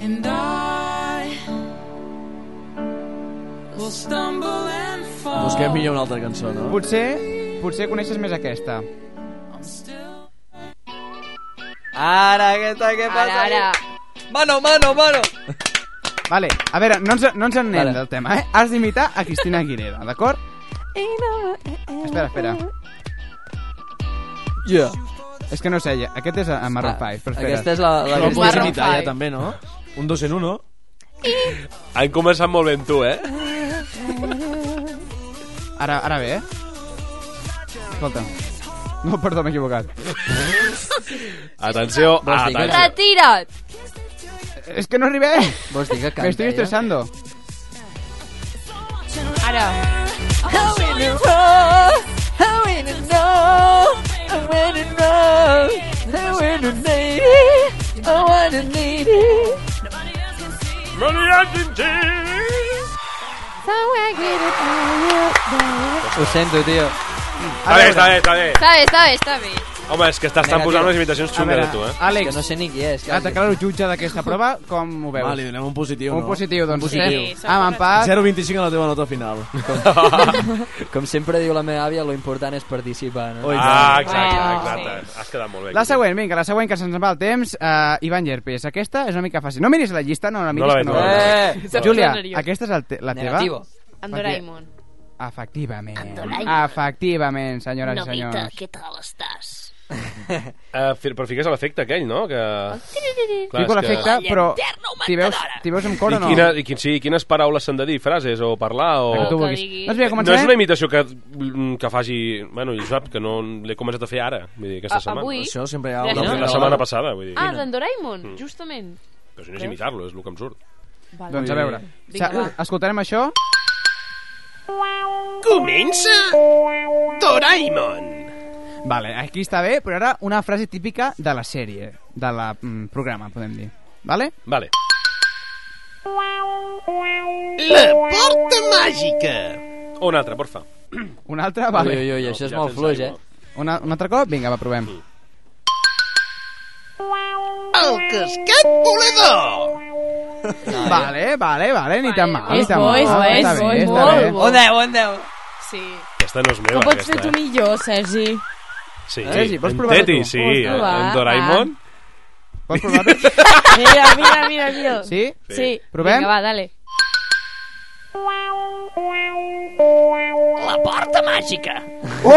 And I will stumble and fall.
Busquem millor una altra cançó, no?
Potser, potser coneixes més aquesta.
Ara, aquesta, què passa? Ara, ara. Mano, mano, mano!
Vale, a veure, no ens, no ens en anem
Vale.
del tema, eh? Has d'imitar a Cristina Aguilera, d'acord? Espera, espera.
Yeah.
És que no sé, ja- aquest és a Maroon 5, però espera.
Ah, aquesta és la- la
Però
que és
Maroon
imitar, ja,
5.
també, no? Un dos en uno.
Han començat molt bé amb tu, eh?
Ara, ara bé, eh? Escolta. No, perdó, m'he equivocat.
Atenció,
Este,
Vols dir que-
atenció.
Retira't!
És que no arribé.
Vols dir que canta,
Me estoy
ella?
estresando.
Ara.
Ah,
How in a row, how in a row, how in a row, how in a lady, I want a lady.
Ho sento, tio.
Està bé, està bé, està bé.
Està bé, està bé, està bé.
Home, és que t'estan
Vinga,
posant
tio.
unes imitacions xungues de tu, eh?
Àlex,
És que no sé ni qui és,
Et declaro jutge d'aquesta prova, com ho veus?
Va, li donem un positiu,
un
no?
positiu, doncs.
Un positiu.
eh? Amb empat.
0,25 a la teva nota final.
Com sempre diu la meva àvia, lo important és participar, no?
Oh, i
Ah,
tant.
exacte,
Bueno,
exacte. Has quedat molt bé.
La següent, vinga, la següent, que se'ns en va el temps. Uh, Ivan Llerpes, aquesta és una mica fàcil. No miris la llista, no la miris.
No la
que
veig, no la veig.
no la veig.
Eh,
Júlia,
Em poso
aquesta és el te la teva?
Negativo.
Amb Doraemon.
Efectivament.
Doraemon.
Efectivament, senyores i senyors.
què tal estàs?
Uh, però fiques l'efecte aquell, no? Que... Clar,
Fico
és que-
l'efecte, però... T'hi veus, t'hi veus amb cor o
I,
no?
quina, i, quin, sí, i quines paraules s'han de dir? Frases o parlar? O...
El que tu vulguis. Doncs vinga,
No és
començarem.
una imitació que, mm, que faci... Bueno, jo sap que no l'he començat a fer ara, vull dir, aquesta
A-
setmana.
avui? Això sempre hi ha
No,
una-
La setmana passada, vull dir. Mm.
Ah, d'en Doraemon,
Mm.
justament.
Però si no és imitar-lo, és el que em surt.
Vale.
Doncs a veure.
Vinga,
Sa- Escoltarem això.
Comença Doraemon!
Vale, aquí està bé, però ara una frase típica de la sèrie, de la mm, programa, podem dir. Vale?
Vale.
La porta màgica.
O una altra, porfa.
Una altra? Vale.
Ui, ui, ui, això és molt fluix, eh?
Una, un altre cop? Vinga, va, provem.
El casquet volador.
Vale, vale, vale, ni tan mal,
És
ni tan
bo,
mal.
és bo,
Està
és
bé,
bo, és
està
molt
bé.
bo. On deu,
on deu.
Sí.
Aquesta no és meva,
Ho pots
aquesta.
fer
eh?
tu
eh?
millor, Sergi.
Sí,
Sergi, vols
en
provar-ho
Teti,
tu?
sí,
Vols provar?
en Doraemon.
Pots provar-ho?
Mira, mira, mira, mira.
Sí?
Sí.
Provem?
Vinga, va, dale.
La porta màgica.
Oh!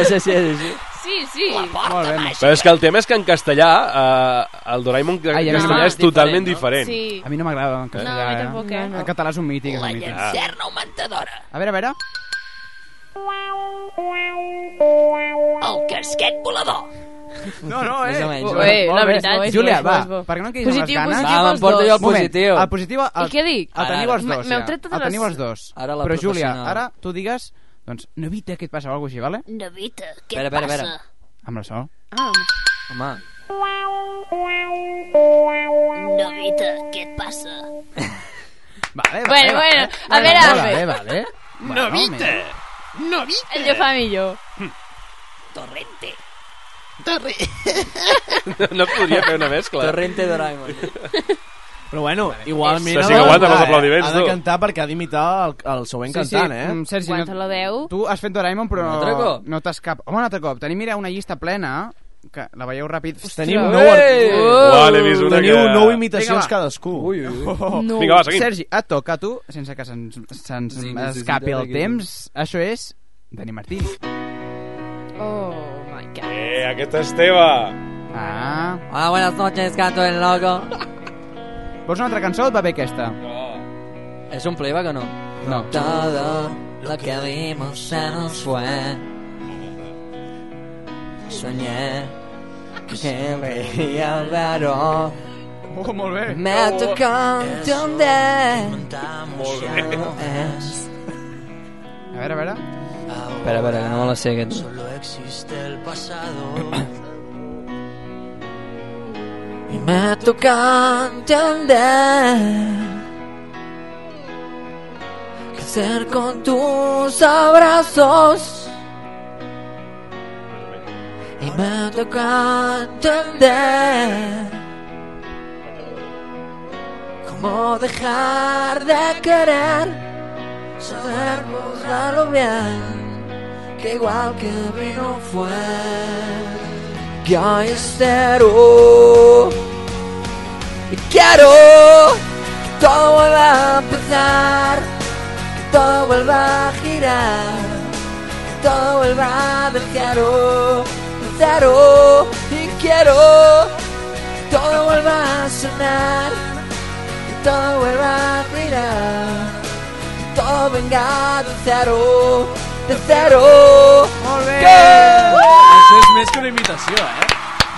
és així, és així.
Sí, sí. La
porta
Però és que el tema és que en castellà eh, el Doraemon en
Ai, a mi
castellà
no.
és totalment
Diferent,
diferent.
Sí.
A mi no m'agrada en castellà.
No, a mi
eh?
tampoc, eh?
El català és un mític, és un mític.
augmentadora.
A veure, a veure.
El casquet volador.
No, no, eh?
Més o menys.
Molt
Ué,
bé,
la
molt bé.
veritat, és bo,
Júlia,
és bo,
va,
és bo.
per què no em quedis amb les
Positiu,
ganes?
positiu Va, pels em porto jo el dos. positiu.
Moment, El positiu... El,
I què dic?
El teniu
Ara.
els dos,
M'heu
ja.
tret de
El
les-
teniu els dos.
Ara la
Però, Júlia,
professional.
ara tu digues... Doncs, no evita que et passa alguna cosa així, vale?
Nevita, què
Espera, espera, espera.
Amb la sol.
Ah,
Home,
Nevita, què et passa?
Vale, vale,
Bueno,
vale.
bueno, a veure.
Vale, vale, vale. Bueno, home.
Novita.
ell ho fa millor.
Torrente.
Torre.
No podria fer una mescla.
Torrente Doraemon.
Però bueno, igualment...
S'ha
ha
sí que
de
aguanta amb els
cantar, eh?
aplaudiments,
Ha
tu.
de cantar perquè ha d'imitar Ah, el, el següent cantant, eh?
Mm, Sergi,
Quan te la deu...
Tu has fet Doraemon, però
Un altre
no,
cop?
no t'has cap... Home, un altre cop. Tenim, mira, una llista plena, que la veieu ràpid.
Tenim
Hòstia.
nou...
Ei!
Uau,
Uau, l'he vist una
Teniu
que-
nou imitacions
Vinga, va.
cadascú. Oh. Ui,
No.
Vinga, va, seguim.
Sergi, et toca a tu, sense que se'ns se'ns
Sí,
escapi
necessito
el
aquí.
temps. Això és Dani Martí.
Oh, my God.
Eh, aquesta és teva.
Ah.
Hola, buenas noches, gato el loco.
Vols una altra cançó o et va bé aquesta?
És un playback o no?
No.
Todo lo que vimos se nos fue. Soñé
que veía el veró.
Oh, molt bé.
Me ha tocado un ton de...
Molt bé.
Eh.
A veure, a veure.
Espera, espera, que no me la sé aquest.
Solo existe el pasado.
Y me ha tocado entender que ser con tus abrazos y me ha tocado entender cómo dejar de querer saber lo bien que igual que vino fue que hoy es cero y quiero que todo vuelva a empezar que todo vuelva a girar que todo vuelva de cero de cero y quiero que todo vuelva a sonar que todo vuelva a girar que todo venga de cero de cero Que-
Això és més que una imitació, eh?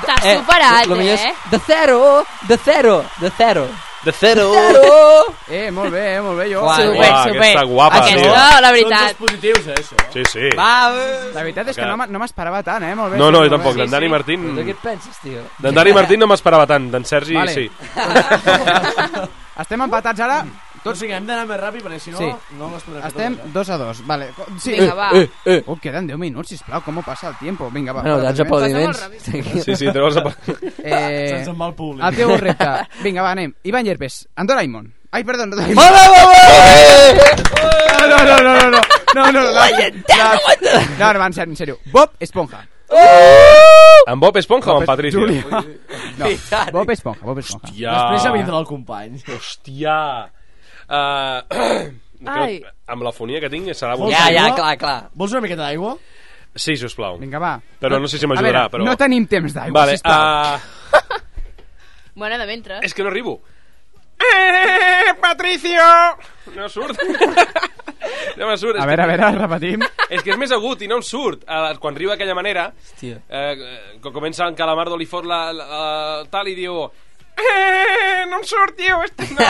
T'has
Eh,
superat,
lo millor
eh?
és de cero, de cero, de cero.
De cero.
De cero.
Eh, molt bé, eh, molt bé, jo.
Uau, Super, uau, super. aquesta
guapa, Aquesta,
la eh.
veritat.
Són dos positius, eh, això.
Sí, sí.
La veritat és que no, me- no m'esperava tant, eh? Molt bé.
No, no,
sí,
jo
molt
tampoc.
bé.
D'en Dani Martín...
Però de què et penses, tio?
D'en Dani Martín no m'esperava tant. D'en Sergi,
Vale.
sí.
Estem empatats ara.
Tots... O sigui, hem d'anar més ràpid, perquè si no,
Sí.
no les podrem
Estem
fer totes,
2 a 2, vale. Co- Sí.
Vinga, va. Eh,
eh. Oh, queden 10 minuts, sisplau, com ho passa el tiempo. Vinga, va.
Bueno, tants aplaudiments.
Sí, sí, treu els aplaudiments.
Se'ns en va el públic.
El teu repte. Eh, Vinga, va, anem. Ivan Llerpes, en Doraemon. Ai, perdó, en Doraemon.
Molt bé, molt
No, no, no, no, no, no. No, no, no. la- la- No, no, va, en sèrio, en sèrio. Bob Esponja.
En Bob Esponja o en Patricio?
Julià. No, Bob Esponja, Bob Esponja.
Hòstia.
Després ja vindrà el company.
Hòstia. Uh,
Ai.
amb la fonia que tinc serà...
Vols
brutal.
aigua? Vols una miqueta d'aigua?
Sí, sisplau.
Vinga, va.
Però no sé si
A
m'ajudarà,
veure,
però...
no tenim temps d'aigua,
vale,
sisplau.
Uh,
Bueno, de mentre.
és que no arribo.
Eh, Patricio!
No surt. No me surt.
A veure, a veure, repetim.
És que és més agut i no em surt. Eh, quan arriba d'aquella manera,
Hòstia.
eh, que comença en Calamardo, li fot la, la, la tal i diu...
Eh, no em surt, tio. este- No,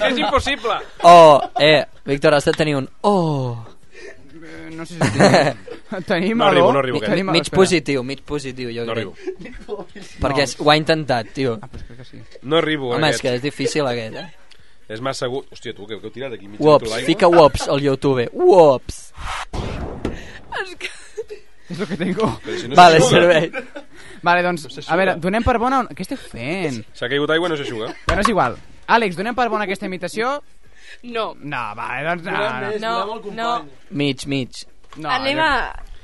No, és impossible.
Oh, eh, Víctor, has de tenir un oh.
Eh, No sé si tenim... tenim
No
aló?
arribo, no arribo, aquest.
Tenim aló,
Mig
espera.
positiu, mig positiu, jo No crec. arribo. Perquè és- ho ha intentat, tio. Ah,
però crec que sí.
No arribo,
Home,
aquest.
és que és difícil, aquest, eh?
És massa agut. Hòstia, tu, que, que heu tirat aquí mig
Wops, fica wops al YouTube. Wops.
És lo que tengo.
Però si no
Vale,
s'aixuga.
servei.
Vale, doncs,
s'aixuga.
a veure, donem per bona... Què esteu fent?
S'ha caigut aigua i no s'aixuga.
Bueno, és igual. Àlex, donem per bona aquesta imitació?
No.
No, vale, doncs no. no.
No, Ah, no.
Mig, mig.
No,
Anem
jo-
a...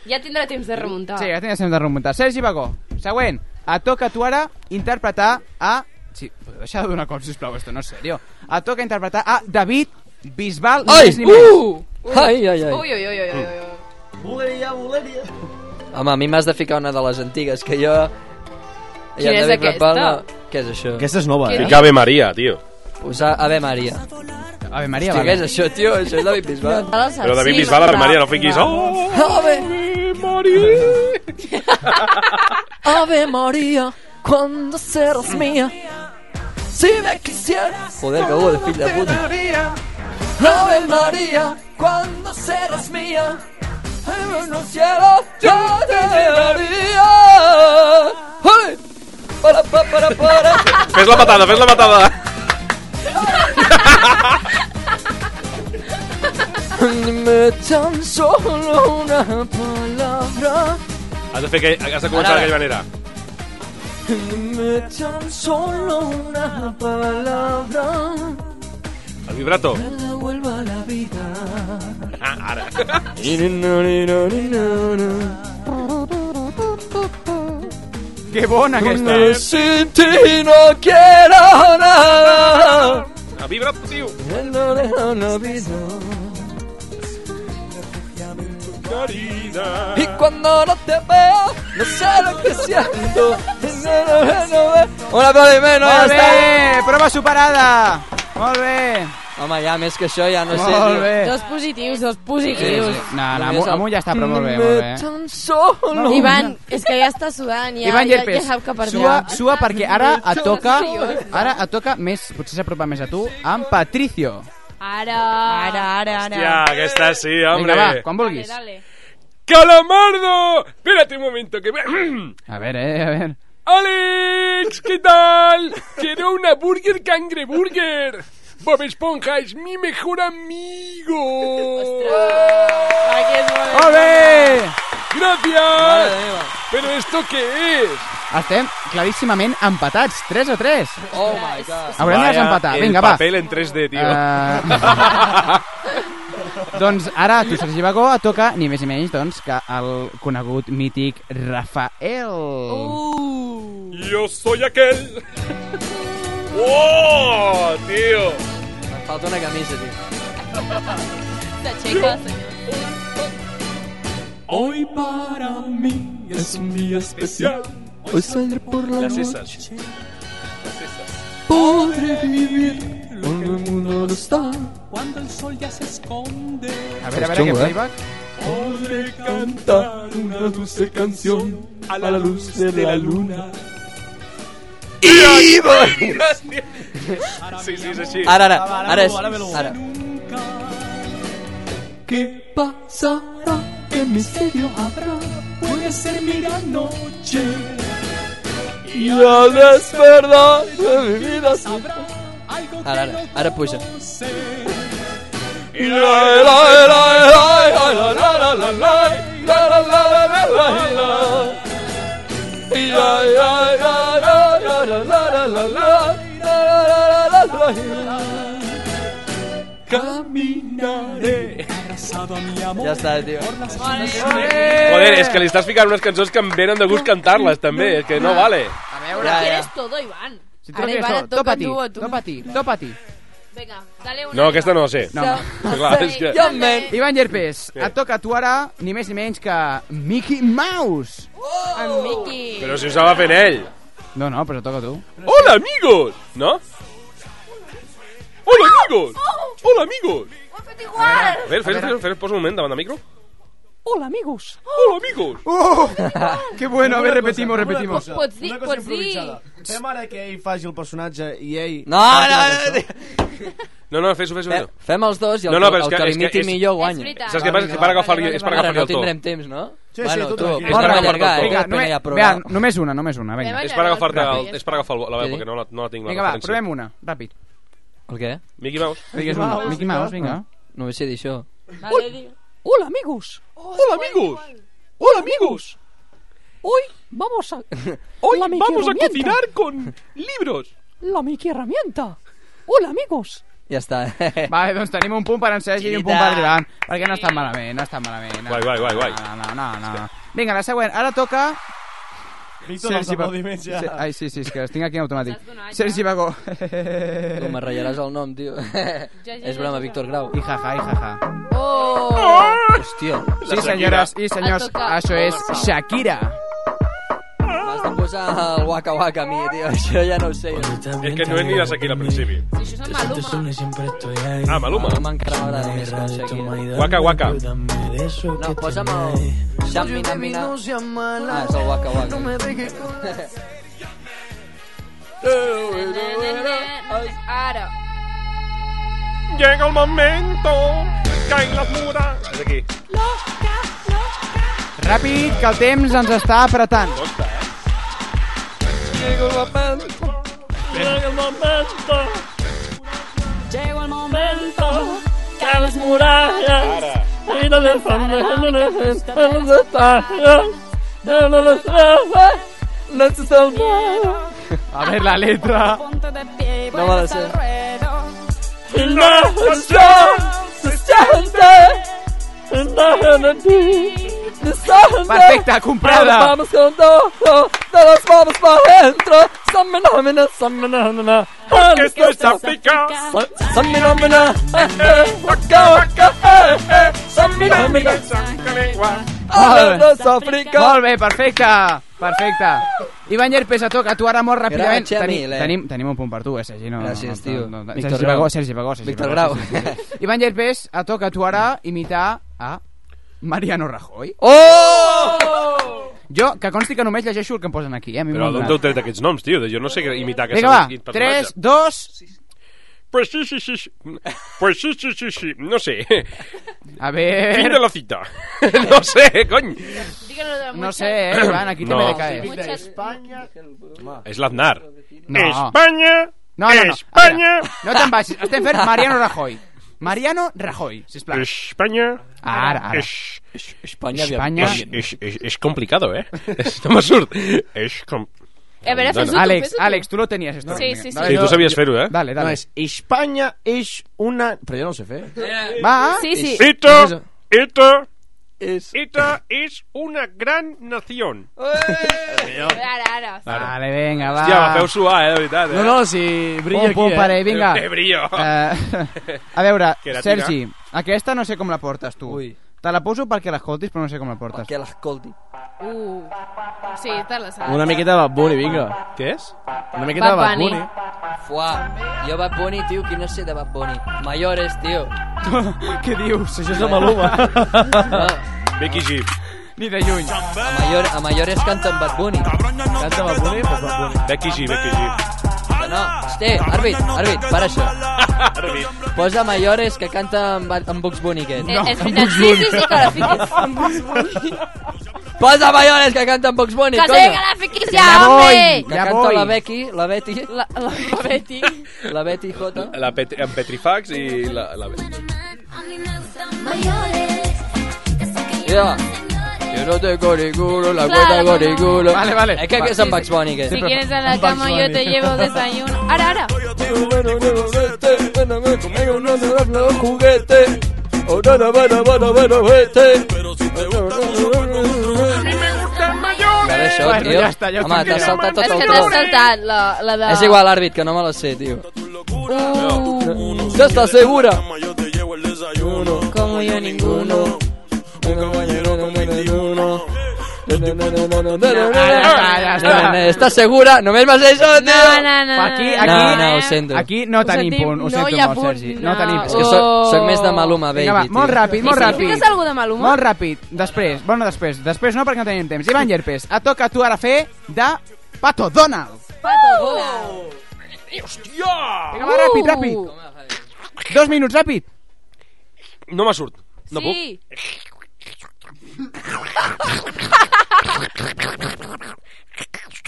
Ja tindrà temps de remuntar.
Ah, Sí, ja tenies temps de remuntar. Sergi Bagó, següent. Et toca a tu ara interpretar a... Sí, podeu deixar de donar cops, sisplau, esto no és serio. Et toca interpretar a David Bisbal. ni
Ai,
més ni menys.
uh! Ai, ai, ai.
Ui, ui, ui, ui, ui, ui.
Voleria, voleria.
Home, a mi m'has de ficar una de les antigues, que jo...
Quina
ja
és
David
aquesta?
Bisbal no- Què és això?
Aquesta és nova, Què eh?
Fica Ave Maria, tio.
Posar Ave Maria.
Ave Maria,
Hòstia,
vale.
què és això, tio? Això és David Bisbal.
Però David sí, Bisbal, Ave Maria, no fiquis... Oh!
Ave
Maria.
Ave Maria, cuando serás mía. Si me quisieras. Joder, que hubo de fill de puta.
Ave María, cuando serás mía, en los cielos yo te llevaría. ¡Hey! Para, pa, para, para.
Fes la patada, fes la patada.
Dime tan solo una palabra.
Has de, fer que, has de començar
Ara,
d'aquella
ara.
manera.
Dime tan solo una palabra.
El vibrato.
Que la vuelva a la vida.
Ah, ara.
Que bona aquesta.
Donde sin ti no quiero nada.
El vibrato, tio.
El no dejo en olvido. Y cuando no te veo, no sé lo que siento. Una aplaudiment, no, ja
Molt
està.
bé, prova superada. Molt bé.
Home, ja més que això ja no sé...
Molt
tio.
bé.
Dos positius, dos positius.
Sí, sí. No, no, amunt- amunt ja està, però molt bé, molt bé.
Tan solo.
Ivan, és que ja està sudant, ja,
Ivan
ja,
Llerpes,
ja sap que perdrà.
sua, sua perquè ara et toca, ara et toca més, potser s'apropa més a tu, amb Patricio.
Ara, ara, ara, ara.
Hòstia, aquesta sí, hombre.
Vinga, va, quan vulguis.
¡Calamardo! Espérate un momento, que...
A ver, eh, a ver.
¡Alex! ¿Qué tal? Quiero una burger cangreburger. Bob Esponja es mi mejor amigo.
¡Ole!
¡Gracias! ¿Pero esto qué es?
Estem claríssimament empatats, 3 a 3.
Oh my god.
Haurem de
Vaya
desempatar.
el
Vinga, va.
papel en 3D, tio.
Eh, doncs ara, a tu, Sergi Bagó, et toca ni més ni menys doncs, que el conegut, mític Rafael.
Uh,
Yo soy aquel. ¡Oh, tío!
Em falta una camisa, tio.
S'aixeca, Hoy para mí es un día especial. Hoy saldré por la
Las
noche.
esas.
Podré vivir lo que el mundo no está. Cuando el sol ya se esconde.
A ver, a ver, que playback.
¿eh? Podré cantar una dulce canción a la luz de la luna.
¡Y Sí, sí, sí, sí.
Ara, ara, ara és... Ara.
¿Qué pasará? ¿Qué misterio habrá? Puede ser mi gran noche.
I al despertar de mi vida
sabrá algo
Ara, ara, ara puja.
Caminaré abrazado a mi amor.
Ja està, tio.
Joder, és que li estàs ficant unes cançons que em venen de gust cantar-les, també. És que no vale.
Ahora
Ya,
eh.
ya.
quieres
todo, Iván.
Si tú lo quieres todo, topa a ti, topa a ti, topa a ti.
Venga, dale
No, aquesta no la sé.
No, no.
Clar, és que...
Ivan Llerpes, et toca a tu ara ni més ni menys que Mickey Mouse.
Uh!
En Miqui.
Però si ho estava fent ell.
No, no, però toca a tu.
¡Hola, amigos! ¿No? ¡Hola, amigos! ¡Hola, amigos! A ver, Fer, Fer, Fer, posa un moment davant de micro.
Hola, amigos.
Hola, amigos.
Oh, qué bueno, a ver, repetimos,
Una
repetimos.
cosa,
Pots dir-
una cosa
pots dir-
improvisada. Fem ara que ell faci el personatge i ell...
No,
Ah,
faci
no,
la
no,
cançó.
No, no, fes-ho, fes-ho. fes-ho.
Fem els dos i el,
No, no, però és
el
que-
que
és que
l'imiti
és-
millor guanya.
Saps què passa? És que per agafar el- és per agafar
Ara
el
no
to.
tindrem temps, no?
Sí, sí, tu
bueno, tu,
tranquil.
tu,
Bona
bona
tarda,
llargar, eh?
Vinga,
Vinga,
només,
ja
vea,
prou.
només una, només una,
Anem
vinga.
allà.
És per agafar-te
Ràpid.
el, és per agafar la veu, perquè no la, no la tinc la
Vinga, va,
referència.
provem una, ràpid.
El què?
Mickey Mouse.
Digues una. Mickey Mouse, vinga.
No sé dir això.
Vale, digo.
Hola, amigos. Hola, amigos. Hola, amigos. Hoy vamos a.
Hoy
la Mickey
vamos a
herramienta.
cocinar con libros.
La Mickey herramienta. Hola, amigos.
Ja està.
Vale, doncs tenim un punt per en Sergi i un punt per l'Ivan, perquè no ha estat malament, no ha estat malament. No.
Guai, guai, guai, guai.
No, no, no, no, no. Vinga, la següent. Ara toca...
Víctor, els
Bagó.
aplaudiments ja.
Se- Ai, sí, sí, és que els tinc aquí en automàtic. Sergi Bagó.
Com me ratllaràs el nom, tio. És broma, Víctor Grau.
I jaja, i jaja.
Oh!
Hòstia.
Sí, senyores i senyors, això és Shakira.
M'has de posar el waka waka a mi, tio. Això ja no ho sé.
És que no he ni de aquí al principi. Ah, Maluma.
Maluma encara m'agrada més que Shakira.
Guaca, guaca.
No, pues posa'm el... Xamina, mina. Ah, és el waka waka.
Ara.
Llega el momento, caen las muras. És aquí.
Ràpid, que el temps ens està apretant.
Llegó el momento. Llegó el momento. Llegó el momento. Que las murallas. Y no les ¿Dónde No se salvaron.
A ver la letra.
No me la sé.
Y la canción se siente. En la gente.
Perfecte, comprada.
Ahora Vamos con todo, todos vamos para adentro. Samina, mina, samina, mina.
Porque esto es África.
Sa- Samina, mina. eh,
Waka, waka, eh, eh. Samina, mina, saca lengua.
Molt bé.
Habla d'Àfrica.
Molt bé, perfecte. Perfecte. Ivan Llerpes, a toca, tu ara molt ràpidament.
Grava, Xemi,
Tenim,
eh?
tenim, tenim un punt per tu, eh, Sergi? No,
Gràcies,
no, no,
tio.
No, no,
Víctor
Sergi
Grau.
Bagó, Sergi Bagó, Sergi
Víctor
Bagó,
Grau.
sí, sí, sí. Ivan Llerpes, a toca, tu ara imitar a Mariano Rajoy.
Oh!
Jo, que consti que només llegeixo el que em posen aquí, eh? a mi
Però
m'ho han
d'on
donat.
t'heu tret aquests noms, tio? Jo no sé imitar aquest
Vinga, va.
personatge.
3, 2...
Pues sí, sí, sí, sí. Pues sí, sí, sí, sí. No sé.
A ver...
Fin de la cita. No sé, cony.
No sé, eh, Ivan, aquí
No.
també te caes.
De España...
És l'Aznar.
No.
Espanya!
No, no, no.
Espanya!
A veure, No te'n vagis, estem fent Mariano Rajoy. Mariano Rajoy, sisplau.
Espanya.
Ara, ara.
Es-
Espanya, Espanya.
És, és, és, és complicado, eh? És, no me surt. És com...
A veure, fes-ho tu,
Alex,
fes-ho tu.
Alex, tu lo tenies, esto.
No. Sí, sí, sí.
Sí, tu sabies fer-ho, eh?
Dale, dale.
No, és Espanya és una... Però jo no ho sé fer.
Va.
Sí, sí.
Ito, Ito, Ita es una gran nación.
Ara,
ara.
Vale, venga, va.
Hòstia, me feu suar, eh, de veritat. Eh?
No, no, si brilla
Un punt
aquí,
per
eh?
ell, vinga.
Que brillo.
Eh, a veure,
Que la tira.
Sergi, aquesta no sé com la portes tu. Ui. Te la poso perquè l'escoltis, però no sé com la portes. Perquè
l'escolti.
Uh. Sí, te la saps.
Una miqueta de Bad Bunny, vinga.
Què és?
Una miqueta de Bad Bunny.
Fuà, jo Bad Bunny, tio, qui no sé de Bad Bunny? Mayores, tio.
Què dius? Això és de
Maluma.
no,
Becky G.
Ni de lluny.
A, mayor, a Mayores canta en Bad Bunny.
Canta Bad Bunny, pues Bad Bunny.
Becky G, Becky G.
No, no, té, àrbit, àrbit, para això.
Àrbit.
Posa Mayores que canta en, Bad- en Bugs Bunny aquest.
Eh, és veritat, sí, sí, sí, que la fiquis.
Posa Mayores que canta en Bugs Bunny,
Que sí,
coño.
que la fiquis ja, Ja voy, hombre.
Que
ja
canta
voy.
la Becky, la Betty.
La, la, la Betty.
la Betty J.
La pet en Petrifax i la... la...
Ja. Yo no te corigulo, la
Claro,
cuenta
no, no.
corigulo.
Vale, vale.
És que aquest és en Bugs Bunny, aquest.
Si quieres a la cama yo te llevo desayuno. Ara, ara.
Veure això,
Bueno,
tio.
ja està, ja ho
Home,
tinc.
t'has saltat tot
És
el
que
to.
t'has saltat la, la de...
És igual, àrbit, que no me la sé, tio. Uh. Ja està segura. Como yo ninguno. Un compañero como ninguno.
ja està.
Estàs segura? Només vas dir això,
No,
tio?
no, no,
Aquí,
no,
aquí,
no, no, ho sento.
aquí no tenim
sentim,
punt, ho
no
sento
hi ha
molt,
punt,
Sergi. No,
no.
tenim
És que soc, soc més de Maluma, baby,
Vinga, va, molt
tio.
ràpid, molt
I si
ràpid.
fiques algú de Maluma?
Molt ràpid, després, bueno, després, després no perquè no tenim temps. Ivan Llerpes, et toca a tu ara fer de Pato Donald.
Pato.
Hòstia!
Vinga, va, ràpid,
Uh,
ràpid. Dos minuts, ràpid.
No me surt. No puc.
Sí.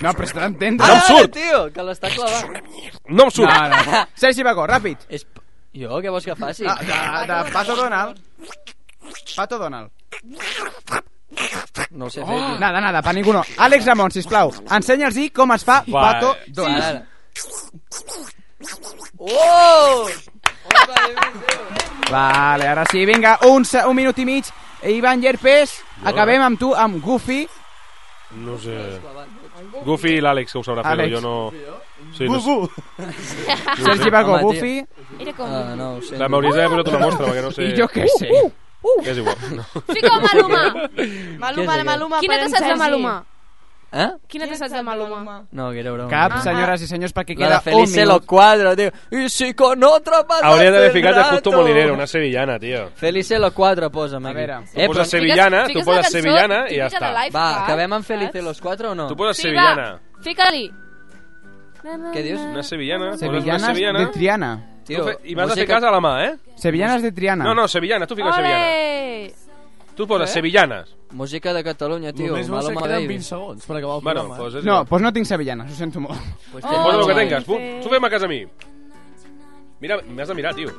No, però s'ha d'entendre.
No em surt.
Tio, que l'està clavant.
No em surt.
No, no. Sergi Bagó, ràpid.
És... Jo, què vols que faci?
De, de Pato Donald. Pato Donald.
No ho sé fer,
Oh.
tio.
Nada, nada, pa ningú no. Àlex Ramon, sisplau, ensenya'ls-hi com es fa
Va,
Pato
sí.
Donald.
Oh!
Vale, ara sí, vinga, un, se- un minut i mig. Ivan Llerpes,
eh?
acabem amb tu, amb Goofy.
No sé. Goofy i l'Àlex, que ho sabrà fer,
Àlex.
jo no... Sí, no sé.
Gugu. Sergi Bagó,
Home, tio.
Goofy.
Era com... Uh,
Ah, no, ho sento.
La m'hauries d'haver posat una mostra, perquè no sé...
I jo què sé.
Uh, És igual. No.
Fica Maluma.
Què és
Maluma,
aquest?
Maluma,
Quina
per
te
en
saps de
Sergi.
Maluma?
Eh?
Quina te saps de Maluma?
No, que era broma.
Cap, senyores i senyors, perquè
La de
queda un
Felice lo
minut.
cuadro, tio. Y si con otra vas a
Hauria d'haver ficat el
hacer
Justo
rato.
Molinero, una sevillana, tio.
Felice lo cuadro, posa'm aquí. Eh, A veure.
Tu poses sevillana, tu poses sevillana i ja està.
Va, acabem amb Felice los cuatro o no?
Tu poses sevillana.
Fica-li.
uh.
Què dius?
Una sevillana. poses una
Sevillanes
sevillana.
de Triana.
Tio, I m'has de fer cas a la mà, eh?
Sevillanes de Triana.
No, no, sevillana, tu fiques sevillana.
Ole!
Tu poses sevillanes.
Eh? Música de Catalunya, tio.
Només vols
Maluma
que queden
Baby.
20 segons per acabar el
Bueno,
programa. eh?
poses...
Oh, No, doncs no tinc sevillanes, ho sento molt.
Pues
Oh, Posa el que tengas. Pu- Tu fem a casa a mi. Mira, m'has de mirar, tio.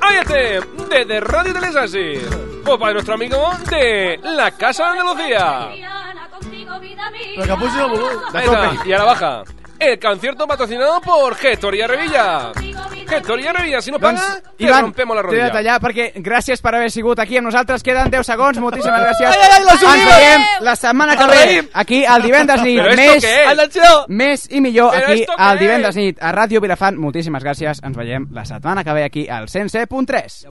Ahí estem, desde este! Radio Telesasi. Popa de nuestro amigo de la Casa de Andalucía.
Però que pugi el volum.
Ahí está, y a la baja. El concierto patrocinado por Gestoría Revilla. Gestoría Revilla, si no paga, te
Ivan,
rompemos la
t'he de
rodilla.
tallar perquè gràcies per haver sigut aquí amb nosaltres. Queden 10 segons, moltíssimes gràcies.
Ai, ai, ai, les
Ens
olives!
veiem la setmana que ve,
Arraïm!
aquí al divendres nit.
Però esto
Més,
què és?
més i millor
Però
aquí
esto què
al
és?
divendres nit a Ràdio Vilafant. Moltíssimes gràcies. Ens veiem la setmana que ve aquí al 107.3.